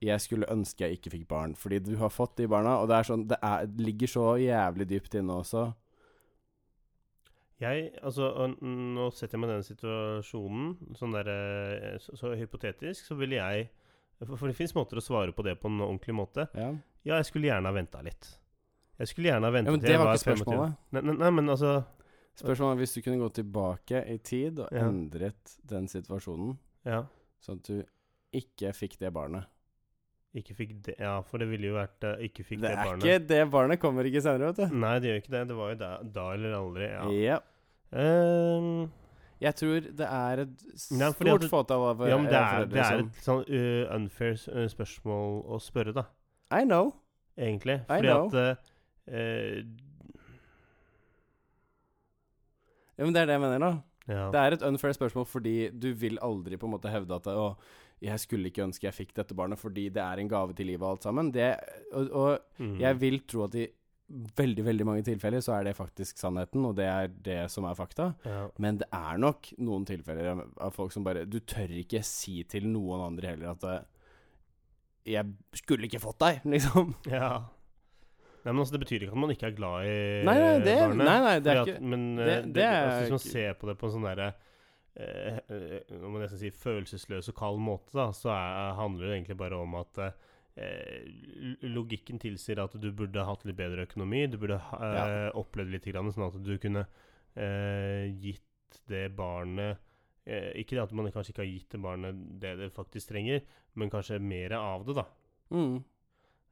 [SPEAKER 2] jeg skulle ønske jeg ikke fikk barn, fordi du har fått de barna, og det er sånn Det, er, det ligger så jævlig dypt inne også.
[SPEAKER 1] Jeg, altså, og n- nå setter jeg meg i den situasjonen, sånn der, eh, så, så hypotetisk, så ville jeg For, for det fins måter å svare på det på en ordentlig måte.
[SPEAKER 2] Ja,
[SPEAKER 1] Ja, jeg skulle gjerne ha venta litt. Jeg skulle gjerne ha venta
[SPEAKER 2] ja men
[SPEAKER 1] til
[SPEAKER 2] det
[SPEAKER 1] jeg
[SPEAKER 2] var
[SPEAKER 1] var
[SPEAKER 2] ikke
[SPEAKER 1] 25.
[SPEAKER 2] spørsmålet.
[SPEAKER 1] Nei, nei, nei, men altså
[SPEAKER 2] Spørsmålet var hvis du kunne gå tilbake i tid og
[SPEAKER 1] Ja.
[SPEAKER 2] endret den situasjonen,
[SPEAKER 1] Ja,
[SPEAKER 2] sånn at du ikke fikk det barnet.
[SPEAKER 1] ikke fikk det Ja, for det ville jo vært eh, Ikke fikk
[SPEAKER 2] det
[SPEAKER 1] det,
[SPEAKER 2] er
[SPEAKER 1] barnet.
[SPEAKER 2] ikke det barnet kommer ikke senere, vet du.
[SPEAKER 1] Nei, det gjør ikke det. Det var jo da, da eller aldri. Ja.
[SPEAKER 2] Ja.
[SPEAKER 1] Ehm,
[SPEAKER 2] Jeg tror det er et
[SPEAKER 1] Nei,
[SPEAKER 2] stort
[SPEAKER 1] fordi at-
[SPEAKER 2] fåtall av
[SPEAKER 1] ja, men det
[SPEAKER 2] av
[SPEAKER 1] er, det er
[SPEAKER 2] som-
[SPEAKER 1] et sånn eh, unfair s- eh, spørsmål å spørre, da.
[SPEAKER 2] I know.
[SPEAKER 1] egentlig.
[SPEAKER 2] I
[SPEAKER 1] Fordi
[SPEAKER 2] know.
[SPEAKER 1] at eh, eh,
[SPEAKER 2] Ja, men det er det jeg mener nå.
[SPEAKER 1] ja.
[SPEAKER 2] Det er et unfair spørsmål fordi du vil aldri på en måte hevde at å, jeg skulle ikke ønske jeg fikk dette barnet fordi det er en gave til livet og alt sammen. Det, og, og
[SPEAKER 1] Mm.
[SPEAKER 2] jeg vil tro at i veldig, veldig mange tilfeller så er det faktisk sannheten, og det er det som er fakta.
[SPEAKER 1] ja.
[SPEAKER 2] Men det er nok noen tilfeller av- av folk som bare Du tør ikke si til noen andre heller at eh, jeg skulle ikke fått deg, <laughs> liksom.
[SPEAKER 1] ja. Nei, men altså, Det betyr ikke at man ikke er glad i
[SPEAKER 2] Nei, nei, det,
[SPEAKER 1] barnet.
[SPEAKER 2] nei, nei, det er
[SPEAKER 1] Fordi
[SPEAKER 2] ikke
[SPEAKER 1] at, men eh,
[SPEAKER 2] det-
[SPEAKER 1] det,
[SPEAKER 2] det er
[SPEAKER 1] altså, hvis man
[SPEAKER 2] ikke-
[SPEAKER 1] ser på det på en sånn derre eh, eh, Nå må jeg nesten si følelsesløs og kald måte, da, så er, handler det egentlig bare om at eh, eh, Logikken tilsier at du burde hatt litt bedre økonomi. Du burde ha- eh, opplevd litt, grann, sånn at du kunne eh, gitt det barnet eh, Ikke det at man kanskje ikke har gitt det barnet det det faktisk trenger, men kanskje mer av det, da.
[SPEAKER 2] mm.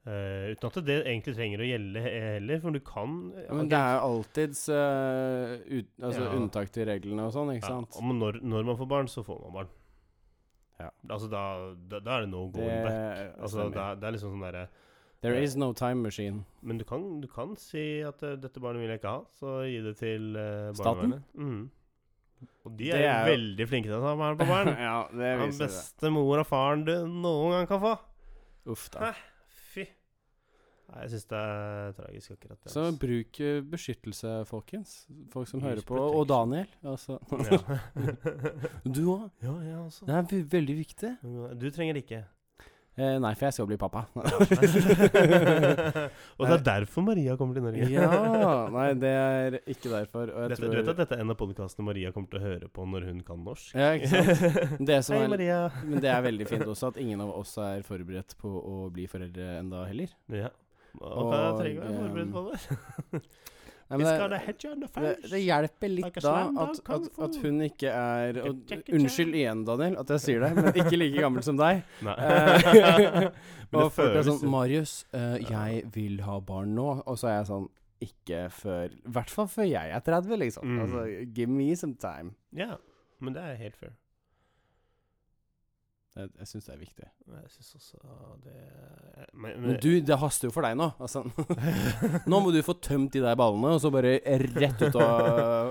[SPEAKER 1] Eh, uten at det egentlig trenger å gjelde he- heller, for du kan
[SPEAKER 2] Ja, Men det er jo alltids eh, ut, altså,
[SPEAKER 1] Ja.
[SPEAKER 2] unntak til reglene og sånn, ikke sant?
[SPEAKER 1] Ja, og når, når man får barn, så får man barn.
[SPEAKER 2] Ja.
[SPEAKER 1] Altså, da, da, da er det no going back. Altså,
[SPEAKER 2] stemmer.
[SPEAKER 1] det, er- det er liksom sånn derre
[SPEAKER 2] There
[SPEAKER 1] eh,
[SPEAKER 2] is no time machine.
[SPEAKER 1] Men du kan, du kan si at eh, 'dette barnet vil jeg ikke ha', så gi det til eh,
[SPEAKER 2] Staten?
[SPEAKER 1] barnevernet. Mm. Og de
[SPEAKER 2] Det
[SPEAKER 1] er,
[SPEAKER 2] er
[SPEAKER 1] jo
[SPEAKER 2] jo-
[SPEAKER 1] veldig flinke til å ta vare på
[SPEAKER 2] <laughs>
[SPEAKER 1] barn.
[SPEAKER 2] ja, det
[SPEAKER 1] Den
[SPEAKER 2] viser det.
[SPEAKER 1] beste mor og faren du noen gang kan få.
[SPEAKER 2] Uff da.
[SPEAKER 1] Fy Nei, jeg syns det er tragisk, akkurat det.
[SPEAKER 2] Så
[SPEAKER 1] altså.
[SPEAKER 2] bruk eh, beskyttelse, folkens. Folk som
[SPEAKER 1] Use
[SPEAKER 2] hører på. Og
[SPEAKER 1] protection.
[SPEAKER 2] Daniel. Altså.
[SPEAKER 1] ja.
[SPEAKER 2] <laughs>
[SPEAKER 1] <laughs>
[SPEAKER 2] Du òg.
[SPEAKER 1] ja, altså. jeg også.
[SPEAKER 2] Det er ve- veldig viktig.
[SPEAKER 1] Du trenger det
[SPEAKER 2] <laughs>
[SPEAKER 1] ikke.
[SPEAKER 2] Eh, nei, for jeg skal bli
[SPEAKER 1] <laughs>
[SPEAKER 2] pappa.
[SPEAKER 1] og det er derfor Maria kommer til Norge.
[SPEAKER 2] ja Nei,
[SPEAKER 1] <laughs>
[SPEAKER 2] det er ikke derfor. Og jeg
[SPEAKER 1] Dette,
[SPEAKER 2] tror
[SPEAKER 1] du vet at dette er en av podkastene Maria kommer til å høre på når hun kan norsk?
[SPEAKER 2] Ja, ikke sant.
[SPEAKER 1] <laughs>
[SPEAKER 2] Det som
[SPEAKER 1] Hei,
[SPEAKER 2] er,
[SPEAKER 1] Maria.
[SPEAKER 2] men det er veldig fint også at ingen av oss er forberedt på å bli foreldre enda heller.
[SPEAKER 1] <laughs> Ja. Og
[SPEAKER 2] Og,
[SPEAKER 1] jeg trenger å være
[SPEAKER 2] eh,
[SPEAKER 1] forberedt på det.
[SPEAKER 2] Nei,
[SPEAKER 1] Vi
[SPEAKER 2] men
[SPEAKER 1] skal
[SPEAKER 2] det,
[SPEAKER 1] ha hedge on the
[SPEAKER 2] det,
[SPEAKER 1] first.
[SPEAKER 2] det hjelper litt
[SPEAKER 1] Like a
[SPEAKER 2] da
[SPEAKER 1] slam dunk
[SPEAKER 2] at, at,
[SPEAKER 1] kung fu.
[SPEAKER 2] at hun ikke er og,
[SPEAKER 1] Jackie Chan.
[SPEAKER 2] Unnskyld igjen, Daniel, at jeg sier det, men ikke like gammel som deg. <laughs>
[SPEAKER 1] Nei.
[SPEAKER 2] Eh,
[SPEAKER 1] Men det
[SPEAKER 2] og folk er
[SPEAKER 1] føles-
[SPEAKER 2] sånn Marius, eh, jeg vil ha barn nå. Og så er jeg sånn Ikke før I hvert fall før jeg er 30, liksom.
[SPEAKER 1] Mm.
[SPEAKER 2] Altså, give me some time.
[SPEAKER 1] Ja, men det er helt fair.
[SPEAKER 2] Jeg, jeg syns det er viktig.
[SPEAKER 1] Men Jeg syns også det Men,
[SPEAKER 2] Men
[SPEAKER 1] <laughs>
[SPEAKER 2] du, det haster jo for deg nå. Altså, <laughs> nå må du få tømt de der ballene, og så bare rett ut <laughs> og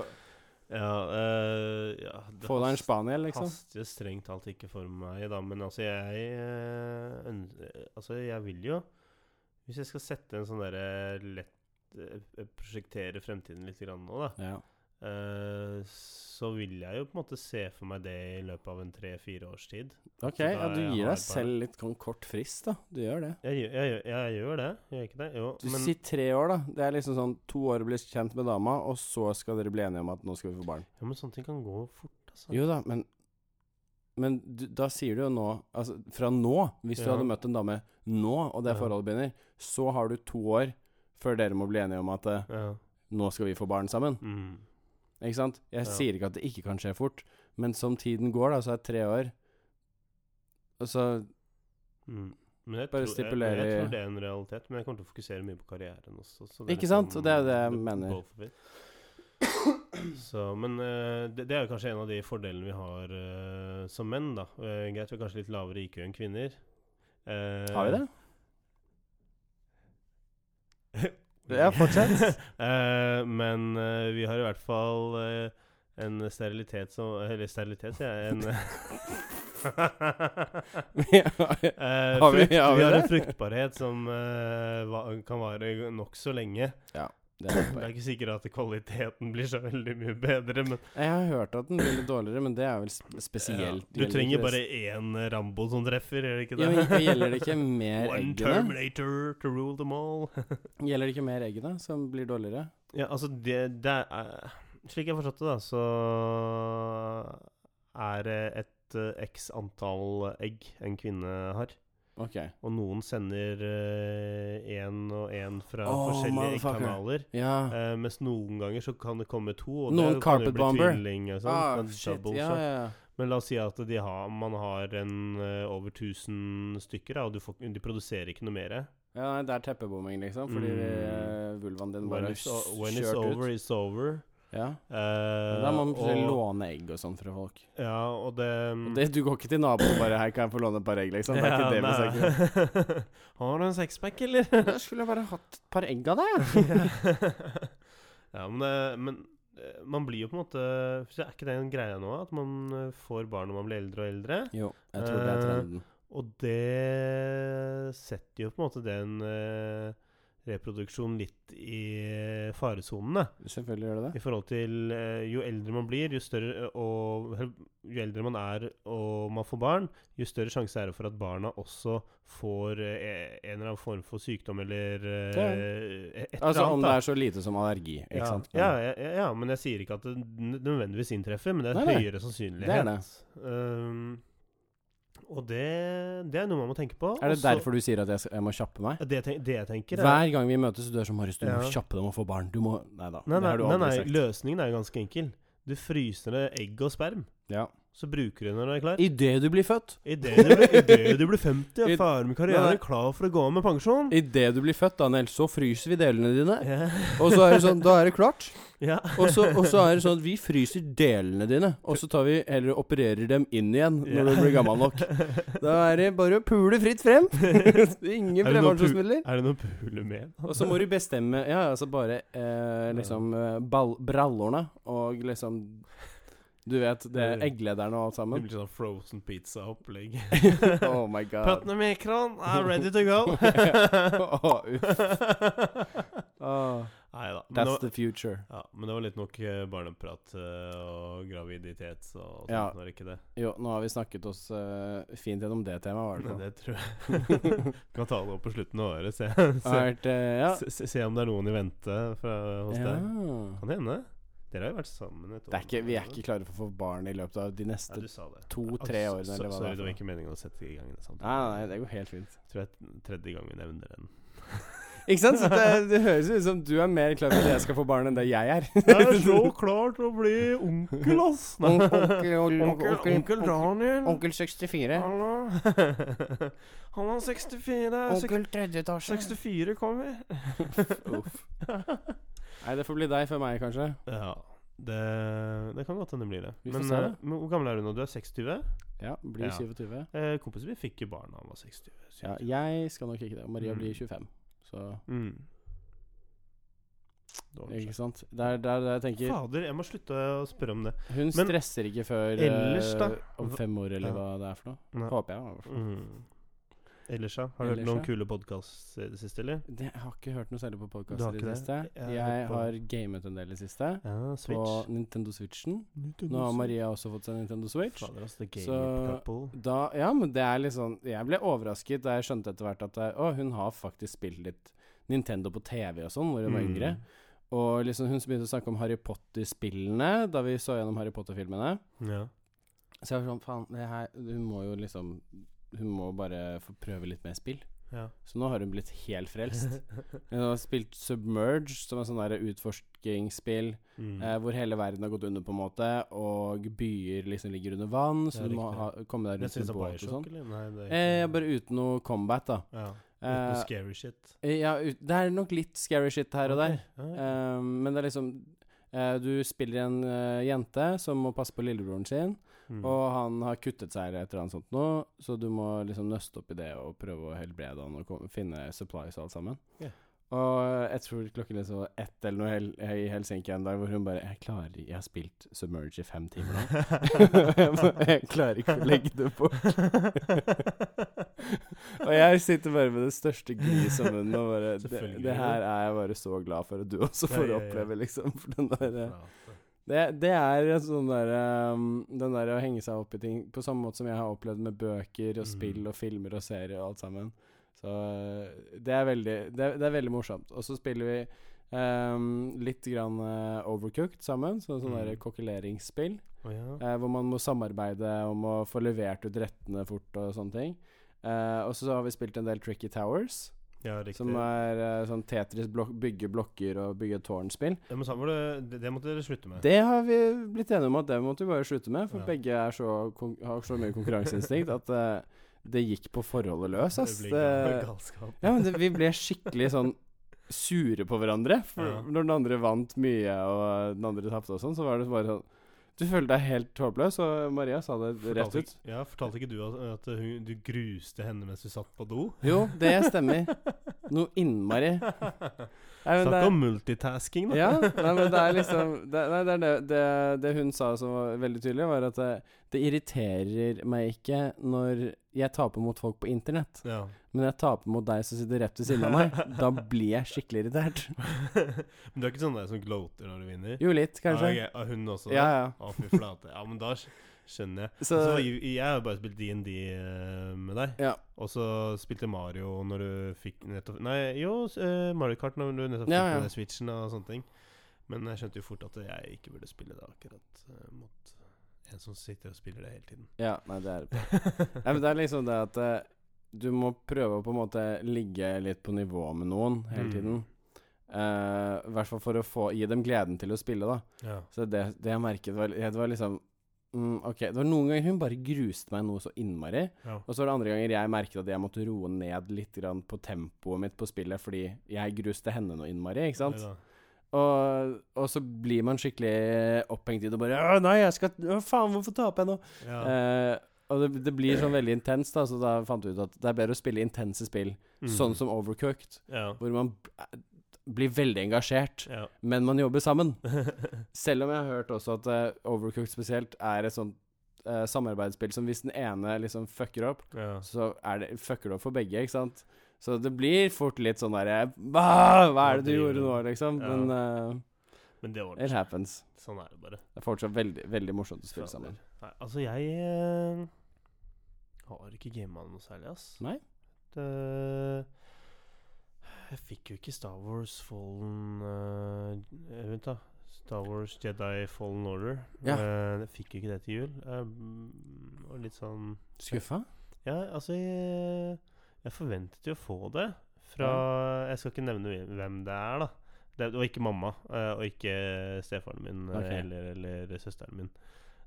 [SPEAKER 1] ja, eh, ja, det
[SPEAKER 2] få deg en
[SPEAKER 1] hast-
[SPEAKER 2] spaniel, liksom.
[SPEAKER 1] haster strengt talt ikke for meg, da. Men altså, jeg eh, øns- eh, Altså, jeg vil jo Hvis jeg skal sette en sånn derre lett eh, Prosjektere fremtiden litt grann nå, da.
[SPEAKER 2] Ja.
[SPEAKER 1] eh, så vil jeg jo på en måte se for meg det i løpet av en tre-fire års tid.
[SPEAKER 2] Ok,
[SPEAKER 1] da
[SPEAKER 2] ja,
[SPEAKER 1] er
[SPEAKER 2] du
[SPEAKER 1] jeg
[SPEAKER 2] gir
[SPEAKER 1] hard på
[SPEAKER 2] deg selv litt sånn kort frist, da. Du gjør det.
[SPEAKER 1] Jeg, gjør- jeg, gjør- jeg gjør det, gjør jeg ikke det? Jo,
[SPEAKER 2] Du
[SPEAKER 1] men
[SPEAKER 2] sier tre år, da. Det er liksom sånn to år å bli kjent med dama, og så skal dere bli enige om at nå skal vi få barn.
[SPEAKER 1] Ja, men sånne ting kan gå fort, altså.
[SPEAKER 2] Jo da, men Men du, da sier du jo nå Altså, fra nå, hvis du
[SPEAKER 1] Ja.
[SPEAKER 2] hadde møtt en dame nå, og det
[SPEAKER 1] Ja.
[SPEAKER 2] forholdet begynner, så har du to år før dere må bli enige om at eh,
[SPEAKER 1] Ja.
[SPEAKER 2] nå skal vi få barn sammen.
[SPEAKER 1] Mm.
[SPEAKER 2] Ikke sant?
[SPEAKER 1] Ja.
[SPEAKER 2] Jeg sier ikke at det ikke kan skje fort, men som tiden går, da, så er tre år Altså
[SPEAKER 1] Mm. Men jeg,
[SPEAKER 2] Bare
[SPEAKER 1] tror, jeg,
[SPEAKER 2] stipulere
[SPEAKER 1] men jeg
[SPEAKER 2] i-
[SPEAKER 1] tror det er en realitet, men jeg kommer til å fokusere mye på karrieren også. så liksom
[SPEAKER 2] Ikke sant? Og det er jo det jeg
[SPEAKER 1] the-
[SPEAKER 2] mener.
[SPEAKER 1] both of it. <coughs> Så, men eh, det, det er jo kanskje en av de fordelene vi har eh, som menn, da. Uh, greit, vi har kanskje litt lavere IQ enn kvinner. Eh,
[SPEAKER 2] Har vi det?
[SPEAKER 1] <laughs>
[SPEAKER 2] Ja, fortsett.
[SPEAKER 1] Eh, men eh, vi har i hvert fall eh, en sterilitet som Eller sterilitet, sier jeg. En,
[SPEAKER 2] <laughs> <laughs>
[SPEAKER 1] <laughs>
[SPEAKER 2] ja,
[SPEAKER 1] Eh,
[SPEAKER 2] Har vi-
[SPEAKER 1] frukt, vi,
[SPEAKER 2] har vi
[SPEAKER 1] har en
[SPEAKER 2] det?
[SPEAKER 1] fruktbarhet som eh, va kan vare nokså lenge.
[SPEAKER 2] det er et
[SPEAKER 1] Det
[SPEAKER 2] poeng.
[SPEAKER 1] er ikke sikkert at kvaliteten blir så veldig mye bedre, men
[SPEAKER 2] Jeg har hørt at den blir litt dårligere, men det er vel sp- spesielt
[SPEAKER 1] ja, eh, Du
[SPEAKER 2] gjelder
[SPEAKER 1] trenger
[SPEAKER 2] ikke
[SPEAKER 1] bare
[SPEAKER 2] det-
[SPEAKER 1] én Rambo som treffer, gjør det ikke det?
[SPEAKER 2] ja, men Gjelder det ikke
[SPEAKER 1] <laughs>
[SPEAKER 2] mer
[SPEAKER 1] One
[SPEAKER 2] eggene?
[SPEAKER 1] Terminator to rule them all. <laughs>
[SPEAKER 2] Gjelder det ikke mer eggene som blir dårligere?
[SPEAKER 1] ja, altså, det, det er eh, Slik jeg forstod det, da, så er det et eh, x antall egg en kvinne har.
[SPEAKER 2] Ok.
[SPEAKER 1] Og noen sender én og én fra
[SPEAKER 2] Oh,
[SPEAKER 1] forskjellige
[SPEAKER 2] motherfucker.
[SPEAKER 1] eggkanaler.
[SPEAKER 2] Ja.
[SPEAKER 1] Eh, mens noen ganger så kan det komme to. Og
[SPEAKER 2] Noen
[SPEAKER 1] det kan jo
[SPEAKER 2] carpet
[SPEAKER 1] bli
[SPEAKER 2] bomber.
[SPEAKER 1] tvilling og sånn,
[SPEAKER 2] Ah,
[SPEAKER 1] men
[SPEAKER 2] shit.
[SPEAKER 1] double
[SPEAKER 2] Ja,
[SPEAKER 1] shot.
[SPEAKER 2] ja.
[SPEAKER 1] Men la oss si at de har, man har en, eh, over 1000 stykker, da, og du får, de produserer ikke noe mer.
[SPEAKER 2] ja, nei, det er teppebomming, liksom, fordi
[SPEAKER 1] Mm.
[SPEAKER 2] eh, vulvaen din
[SPEAKER 1] When
[SPEAKER 2] bare er
[SPEAKER 1] it's, o- when it's
[SPEAKER 2] kjørt
[SPEAKER 1] over,
[SPEAKER 2] ut.
[SPEAKER 1] it's over.
[SPEAKER 2] Ja.
[SPEAKER 1] Eh,
[SPEAKER 2] Da må man plutselig
[SPEAKER 1] og-
[SPEAKER 2] låne egg og sånn fra folk.
[SPEAKER 1] Ja, og det, mm,
[SPEAKER 2] Og det, du går ikke til naboen og bare 'Hei, kan jeg få låne et par egg?' liksom. Det er ikke det vi
[SPEAKER 1] <laughs>
[SPEAKER 2] snakker om.
[SPEAKER 1] snakker om. Har du en sexpack, eller?
[SPEAKER 2] <laughs> Da skulle jeg bare hatt et par egg av deg.
[SPEAKER 1] ja, men, det- men eh, man blir jo på en måte Er ikke det en greie nå? At man eh, får barn når man blir eldre og eldre?
[SPEAKER 2] Jo, jeg tror det er
[SPEAKER 1] Eh,
[SPEAKER 2] trenden.
[SPEAKER 1] Og det setter jo på en måte den eh, reproduksjonen litt i eh, faresonene.
[SPEAKER 2] Selvfølgelig gjør det det.
[SPEAKER 1] I forhold til eh, jo eldre man blir, jo større eh, og jo eldre man er og man får barn, jo større sjanse er det for at barna også får eh, en eller annen form for sykdom eller eh, et eller
[SPEAKER 2] Altså om
[SPEAKER 1] annet.
[SPEAKER 2] det
[SPEAKER 1] da.
[SPEAKER 2] er så lite som allergi, ikke
[SPEAKER 1] ja,
[SPEAKER 2] sant.
[SPEAKER 1] Ja, ja, ja, ja, men jeg sier ikke at det n- nødvendigvis inntreffer, men det er
[SPEAKER 2] Nei, nei.
[SPEAKER 1] høyere sannsynlighet.
[SPEAKER 2] Det er det.
[SPEAKER 1] Um, og det, det er noe man må tenke på.
[SPEAKER 2] Er det
[SPEAKER 1] og så-
[SPEAKER 2] derfor du sier at jeg, skal, jeg må kjappe meg?
[SPEAKER 1] Ja, Det, jeg tenk- det jeg tenker er
[SPEAKER 2] Hver gang vi møtes, du er som Marius, du må
[SPEAKER 1] Ja.
[SPEAKER 2] kjappe deg med å få barn. Du må Nei da,
[SPEAKER 1] Nei,
[SPEAKER 2] det
[SPEAKER 1] nei,
[SPEAKER 2] har du
[SPEAKER 1] nei,
[SPEAKER 2] aldri
[SPEAKER 1] nei
[SPEAKER 2] sagt.
[SPEAKER 1] løsningen er jo ganske enkel. Du fryser ned egg og sperm,
[SPEAKER 2] Ja.
[SPEAKER 1] så bruker du det når du er klar.
[SPEAKER 2] Idet du blir født,
[SPEAKER 1] Idet du, blir- i det du blir 50,
[SPEAKER 2] I-
[SPEAKER 1] er faren med
[SPEAKER 2] Nei, nei.
[SPEAKER 1] karrieren klar for å gå av med pensjon.
[SPEAKER 2] idet du blir født, Daniel, så fryser vi delene dine.
[SPEAKER 1] Ja.
[SPEAKER 2] Og så er det sånn, da er det klart.
[SPEAKER 1] <laughs> ja.
[SPEAKER 2] Og så, og så er det sånn at vi fryser delene dine, og så tar vi eller opererer dem inn igjen når du blir gammel
[SPEAKER 1] <laughs>
[SPEAKER 2] nok. Da <laughs> er det bare å pule fritt frem. Ingen
[SPEAKER 1] Er det noe pu-
[SPEAKER 2] fremvarselmidler.
[SPEAKER 1] Er det noe å pule med?
[SPEAKER 2] Og så må du bestemme Ja, altså bare eh, liksom eh, ball, brallorna og liksom Du lederne det egglederen og alt
[SPEAKER 1] Det
[SPEAKER 2] sammen.
[SPEAKER 1] blir sånn frozen
[SPEAKER 2] <laughs>
[SPEAKER 1] pizza-opplegg.
[SPEAKER 2] Oh my god.
[SPEAKER 1] Putnam Ekron, I'm ready
[SPEAKER 2] <laughs>
[SPEAKER 1] to go. Ah.
[SPEAKER 2] Åh, uff. Åh,
[SPEAKER 1] Nei da. Men, det
[SPEAKER 2] that's
[SPEAKER 1] var-
[SPEAKER 2] the future.
[SPEAKER 1] ja, men det var litt nok eh, barneprat eh, og graviditet og sånt,
[SPEAKER 2] Ja.
[SPEAKER 1] var det ikke det?
[SPEAKER 2] Jo, nå har vi snakket oss eh, fint gjennom det temaet,
[SPEAKER 1] Men
[SPEAKER 2] var det
[SPEAKER 1] <laughs> det tror
[SPEAKER 2] <laughs>
[SPEAKER 1] jeg. kan ta det opp på slutten av året, se, se,
[SPEAKER 2] Vært, eh, ja.
[SPEAKER 1] se, se, se om det er noen i vente fra, hos
[SPEAKER 2] ja.
[SPEAKER 1] deg. Kan hende. Dere har jo vært sammen et år.
[SPEAKER 2] Det er ikke, vi er ikke klare for å få barn i løpet av de
[SPEAKER 1] Ja,
[SPEAKER 2] neste
[SPEAKER 1] du sa det.
[SPEAKER 2] to-tre
[SPEAKER 1] Ah,
[SPEAKER 2] årene,
[SPEAKER 1] så-
[SPEAKER 2] eller hva
[SPEAKER 1] Sorry,
[SPEAKER 2] det
[SPEAKER 1] det var
[SPEAKER 2] er.
[SPEAKER 1] ikke meningen å sette i gang den samtalen.
[SPEAKER 2] Nei, nei, det går helt fint.
[SPEAKER 1] Tror jeg t- tredje gang vi nevner den.
[SPEAKER 2] Ikke sant? Så det, det høres ut som du er mer klar for at jeg skal få barn enn det jeg er.
[SPEAKER 1] Jeg er så klar til å bli <laughs> onkel, ass! Daniel.
[SPEAKER 2] 64.
[SPEAKER 1] Hallo. <laughs> Han er 64.
[SPEAKER 2] tredje etasje.
[SPEAKER 1] 64 kommer.
[SPEAKER 2] Uff. Nei, det får bli deg for meg, kanskje.
[SPEAKER 1] Ja. Det, det kan godt hende det blir det.
[SPEAKER 2] Vi får
[SPEAKER 1] Men,
[SPEAKER 2] se, da.
[SPEAKER 1] eh, men hvor gammel er du nå? Du er 26?
[SPEAKER 2] Ja, blir
[SPEAKER 1] Ja.
[SPEAKER 2] 27.
[SPEAKER 1] Eh, kompisen min fikk jo barn da han var 26.
[SPEAKER 2] Ja, jeg skal nok ikke det. Maria
[SPEAKER 1] Mm.
[SPEAKER 2] blir 25. Så
[SPEAKER 1] Mm. Dårlig
[SPEAKER 2] Ikke sant? Det er der jeg tenker
[SPEAKER 1] Fader, jeg må slutte å spørre om det.
[SPEAKER 2] Hun
[SPEAKER 1] Men
[SPEAKER 2] stresser ikke før eh,
[SPEAKER 1] ellers da?
[SPEAKER 2] om fem år, eller
[SPEAKER 1] Ja.
[SPEAKER 2] hva det er for noe.
[SPEAKER 1] Nei.
[SPEAKER 2] Håper jeg. i hvert fall.
[SPEAKER 1] Mm. Ellers, ja? Har du
[SPEAKER 2] Ellers,
[SPEAKER 1] hørt noen
[SPEAKER 2] ja.
[SPEAKER 1] kule podkaster i det siste, eller?
[SPEAKER 2] Det, jeg har ikke hørt noe særlig på
[SPEAKER 1] Du har
[SPEAKER 2] podkaster i
[SPEAKER 1] ikke
[SPEAKER 2] det
[SPEAKER 1] det?
[SPEAKER 2] siste.
[SPEAKER 1] Jeg har
[SPEAKER 2] Jeg,
[SPEAKER 1] hørt på-
[SPEAKER 2] har gamet en del i det siste.
[SPEAKER 1] Ja,
[SPEAKER 2] På
[SPEAKER 1] Switch.
[SPEAKER 2] Nintendo Switchen. Nå har Maria også fått seg Nintendo Switch.
[SPEAKER 1] Fader, altså. The
[SPEAKER 2] Så-
[SPEAKER 1] gamer couple.
[SPEAKER 2] Da, ja, men det er litt sånn Jeg ble overrasket da jeg skjønte etter hvert at det, Å, hun har faktisk spilt litt Nintendo på TV og sånn,
[SPEAKER 1] Mm.
[SPEAKER 2] hvor hun var yngre. Og liksom hun begynte å snakke om Harry Potter-spillene da vi så gjennom Harry Potter-filmene.
[SPEAKER 1] Mm. Ja.
[SPEAKER 2] Så jeg var sånn Faen, det her Hun må jo liksom Hun må bare få prøve litt mer spill.
[SPEAKER 1] ja.
[SPEAKER 2] Så nå har hun blitt
[SPEAKER 1] <laughs>
[SPEAKER 2] helt frelst. Hun har spilt Submerge, som er sånn der utforskingsspill
[SPEAKER 1] Mm.
[SPEAKER 2] eh, hvor hele verden har gått under, på en måte, og byer liksom ligger under vann, så
[SPEAKER 1] Ja,
[SPEAKER 2] du må
[SPEAKER 1] riktig.
[SPEAKER 2] ha, komme
[SPEAKER 1] Men
[SPEAKER 2] deg rundt
[SPEAKER 1] synes
[SPEAKER 2] med
[SPEAKER 1] det er
[SPEAKER 2] båt og
[SPEAKER 1] Bioshock,
[SPEAKER 2] sånn.
[SPEAKER 1] eller? Nei, det er
[SPEAKER 2] Eh,
[SPEAKER 1] ikke-
[SPEAKER 2] bare uten noe combat, da.
[SPEAKER 1] ja. Uten noe
[SPEAKER 2] Eh,
[SPEAKER 1] scary shit.
[SPEAKER 2] ja, ut, det er nok litt scary shit her og der.
[SPEAKER 1] Ja, ja.
[SPEAKER 2] Eh, men det er liksom eh, Du spiller en eh, jente som må passe på lillebroren sin,
[SPEAKER 1] Mm. <laughs>
[SPEAKER 2] Eh, og han har kuttet seg eller et eller annet sånt nå, så du må liksom nøste opp i det og prøve å helbrede han og komme, finne supplies og alt sammen.
[SPEAKER 1] Ja.
[SPEAKER 2] Og eh, jeg tror klokken liksom var ett eller noe hel, i Helsinki en dag hvor hun bare 'Jeg klarer Jeg har spilt Submerge i fem timer
[SPEAKER 1] <laughs>
[SPEAKER 2] nå.' jeg, må- jeg klarer ikke å legge det bort. og jeg sitter bare med det største gliset i munnen og bare det,
[SPEAKER 1] Selvfølgelig.
[SPEAKER 2] det her er jeg bare så glad for at du også
[SPEAKER 1] Ja,
[SPEAKER 2] får
[SPEAKER 1] ja, ja.
[SPEAKER 2] oppleve, liksom. For den der, eh,
[SPEAKER 1] Ja,
[SPEAKER 2] det, det er en sånn der um, Den der å henge seg opp i ting på samme måte som jeg har opplevd med bøker og spill
[SPEAKER 1] Mm.
[SPEAKER 2] og filmer og serier og alt sammen. Så eh, det er veldig, det er, det er veldig morsomt. Og så spiller vi um, litt grann eh, Overcooked sammen, så sånn der
[SPEAKER 1] Mm.
[SPEAKER 2] kokkeleringsspill.
[SPEAKER 1] Å, ja.
[SPEAKER 2] Eh, hvor man må samarbeide om å få levert ut rettene fort og sånne ting. Eh, og så har vi spilt en del Tricky Towers,
[SPEAKER 1] ja, riktig.
[SPEAKER 2] som er eh, sånn Tetris blok bygge blokker og bygge tårnspill.
[SPEAKER 1] ja, men så var det, det, det måtte dere slutte med.
[SPEAKER 2] Det har vi blitt enige om at det måtte vi bare slutte med, for
[SPEAKER 1] Ja.
[SPEAKER 2] begge er så, kon- har så mye konkurranseinstinkt at eh, det gikk på forholdet løs, ass.
[SPEAKER 1] blir
[SPEAKER 2] Det-
[SPEAKER 1] gal- galskap.
[SPEAKER 2] ja, men det, vi ble skikkelig sånn sure på hverandre. For
[SPEAKER 1] Ja.
[SPEAKER 2] når den andre vant mye, og den andre tapte og sånn, så var det bare sånn Du følte deg helt håpløs, og Maria sa det rett
[SPEAKER 1] Fortalte
[SPEAKER 2] ut.
[SPEAKER 1] ikke- Ja, Fortalte ikke du at, at hun, du gruste henne mens du satt på do?
[SPEAKER 2] Jo, det stemmer. Noe innmari. Nei,
[SPEAKER 1] <laughs>
[SPEAKER 2] men det
[SPEAKER 1] Snakk
[SPEAKER 2] er-
[SPEAKER 1] om multitasking, <laughs> da.
[SPEAKER 2] Ja, nei, men det er liksom det, nei, det, er det, det, det hun sa som var veldig tydelig, var at det, det irriterer meg ikke når jeg taper mot folk på internett,
[SPEAKER 1] Ja.
[SPEAKER 2] men jeg taper mot deg som sitter rett ved siden av meg.
[SPEAKER 1] <laughs>
[SPEAKER 2] Da blir jeg skikkelig irritert.
[SPEAKER 1] Men du er ikke sånn der som gloater når du vinner?
[SPEAKER 2] Jo, litt, kanskje.
[SPEAKER 1] Ja, ok. Og hun også? da?
[SPEAKER 2] Ja, ja.
[SPEAKER 1] Å, fy flate. Ja, men da skj- skjønner jeg.
[SPEAKER 2] Så
[SPEAKER 1] Så jeg, jeg har jo bare spilt DND eh, med deg.
[SPEAKER 2] Ja.
[SPEAKER 1] Og så spilte Mario når du fikk nettopp Nei, jo, s- eh, Mario Kart når du nettopp fikk
[SPEAKER 2] Ja, ja.
[SPEAKER 1] den der Switchen og sånne ting. Men jeg skjønte jo fort at jeg ikke burde spille det akkurat eh, mot en som sitter og spiller det hele tiden.
[SPEAKER 2] Ja, nei, det er <laughs> Nei, men det er liksom det at eh, du må prøve å på en måte ligge litt på nivå med noen hele
[SPEAKER 1] Mm.
[SPEAKER 2] tiden. Eh, I hvert fall for å få, gi dem gleden til å spille, da.
[SPEAKER 1] ja.
[SPEAKER 2] Så det, det jeg merket, var, det var liksom mm, Ok, det var noen ganger hun bare gruste meg noe så innmari.
[SPEAKER 1] Ja.
[SPEAKER 2] Og så var det andre ganger jeg merket at jeg måtte roe ned litt grann på tempoet mitt på spillet fordi jeg gruste henne noe innmari, ikke sant?
[SPEAKER 1] Ja,
[SPEAKER 2] Og, og så blir man skikkelig opphengt i det og bare Å, nei, jeg skal Å, faen, hvorfor taper jeg nå?
[SPEAKER 1] ja.
[SPEAKER 2] Eh, og det, det blir sånn veldig intenst, da, så da fant vi ut at det er bedre å spille intense spill,
[SPEAKER 1] Mm.
[SPEAKER 2] sånn som Overcooked,
[SPEAKER 1] ja.
[SPEAKER 2] hvor man b- blir veldig engasjert,
[SPEAKER 1] Ja. <laughs>
[SPEAKER 2] men man jobber sammen. Selv om jeg har hørt også at eh, Overcooked spesielt er et sånt eh, samarbeidsspill som hvis den ene liksom fucker opp,
[SPEAKER 1] ja.
[SPEAKER 2] så er det, fucker det opp for begge, ikke sant? Så det blir fort litt sånn derre Hva hva
[SPEAKER 1] Hva
[SPEAKER 2] er det du
[SPEAKER 1] driver
[SPEAKER 2] gjorde nå, liksom?
[SPEAKER 1] Ja.
[SPEAKER 2] Men eh,
[SPEAKER 1] Men det
[SPEAKER 2] it
[SPEAKER 1] ordner seg.
[SPEAKER 2] happens.
[SPEAKER 1] Sånn er det bare.
[SPEAKER 2] Det er fortsatt veldig, veldig morsomt å spille sammen.
[SPEAKER 1] Nei, altså, jeg eh, har ikke gama noe særlig, ass.
[SPEAKER 2] Nei?
[SPEAKER 1] Det, jeg fikk jo ikke Star Wars Fallen eh, eh, Vent, da. Star Wars Jedi Fallen Order.
[SPEAKER 2] Ja.
[SPEAKER 1] Eh, jeg fikk jo ikke det til jul. Eh, og litt sånn
[SPEAKER 2] Skuffa?
[SPEAKER 1] Ja, altså jeg, jeg forventet jo å få det fra Jeg skal ikke nevne hvem- hvem det er, da. Det, det var ikke mamma, eh, og ikke stefaren min eh,
[SPEAKER 2] Ok.
[SPEAKER 1] eller, eller søsteren min.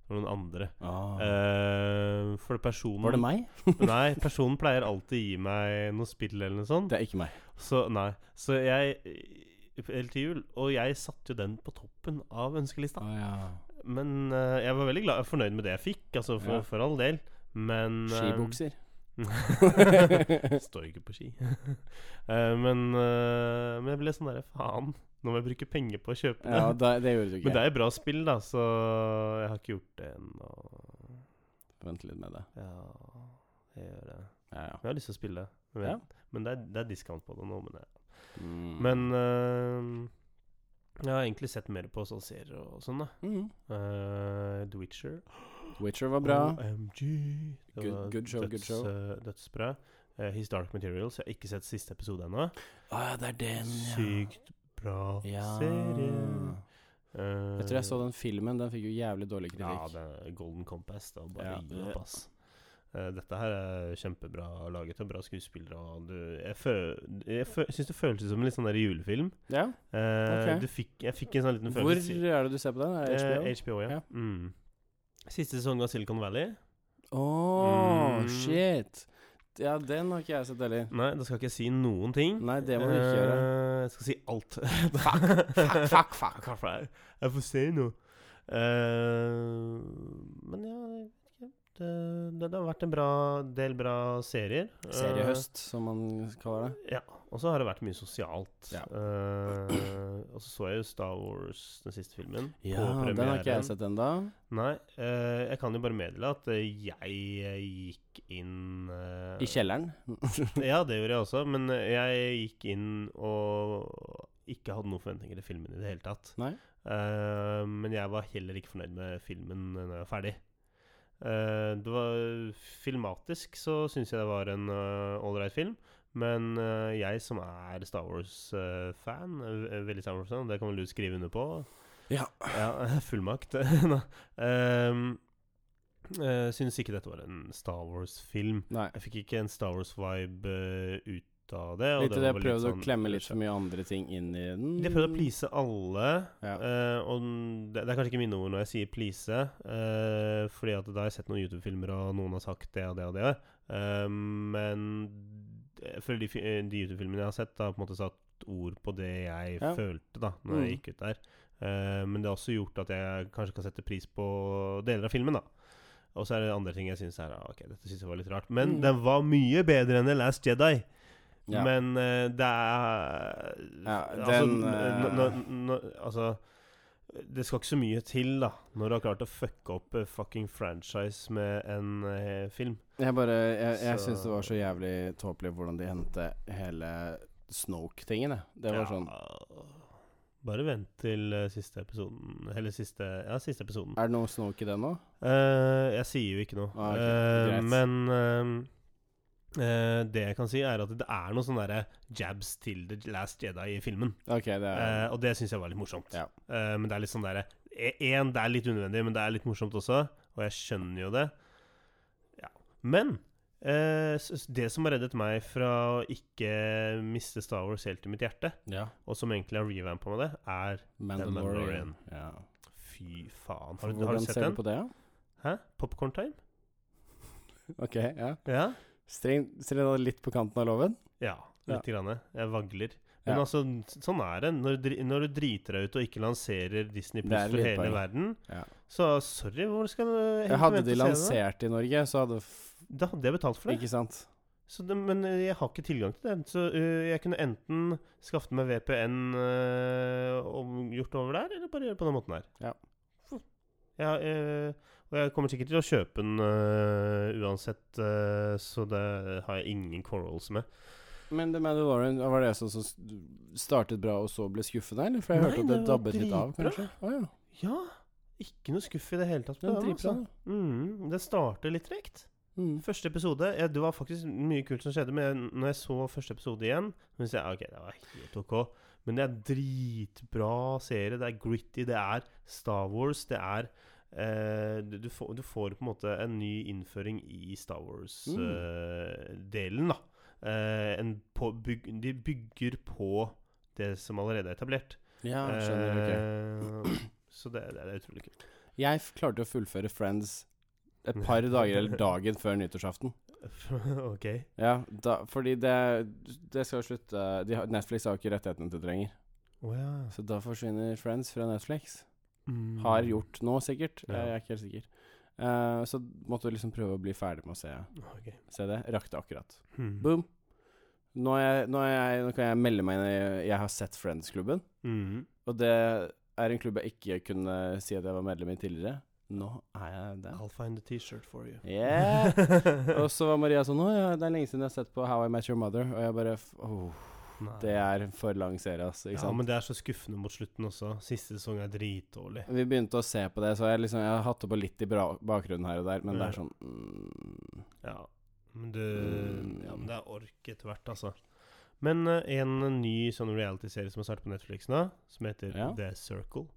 [SPEAKER 1] Det var noen andre.
[SPEAKER 2] Ah.
[SPEAKER 1] Eh, for personen
[SPEAKER 2] Var det meg?
[SPEAKER 1] <laughs> Nei, personen pleier alltid gi meg noe spill eller noe sånt.
[SPEAKER 2] Det er ikke meg.
[SPEAKER 1] Så nei. Så jeg Eller til jul. Og jeg satte jo den på toppen av ønskelista.
[SPEAKER 2] Å ja.
[SPEAKER 1] Men eh, jeg var veldig glad, fornøyd med det jeg fikk, altså for,
[SPEAKER 2] Ja.
[SPEAKER 1] for all del. Men eh,
[SPEAKER 2] Skibukser. <laughs>
[SPEAKER 1] Står ikke på ski. <laughs> Eh, men, eh, men jeg ble sånn derre faen, nå må jeg bruke penger på å kjøpe det.
[SPEAKER 2] ja, da, det gjorde du
[SPEAKER 1] <laughs>
[SPEAKER 2] ikke.
[SPEAKER 1] Men det er jo bra spill, da, så jeg har ikke gjort det ennå.
[SPEAKER 2] Vent litt med det.
[SPEAKER 1] Ja, jeg gjør det.
[SPEAKER 2] Ja, ja.
[SPEAKER 1] Jeg har lyst til å spille, men,
[SPEAKER 2] Ja.
[SPEAKER 1] men det, er, det er discount på det nå. Men, jeg,
[SPEAKER 2] Mm.
[SPEAKER 1] men eh, jeg har egentlig sett mer på sånne serier og sånn, da.
[SPEAKER 2] mm.
[SPEAKER 1] Eh, The Witcher.
[SPEAKER 2] Witcher var bra.
[SPEAKER 1] OMG. Det
[SPEAKER 2] Good-
[SPEAKER 1] var
[SPEAKER 2] good show, good show.
[SPEAKER 1] eh, dødsbra. Eh, His Dark Materials. Jeg har ikke sett siste episode ennå.
[SPEAKER 2] Å ja, det er den, ja.
[SPEAKER 1] Sykt bra
[SPEAKER 2] ja.
[SPEAKER 1] serie. Eh,
[SPEAKER 2] Jeg tror jeg så den filmen. Den fikk jo jævlig dårlig
[SPEAKER 1] Ja,
[SPEAKER 2] kritikk.
[SPEAKER 1] det er Golden Compass. Da. Bare
[SPEAKER 2] Ja.
[SPEAKER 1] gi opp, ass. Eh, Dette her er kjempebra laget og bra skuespillere. Og du, jeg fø, jeg fø, syns det føles som en litt sånn der julefilm.
[SPEAKER 2] Ja.
[SPEAKER 1] Eh,
[SPEAKER 2] Ok.
[SPEAKER 1] du fikk, jeg fikk en sånn liten
[SPEAKER 2] Hvor
[SPEAKER 1] følelse
[SPEAKER 2] er det du ser på den? Er det
[SPEAKER 1] Eh,
[SPEAKER 2] HBO?
[SPEAKER 1] HBO, ja.
[SPEAKER 2] Ja.
[SPEAKER 1] Mm. Siste sesong av Silicon Valley.
[SPEAKER 2] Åh,
[SPEAKER 1] Mm.
[SPEAKER 2] shit. Ja, den har ikke jeg sett heller.
[SPEAKER 1] Nei, da skal jeg ikke si noen ting.
[SPEAKER 2] Nei, det må du ikke gjøre.
[SPEAKER 1] Eh, Jeg skal si alt. fuck, fuck, fuck, <laughs> fuck. Jeg får si noe. Eh, men ja, jeg vet ikke. det, det, det har vært en bra, del bra serier. Eh,
[SPEAKER 2] Seriehøst, som man kaller det.
[SPEAKER 1] ja. Og så har det vært mye sosialt.
[SPEAKER 2] Ja.
[SPEAKER 1] Eh, og så så jeg jo Star Wars, den siste filmen.
[SPEAKER 2] Ja, den har ikke jeg sett ennå.
[SPEAKER 1] Nei. eh, jeg kan jo bare meddele at eh, jeg eh, gikk inn eh,
[SPEAKER 2] I kjelleren.
[SPEAKER 1] <laughs> ja, det gjorde jeg også, men jeg gikk inn og ikke hadde noen forventninger til filmen i det hele tatt.
[SPEAKER 2] Nei.
[SPEAKER 1] Eh, men jeg var heller ikke fornøyd med filmen når jeg var ferdig. Eh, det var Filmatisk så syns jeg det var en ålreit film, men eh, jeg som er Star Wars-fan, eh, veldig Star Wars-fan, det kan vel du skrive under på?
[SPEAKER 2] <laughs> Ja.
[SPEAKER 1] Ja, <laughs> fullmakt. Nei. Ehm, eh, syns ikke dette var en Star Wars-film.
[SPEAKER 2] Nei.
[SPEAKER 1] Jeg fikk ikke en Star Wars-vibe eh, ut av det. og
[SPEAKER 2] Litt til det
[SPEAKER 1] var
[SPEAKER 2] jeg prøvde å
[SPEAKER 1] sånn-
[SPEAKER 2] klemme litt for mye andre ting inn i den.
[SPEAKER 1] Jeg prøvde å please alle,
[SPEAKER 2] Ja.
[SPEAKER 1] eh, og den- det, det er kanskje ikke mine ord når jeg sier please, eh, fordi at da har jeg sett noen YouTube-filmer, og noen har sagt det og det og det. eh, men jeg føler de, fi- eh, de YouTube-filmene jeg har sett, har på en måte satt ord på det jeg
[SPEAKER 2] Ja.
[SPEAKER 1] følte da når jeg
[SPEAKER 2] Mm.
[SPEAKER 1] gikk ut der. Eh, men det har også gjort at jeg kanskje kan sette pris på deler av filmen, da. Og så er det andre ting jeg syns er ah, Ok, dette synes jeg var litt rart. Men
[SPEAKER 2] Mm.
[SPEAKER 1] den var mye bedre enn The Last Jedi.
[SPEAKER 2] Ja.
[SPEAKER 1] Men eh, det er
[SPEAKER 2] Ja,
[SPEAKER 1] altså,
[SPEAKER 2] den,
[SPEAKER 1] n-
[SPEAKER 2] eh,
[SPEAKER 1] n- n- n- altså Det skal ikke så mye til, da, når du har klart å fucke opp eh, fucking franchise med en eh, film.
[SPEAKER 2] Jeg bare Jeg, jeg
[SPEAKER 1] Så-
[SPEAKER 2] syns det var så jævlig tåpelig hvordan de hentet hele Snoke-tingen, jeg. Det var
[SPEAKER 1] Ja.
[SPEAKER 2] sånn
[SPEAKER 1] Bare vent til eh, siste episoden Eller siste Ja, siste episoden.
[SPEAKER 2] Er det noe Snoke i den nå?
[SPEAKER 1] Eh, jeg sier jo ikke noe.
[SPEAKER 2] Ah, ok.
[SPEAKER 1] Eh,
[SPEAKER 2] Greit.
[SPEAKER 1] men eh, eh, det jeg kan si, er at det er noen sånne der jabs til The Last Jedi i filmen.
[SPEAKER 2] Ok, det er
[SPEAKER 1] Eh, og det syns jeg var litt morsomt.
[SPEAKER 2] Um, Ja.
[SPEAKER 1] Eh, men det er litt sånn derre Én, det er litt unødvendig, men det er litt morsomt også. Og jeg skjønner jo det. Ja. Men eh, s- s- det som har reddet meg fra å ikke miste Star Wars helt i mitt hjerte,
[SPEAKER 2] ja.
[SPEAKER 1] og som egentlig har revampa med det, er
[SPEAKER 2] Mandalorian.
[SPEAKER 1] Mandalorian.
[SPEAKER 2] Ja.
[SPEAKER 1] Fy faen. Har du, har
[SPEAKER 2] Hvordan
[SPEAKER 1] du sett
[SPEAKER 2] ser du
[SPEAKER 1] den?
[SPEAKER 2] på det?
[SPEAKER 1] Hæ? Popcorn Time?
[SPEAKER 2] Ok, ja.
[SPEAKER 1] Ja.
[SPEAKER 2] Streng, streng deg litt på kanten av loven.
[SPEAKER 1] Ja,
[SPEAKER 2] Ja.
[SPEAKER 1] litt. Grann. Jeg vagler. Men
[SPEAKER 2] Ja.
[SPEAKER 1] altså, sånn er det. Når du, dri- når du driter deg ut og ikke lanserer Disney
[SPEAKER 2] Det
[SPEAKER 1] Plus
[SPEAKER 2] er
[SPEAKER 1] for
[SPEAKER 2] litt
[SPEAKER 1] hele
[SPEAKER 2] poeng.
[SPEAKER 1] verden,
[SPEAKER 2] Ja.
[SPEAKER 1] så sorry, hvor skal du egentlig
[SPEAKER 2] Hadde
[SPEAKER 1] vente
[SPEAKER 2] de
[SPEAKER 1] og se det da?
[SPEAKER 2] lansert i Norge, så hadde f
[SPEAKER 1] Da hadde jeg betalt for det.
[SPEAKER 2] Ikke sant?
[SPEAKER 1] Så det, men eh, jeg har ikke tilgang til det. Så øh, jeg kunne enten skaffe meg VPN øh, om- gjort over der, eller bare gjøre det på den måten her.
[SPEAKER 2] Ja.
[SPEAKER 1] Ja, øh, og jeg kommer sikkert til å kjøpe den øh, uansett, øh, så det har jeg ingen quarrels med.
[SPEAKER 2] Men The Mandalorian, var det som som startet bra og så ble skuffende, eller? For jeg
[SPEAKER 1] Nei,
[SPEAKER 2] hørte at det
[SPEAKER 1] det var
[SPEAKER 2] dabbet litt av,
[SPEAKER 1] dritbra.
[SPEAKER 2] kanskje? Å ja.
[SPEAKER 1] Ja, ikke noe skuff i det hele tatt.
[SPEAKER 2] Den
[SPEAKER 1] på den,
[SPEAKER 2] dripla,
[SPEAKER 1] altså. Mm, det starter litt tregt.
[SPEAKER 2] sånn. Mm.
[SPEAKER 1] Første episode ja, Det var faktisk mye kult som skjedde, men jeg- når jeg så første episode igjen Så jeg, ok, det var helt ok Men det er dritbra serie. Det er gritty, det er Star Wars. Det er eh, du, du, får, du får på en måte en ny innføring i Star Wars-delen, da. Eh, en på, byg, de bygger på det som allerede er etablert.
[SPEAKER 2] Ja, skjønner, ok.
[SPEAKER 1] Eh, Så det, det er utrolig kult. <laughs>
[SPEAKER 2] Jeg f- klarte å fullføre Friends et par dager eller dagen før nyttårsaften.
[SPEAKER 1] ok.
[SPEAKER 2] Ja, da, fordi det, det skal slutte de har, Netflix har jo ikke rettighetene til det lenger.
[SPEAKER 1] Å ja.
[SPEAKER 2] Så da forsvinner Friends fra Netflix.
[SPEAKER 1] Mm.
[SPEAKER 2] Har gjort nå, sikkert.
[SPEAKER 1] Ja.
[SPEAKER 2] Jeg er ikke helt sikker. Eh, så måtte jeg liksom prøve å bli ferdig med å se,
[SPEAKER 1] Ah, Ok.
[SPEAKER 2] se det. Rakk det akkurat.
[SPEAKER 1] Hmm.
[SPEAKER 2] Boom. Nå, er jeg, nå, er jeg, nå kan jeg melde meg inn i Jeg har sett Friends-klubben.
[SPEAKER 1] Mm.
[SPEAKER 2] Og det er en klubb jeg ikke kunne si at jeg var medlem i tidligere. Nå er jeg
[SPEAKER 1] <laughs>
[SPEAKER 2] det.
[SPEAKER 1] I'll find a t-shirt for you. <laughs>
[SPEAKER 2] Yeah! Og så var Maria sånn Å ja, det er lenge siden jeg har sett på How I Met Your Mother. Og jeg bare f- åh,
[SPEAKER 1] Nei.
[SPEAKER 2] Det er en for lang serie, altså.
[SPEAKER 1] Ah,
[SPEAKER 2] Ikke
[SPEAKER 1] ja,
[SPEAKER 2] sant?
[SPEAKER 1] men det er så skuffende mot slutten også. Siste sesong er dritdårlig.
[SPEAKER 2] Vi begynte å se på det, så jeg, liksom, jeg har hatt det på litt i bra bakgrunnen her og der, men det er
[SPEAKER 1] Ja.
[SPEAKER 2] sånn mm,
[SPEAKER 1] Ja. Men du
[SPEAKER 2] Mm.
[SPEAKER 1] Ja, men det er ork etter hvert, altså. Men eh, en ny sånn reality-serie som har startet på Netflix nå, som heter
[SPEAKER 2] Ja.
[SPEAKER 1] The Circle,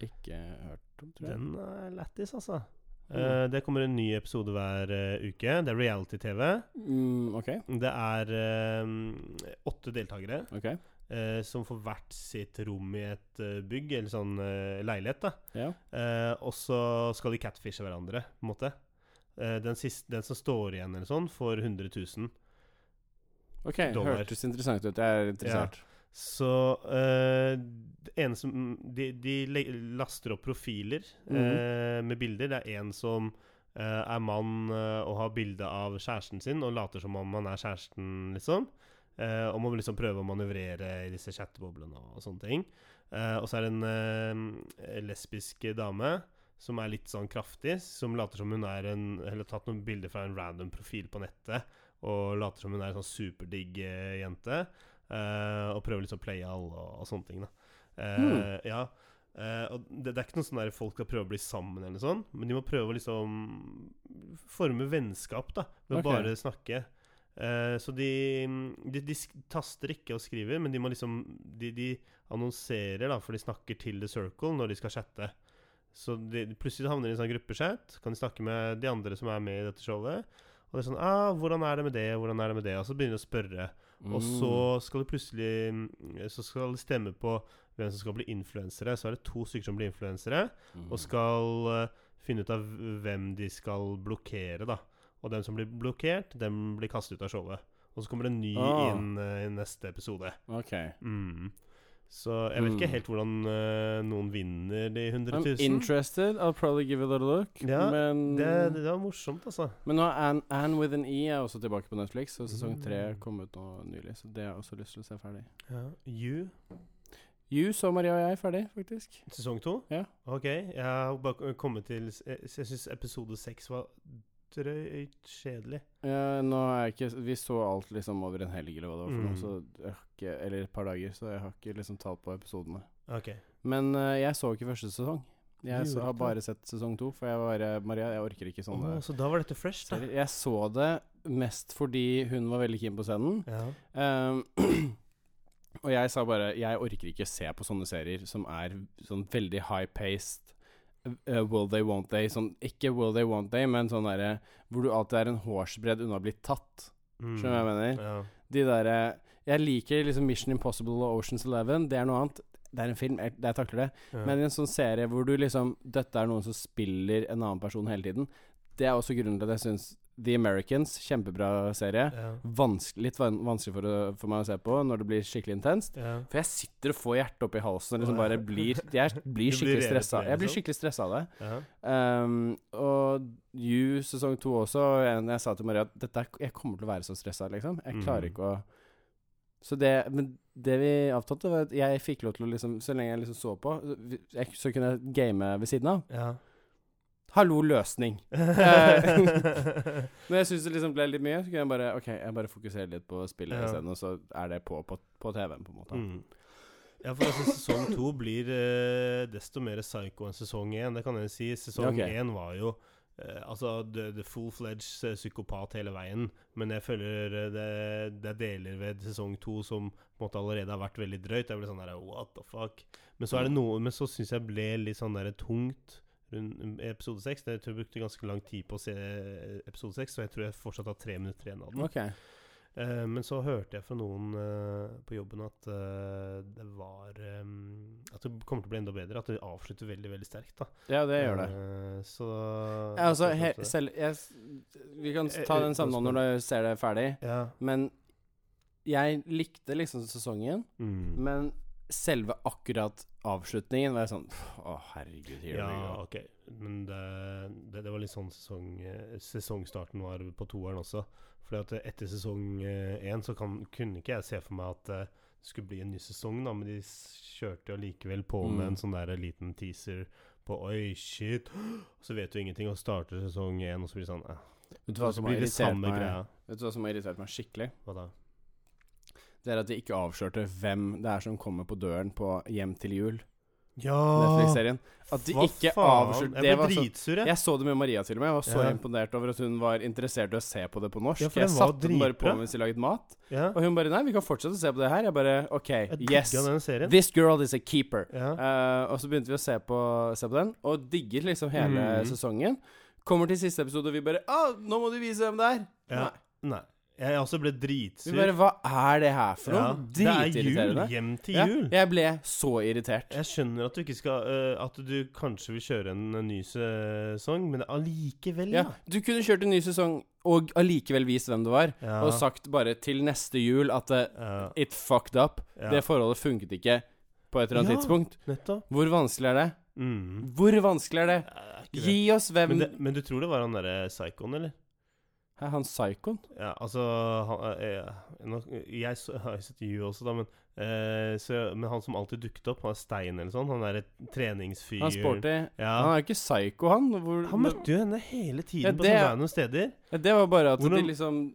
[SPEAKER 2] Ikke hørt om, tror jeg.
[SPEAKER 1] den er lættis, altså.
[SPEAKER 2] Mm.
[SPEAKER 1] Eh, det kommer en ny episode hver eh, uke. Det er reality-TV.
[SPEAKER 2] Mm, ok.
[SPEAKER 1] Det er eh, åtte deltakere
[SPEAKER 2] ok
[SPEAKER 1] eh, som får hvert sitt rom i et eh, bygg, eller sånn eh, leilighet, da.
[SPEAKER 2] Ja.
[SPEAKER 1] Eh, og så skal de catfishe hverandre, på en måte. Eh, den, siste, den som står igjen, eller sånn, får 100 000.
[SPEAKER 2] Ok,
[SPEAKER 1] Dollar.
[SPEAKER 2] hørtes interessant ut. Jeg er interessert.
[SPEAKER 1] Så eh, det ene som De, de le- laster opp profiler eh, med bilder. Det er en som eh, er mann eh, og har bilde av kjæresten sin, og later som om han er kjæresten, liksom. Eh, og må liksom prøve å manøvrere i disse chatteboblene og sånne ting. Eh, og så er det en eh, lesbisk dame som er litt sånn kraftig, som later som hun er en Eller tatt noen bilder fra en random profil på nettet, og later som hun er en sånn superdigg eh, jente. eh, og prøver liksom å playe alle og, og sånne ting, da. Eh,
[SPEAKER 2] Hmm.
[SPEAKER 1] Ja. Eh, og det, det er ikke noe sånn der folk skal prøve å bli sammen, eller noe sånt, men de må prøve å liksom forme vennskap, da, ved å
[SPEAKER 2] Ok.
[SPEAKER 1] bare snakke. Eh, så de, de, de sk- taster ikke og skriver, men de må liksom De, de annonserer, da, for de snakker til The Circle når de skal chatte. Så de, plutselig havner de i en sånn gruppechat, kan de snakke med de andre som er med i dette showet. Og det er sånn ah, 'Hvordan er det med det? Hvordan er det med det?' Og så begynner de å spørre. Og så skal de plutselig mm, Så skal de stemme på hvem som skal bli influensere. Så er det to stykker som blir influensere,
[SPEAKER 2] Mm,
[SPEAKER 1] og skal eh, finne ut av hvem de skal blokkere, da. Og den som blir blokkert, den blir kastet ut av showet. Og så kommer det en ny
[SPEAKER 2] Ah.
[SPEAKER 1] inn eh, i neste episode.
[SPEAKER 2] Ok.
[SPEAKER 1] Mm. Så jeg vet
[SPEAKER 2] Mm.
[SPEAKER 1] ikke helt hvordan eh, noen vinner de 100
[SPEAKER 2] I'm
[SPEAKER 1] 000.
[SPEAKER 2] interested. I'll probably give it a look.
[SPEAKER 1] Ja,
[SPEAKER 2] men,
[SPEAKER 1] Det, det var morsomt, altså.
[SPEAKER 2] men nå er Anne, Anne with an E er også tilbake på Netflix, og sesong
[SPEAKER 1] Mm.
[SPEAKER 2] tre kom ut nå nylig. Så det har jeg også lyst til å se ferdig.
[SPEAKER 1] Ja. You,
[SPEAKER 2] You så Maria og jeg ferdig, faktisk.
[SPEAKER 1] sesong to?
[SPEAKER 2] Ja.
[SPEAKER 1] Ok. Jeg har bare kommet til s- eh, Jeg syns episode seks var drøyt kjedelig.
[SPEAKER 2] Ja, Eh, nå er jeg ikke Vi så alt liksom over en helg eller hva det var for
[SPEAKER 1] Mm.
[SPEAKER 2] noe, så jeg har ikke, eller et par dager, så jeg har ikke liksom tall på episodene.
[SPEAKER 1] Ok.
[SPEAKER 2] Men eh, jeg så ikke første sesong. Jeg
[SPEAKER 1] Du
[SPEAKER 2] så,
[SPEAKER 1] gjorde
[SPEAKER 2] har
[SPEAKER 1] ikke
[SPEAKER 2] bare sett sesong to, for jeg var eh, Maria, jeg orker ikke sånne
[SPEAKER 1] Å, så da var dette fresh, da.
[SPEAKER 2] serier. Jeg så det mest fordi hun var veldig keen på scenen.
[SPEAKER 1] Ja.
[SPEAKER 2] Um, <clears throat> og jeg sa bare Jeg orker ikke se på sånne serier som er sånn veldig high-paced. uh, will they, won't they. Sånn, ikke will they, won't they, men sånn derre hvor du alltid er en hårsbredd unna å bli tatt.
[SPEAKER 1] Mm.
[SPEAKER 2] Skjønner du hva jeg mener?
[SPEAKER 1] Ja.
[SPEAKER 2] De derre Jeg liker liksom Mission Impossible og Oceans Eleven, det er noe annet. Det er en film, jeg, jeg takler det.
[SPEAKER 1] Ja.
[SPEAKER 2] Men i en sånn serie hvor du liksom Dette er noen som spiller en annen person hele tiden. Det er også grunnen til at jeg syns The Americans, kjempebra serie.
[SPEAKER 1] Ja.
[SPEAKER 2] Vanskelig, litt van vanskelig for, å- for meg å se på når det blir skikkelig intenst.
[SPEAKER 1] Ja.
[SPEAKER 2] For jeg sitter og får hjertet opp i halsen og liksom
[SPEAKER 1] Åh, ja.
[SPEAKER 2] bare blir
[SPEAKER 1] <laughs>
[SPEAKER 2] Jeg
[SPEAKER 1] blir
[SPEAKER 2] blir
[SPEAKER 1] revet
[SPEAKER 2] skikkelig
[SPEAKER 1] med,
[SPEAKER 2] stressa. Jeg blir
[SPEAKER 1] liksom.
[SPEAKER 2] skikkelig stressa av det.
[SPEAKER 1] Ja.
[SPEAKER 2] Um, og You sesong to også, og jeg, jeg sa til Maria at dette, er- jeg kommer til å være så stressa, liksom. Jeg klarer
[SPEAKER 1] Mhm.
[SPEAKER 2] ikke å Så det Men det vi avtalte, var at jeg fikk lov til å liksom Så lenge jeg liksom så på, så, vi- jeg, så kunne jeg game ved siden av.
[SPEAKER 1] ja.
[SPEAKER 2] Hallo, løsning. Eh, Når jeg syns det liksom ble litt mye, så kunne jeg bare Ok, jeg bare fokuserer litt på spillet
[SPEAKER 1] Ja.
[SPEAKER 2] isteden, og så er det på på, på TV-en, på en måte.
[SPEAKER 1] Mm. Ja, for altså, sesong to blir eh, desto mer psycho enn sesong én. Det kan jeg si. Sesong
[SPEAKER 2] Ok.
[SPEAKER 1] én var jo eh, altså the, the full-fledged eh, psykopat hele veien. Men jeg føler eh, det, det er deler ved sesong to som på en måte allerede har vært veldig drøyt. Jeg ble sånn der what the fuck. Men
[SPEAKER 2] Mm.
[SPEAKER 1] så er det noe Men så syns jeg ble litt sånn der tungt. rundt Episode seks. Jeg tror jeg brukte ganske lang tid på å se eh, episode seks, så jeg tror jeg fortsatt har tre minutter igjen av den.
[SPEAKER 2] Ok.
[SPEAKER 1] Eh, men så hørte jeg fra noen eh, på jobben at eh, det var eh, At det kommer til å bli enda bedre. At det avslutter veldig, veldig sterkt. da
[SPEAKER 2] Ja, det gjør det.
[SPEAKER 1] Eh, Så
[SPEAKER 2] Ja, altså,
[SPEAKER 1] jeg
[SPEAKER 2] he,
[SPEAKER 1] følte-
[SPEAKER 2] selv, jeg, s- vi kan ta den samtalen når du ser det ferdig.
[SPEAKER 1] Ja.
[SPEAKER 2] Men jeg likte liksom sesongen,
[SPEAKER 1] Mm.
[SPEAKER 2] men selve akkurat avslutningen var jeg sånn pff, Å, herregud, here we
[SPEAKER 1] ja,
[SPEAKER 2] go.
[SPEAKER 1] ok. Men det, det, det var litt sånn sesong, eh, sesongstarten var på toeren også. Fordi at eh, etter sesong eh, én så kan, kunne ikke jeg se for meg at eh, det skulle bli en ny sesong, da, men de s- kjørte jo allikevel på med
[SPEAKER 2] Mm.
[SPEAKER 1] en sånn der liten teaser på Oi, shit! Og så vet du ingenting, og starter sesong én, og så blir det sånn eh.
[SPEAKER 2] Vet du hva
[SPEAKER 1] Og Så
[SPEAKER 2] som har
[SPEAKER 1] blir det
[SPEAKER 2] irritert
[SPEAKER 1] samme
[SPEAKER 2] meg?
[SPEAKER 1] greia.
[SPEAKER 2] Vet du hva som har irritert meg skikkelig?
[SPEAKER 1] Hva da?
[SPEAKER 2] Det er at de ikke avslørte hvem det er som kommer på døren på Hjem til jul,
[SPEAKER 1] Ja!
[SPEAKER 2] Netflix-serien. At de ikke avslørte
[SPEAKER 1] Jeg
[SPEAKER 2] Det
[SPEAKER 1] ble
[SPEAKER 2] var så
[SPEAKER 1] dritsur, jeg.
[SPEAKER 2] jeg så det med Maria til og med. Jeg var så
[SPEAKER 1] Ja.
[SPEAKER 2] imponert over at hun var interessert i å se på det på norsk.
[SPEAKER 1] Ja, for
[SPEAKER 2] jeg
[SPEAKER 1] den var
[SPEAKER 2] satte den bare på
[SPEAKER 1] dritbra.
[SPEAKER 2] mens vi laget mat.
[SPEAKER 1] Ja.
[SPEAKER 2] Og hun bare Nei, vi kan fortsette å se på det her. Jeg bare OK,
[SPEAKER 1] Jeg
[SPEAKER 2] yes.
[SPEAKER 1] digga den serien.
[SPEAKER 2] This girl is a keeper.
[SPEAKER 1] Ja.
[SPEAKER 2] Eh, og så begynte vi å se på, se på den, og digget liksom hele
[SPEAKER 1] Mhm.
[SPEAKER 2] sesongen. Kommer til siste episode, og vi bare Å, nå må du vise hvem det er!
[SPEAKER 1] ja.
[SPEAKER 2] Nei.
[SPEAKER 1] Nei. Jeg også ble dritsur.
[SPEAKER 2] Vi bare Hva er det her for noe?
[SPEAKER 1] Ja, Det er
[SPEAKER 2] Dritirriterende.
[SPEAKER 1] jul. Hjem til
[SPEAKER 2] Ja,
[SPEAKER 1] jul.
[SPEAKER 2] jeg ble så irritert.
[SPEAKER 1] Jeg skjønner at du ikke skal øh, At du kanskje vil kjøre en, øh, ny sesong, men allikevel,
[SPEAKER 2] Ja,
[SPEAKER 1] da.
[SPEAKER 2] du kunne kjørt en ny sesong og allikevel vist hvem det var,
[SPEAKER 1] Ja.
[SPEAKER 2] og sagt bare til neste jul at eh,
[SPEAKER 1] Ja,
[SPEAKER 2] it fucked up.
[SPEAKER 1] ja.
[SPEAKER 2] Det forholdet funket ikke på et eller annet
[SPEAKER 1] Ja.
[SPEAKER 2] tidspunkt.
[SPEAKER 1] Nettopp.
[SPEAKER 2] Hvor vanskelig er det?
[SPEAKER 1] Mm.
[SPEAKER 2] Hvor vanskelig er det?
[SPEAKER 1] Er ikke
[SPEAKER 2] Gi
[SPEAKER 1] det.
[SPEAKER 2] oss hvem
[SPEAKER 1] Men, det, men du tror det var han derre psykoen, eller?
[SPEAKER 2] Hæ, Han psykoen?
[SPEAKER 1] Ja, altså han, eh, nå- <laughs> Jeg så- har jo sett You også, da, men, eh, så, men han som alltid dukket opp, han er Stein eller sånn, han derre treningsfyr
[SPEAKER 2] Han sporty Han
[SPEAKER 1] Ja.
[SPEAKER 2] er jo ikke psyko, han. Hvor,
[SPEAKER 1] Han møtte jo henne hele tiden
[SPEAKER 2] Ja,
[SPEAKER 1] på
[SPEAKER 2] det-
[SPEAKER 1] sånne random steder.
[SPEAKER 2] Ja, Det var bare at
[SPEAKER 1] Hvordan-
[SPEAKER 2] de liksom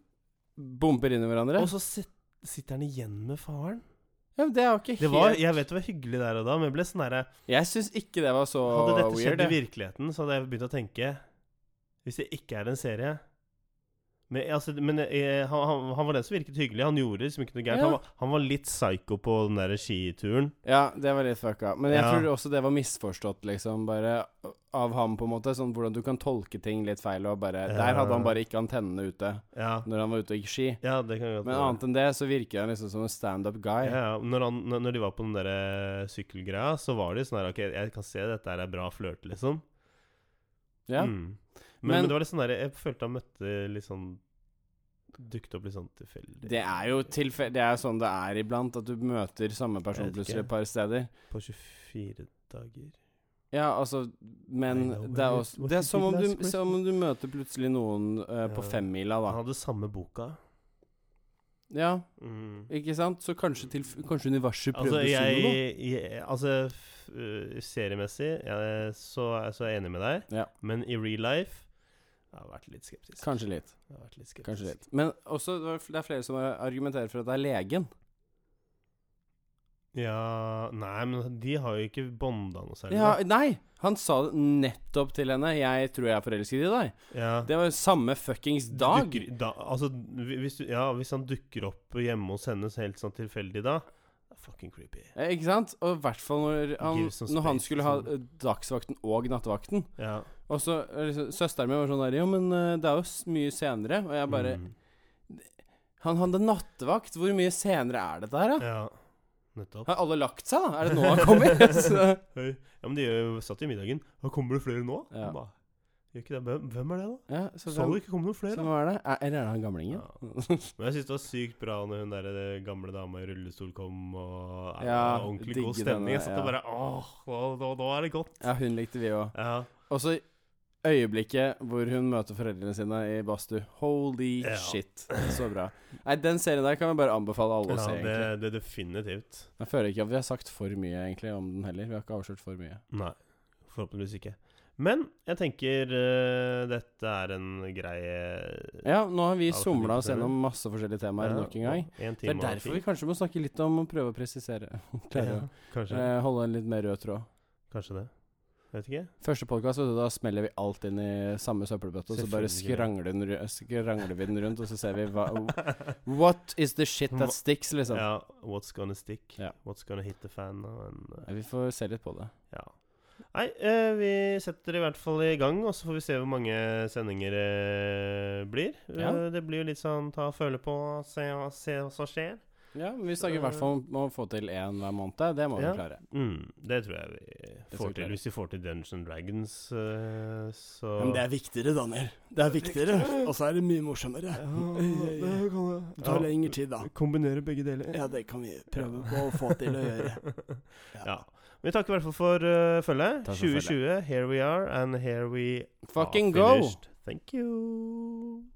[SPEAKER 2] bumper inn i hverandre.
[SPEAKER 1] Og så sit, sitter han igjen med faren.
[SPEAKER 2] Ja, men det er jo ikke
[SPEAKER 1] Det var,
[SPEAKER 2] helt
[SPEAKER 1] jeg vet det var hyggelig der og da, men jeg ble sånn derre
[SPEAKER 2] Jeg syns ikke det var så
[SPEAKER 1] Hadde dette skjedd
[SPEAKER 2] weird.
[SPEAKER 1] i
[SPEAKER 2] jeg.
[SPEAKER 1] virkeligheten, så hadde jeg begynt å tenke Hvis det ikke er en serie Men, altså, men eh, han, han, han var den som virket hyggelig. Han gjorde liksom ikke noe gærent.
[SPEAKER 2] Ja.
[SPEAKER 1] Han, var- han var litt psycho på den der skituren.
[SPEAKER 2] Ja, det var litt fucka. Men jeg
[SPEAKER 1] Ja.
[SPEAKER 2] tror også det var misforstått, liksom, bare av ham, på en måte. Sånn hvordan du kan tolke ting litt feil, og bare
[SPEAKER 1] Ja.
[SPEAKER 2] Der hadde han bare ikke antennene ute
[SPEAKER 1] Ja,
[SPEAKER 2] når han var ute og gikk ski.
[SPEAKER 1] ja det kan jeg godt
[SPEAKER 2] Men
[SPEAKER 1] være.
[SPEAKER 2] annet enn det, så virker han liksom som en standup guy.
[SPEAKER 1] ja, ja. når, han, når- når de var på den der eh, sykkelgreia, så var det jo sånn her OK, jeg kan se dette her er bra flørt, liksom.
[SPEAKER 2] Ja.
[SPEAKER 1] Mm. Men, men,
[SPEAKER 2] Men-
[SPEAKER 1] det var litt sånn der Jeg følte han møtte litt sånn Dukket opp litt sånn tilfeldig
[SPEAKER 2] Det er jo tilfell... Det er sånn det er iblant, at du møter samme person
[SPEAKER 1] Jeg vet ikke.
[SPEAKER 2] plutselig et par steder.
[SPEAKER 1] på 24 dager.
[SPEAKER 2] Ja, altså Men
[SPEAKER 1] I know,
[SPEAKER 2] det er,
[SPEAKER 1] but
[SPEAKER 2] også,
[SPEAKER 1] what
[SPEAKER 2] det er
[SPEAKER 1] you
[SPEAKER 2] som,
[SPEAKER 1] did
[SPEAKER 2] om
[SPEAKER 1] last
[SPEAKER 2] du,
[SPEAKER 1] Christmas.
[SPEAKER 2] som om du møter plutselig noen eh, på
[SPEAKER 1] Ja.
[SPEAKER 2] femmila, da.
[SPEAKER 1] Han hadde samme boka.
[SPEAKER 2] Ja,
[SPEAKER 1] Mm.
[SPEAKER 2] ikke sant? Så kanskje, til, kanskje universet
[SPEAKER 1] Altså,
[SPEAKER 2] prøvde å si noe,
[SPEAKER 1] jeg, jeg Altså, f- øh, seriemessig jeg, så, så er jeg enig med deg,
[SPEAKER 2] Ja.
[SPEAKER 1] men i real life Jeg har vært litt skeptisk.
[SPEAKER 2] da. Kanskje litt.
[SPEAKER 1] Jeg har vært litt skeptisk.
[SPEAKER 2] Kanskje litt. Men også, det er fl- det er flere som argumenterer for at det er legen.
[SPEAKER 1] Ja Nei, men de har jo ikke bonda noe særlig.
[SPEAKER 2] Ja,
[SPEAKER 1] da.
[SPEAKER 2] nei! Han sa det nettopp til henne. 'Jeg tror jeg er forelsket i deg'.
[SPEAKER 1] ja.
[SPEAKER 2] Det var jo samme fuckings dag.
[SPEAKER 1] Dukker, da altså, hvi- hvis, du, ja, hvis han dukker opp hjemme hos henne så helt sånn tilfeldig da Fucking creepy.
[SPEAKER 2] Eh, Ikke sant? Og i hvert fall når han,
[SPEAKER 1] Give some
[SPEAKER 2] når han
[SPEAKER 1] space,
[SPEAKER 2] skulle ha
[SPEAKER 1] liksom.
[SPEAKER 2] eh, dagsvakten og nattevakten.
[SPEAKER 1] Ja.
[SPEAKER 2] Og så eh, liksom, Søsteren min var sånn der 'Jo, men eh, det er jo s mye senere'. Og jeg bare
[SPEAKER 1] Mm.
[SPEAKER 2] Han hadde nattevakt. Hvor mye senere er dette her, da?
[SPEAKER 1] Ja. Nettopp.
[SPEAKER 2] Har alle lagt seg, da?
[SPEAKER 1] <laughs>
[SPEAKER 2] Er det nå han kommer? Så,
[SPEAKER 1] Hei. Ja, men de ø, satt jo i middagen. Da kommer det flere nå?
[SPEAKER 2] Ja.
[SPEAKER 1] Ba, Gjør ikke det. Hvem, hvem er det, da?
[SPEAKER 2] Ja, så,
[SPEAKER 1] Så
[SPEAKER 2] hvem,
[SPEAKER 1] det ikke kom noen
[SPEAKER 2] så
[SPEAKER 1] flere? da?
[SPEAKER 2] hva er det? Er- Eller er det han gamlingen?
[SPEAKER 1] Ja. Men jeg syns det var sykt bra når hun der eh, gamle dama i rullestol kom, og ja, det
[SPEAKER 2] Ja,
[SPEAKER 1] var ordentlig
[SPEAKER 2] digge
[SPEAKER 1] god stemning. Jeg
[SPEAKER 2] denne,
[SPEAKER 1] satt og
[SPEAKER 2] ja.
[SPEAKER 1] bare Åh, nå, nå, nå er det godt.
[SPEAKER 2] Ja, hun likte vi òg.
[SPEAKER 1] Ja.
[SPEAKER 2] Og så øyeblikket hvor hun møter foreldrene sine i badstue. Holy
[SPEAKER 1] Ja.
[SPEAKER 2] shit. Så bra. Nei, den serien der kan vi bare anbefale alle å
[SPEAKER 1] Ja,
[SPEAKER 2] se,
[SPEAKER 1] det,
[SPEAKER 2] egentlig.
[SPEAKER 1] det definitivt.
[SPEAKER 2] Jeg føler ikke at vi har sagt for mye egentlig om den heller. Vi har ikke avslørt for mye.
[SPEAKER 1] Nei, forhåpentligvis ikke. Men jeg tenker eh, dette er en grei eh,
[SPEAKER 2] Ja, nå har vi
[SPEAKER 1] Ja, det er mye
[SPEAKER 2] somla
[SPEAKER 1] på
[SPEAKER 2] oss gjennom masse forskjellige temaer
[SPEAKER 1] ja,
[SPEAKER 2] nok en gang.
[SPEAKER 1] En
[SPEAKER 2] Det
[SPEAKER 1] time
[SPEAKER 2] er
[SPEAKER 1] og
[SPEAKER 2] derfor
[SPEAKER 1] ti.
[SPEAKER 2] vi kanskje må snakke litt om å prøve å presisere. <laughs> Klare å
[SPEAKER 1] Ja, kanskje,
[SPEAKER 2] eh, holde en litt mer rød tråd.
[SPEAKER 1] kanskje det. Vet ikke.
[SPEAKER 2] Første podkast, da smeller vi alt inn i samme søppelbøtte, og så
[SPEAKER 1] Selvfølgelig.
[SPEAKER 2] bare skrangler, den, ru- skrangler vi den rundt, og så ser vi hva What is the shit that sticks, liksom?
[SPEAKER 1] Ja, what's gonna stick?
[SPEAKER 2] Ja.
[SPEAKER 1] What's gonna hit the fan? Og en, eh,
[SPEAKER 2] Ja, Vi får se litt på det.
[SPEAKER 1] Ja. Nei, eh, vi setter i hvert fall i gang, og så får vi se hvor mange sendinger det blir.
[SPEAKER 2] Ja.
[SPEAKER 1] Eh, det blir jo litt sånn ta og føle på, se, hva- se hva som skjer.
[SPEAKER 2] Ja, men Vi snakker i hvert fall om å få til én hver måned. Det må vi
[SPEAKER 1] Ja.
[SPEAKER 2] klare.
[SPEAKER 1] Mm, det tror jeg vi
[SPEAKER 2] Det
[SPEAKER 1] får
[SPEAKER 2] skal vi
[SPEAKER 1] til.
[SPEAKER 2] klare.
[SPEAKER 1] Hvis vi får til Dungeons and Dragons, eh, så
[SPEAKER 3] er viktigere, Daniel. Det er viktigere, og så er det mye morsommere. Det
[SPEAKER 1] Ja.
[SPEAKER 3] tar lengre tid, da.
[SPEAKER 1] Kombinere begge deler.
[SPEAKER 3] Ja, det kan vi prøve på å få til å gjøre.
[SPEAKER 1] <laughs> Ja. Men vi takker i hvert fall for eh, følget.
[SPEAKER 2] Takk for
[SPEAKER 1] 2020,
[SPEAKER 2] følget.
[SPEAKER 1] here we are, and here we
[SPEAKER 2] Fucking
[SPEAKER 1] are
[SPEAKER 2] go!
[SPEAKER 1] finished. Thank you.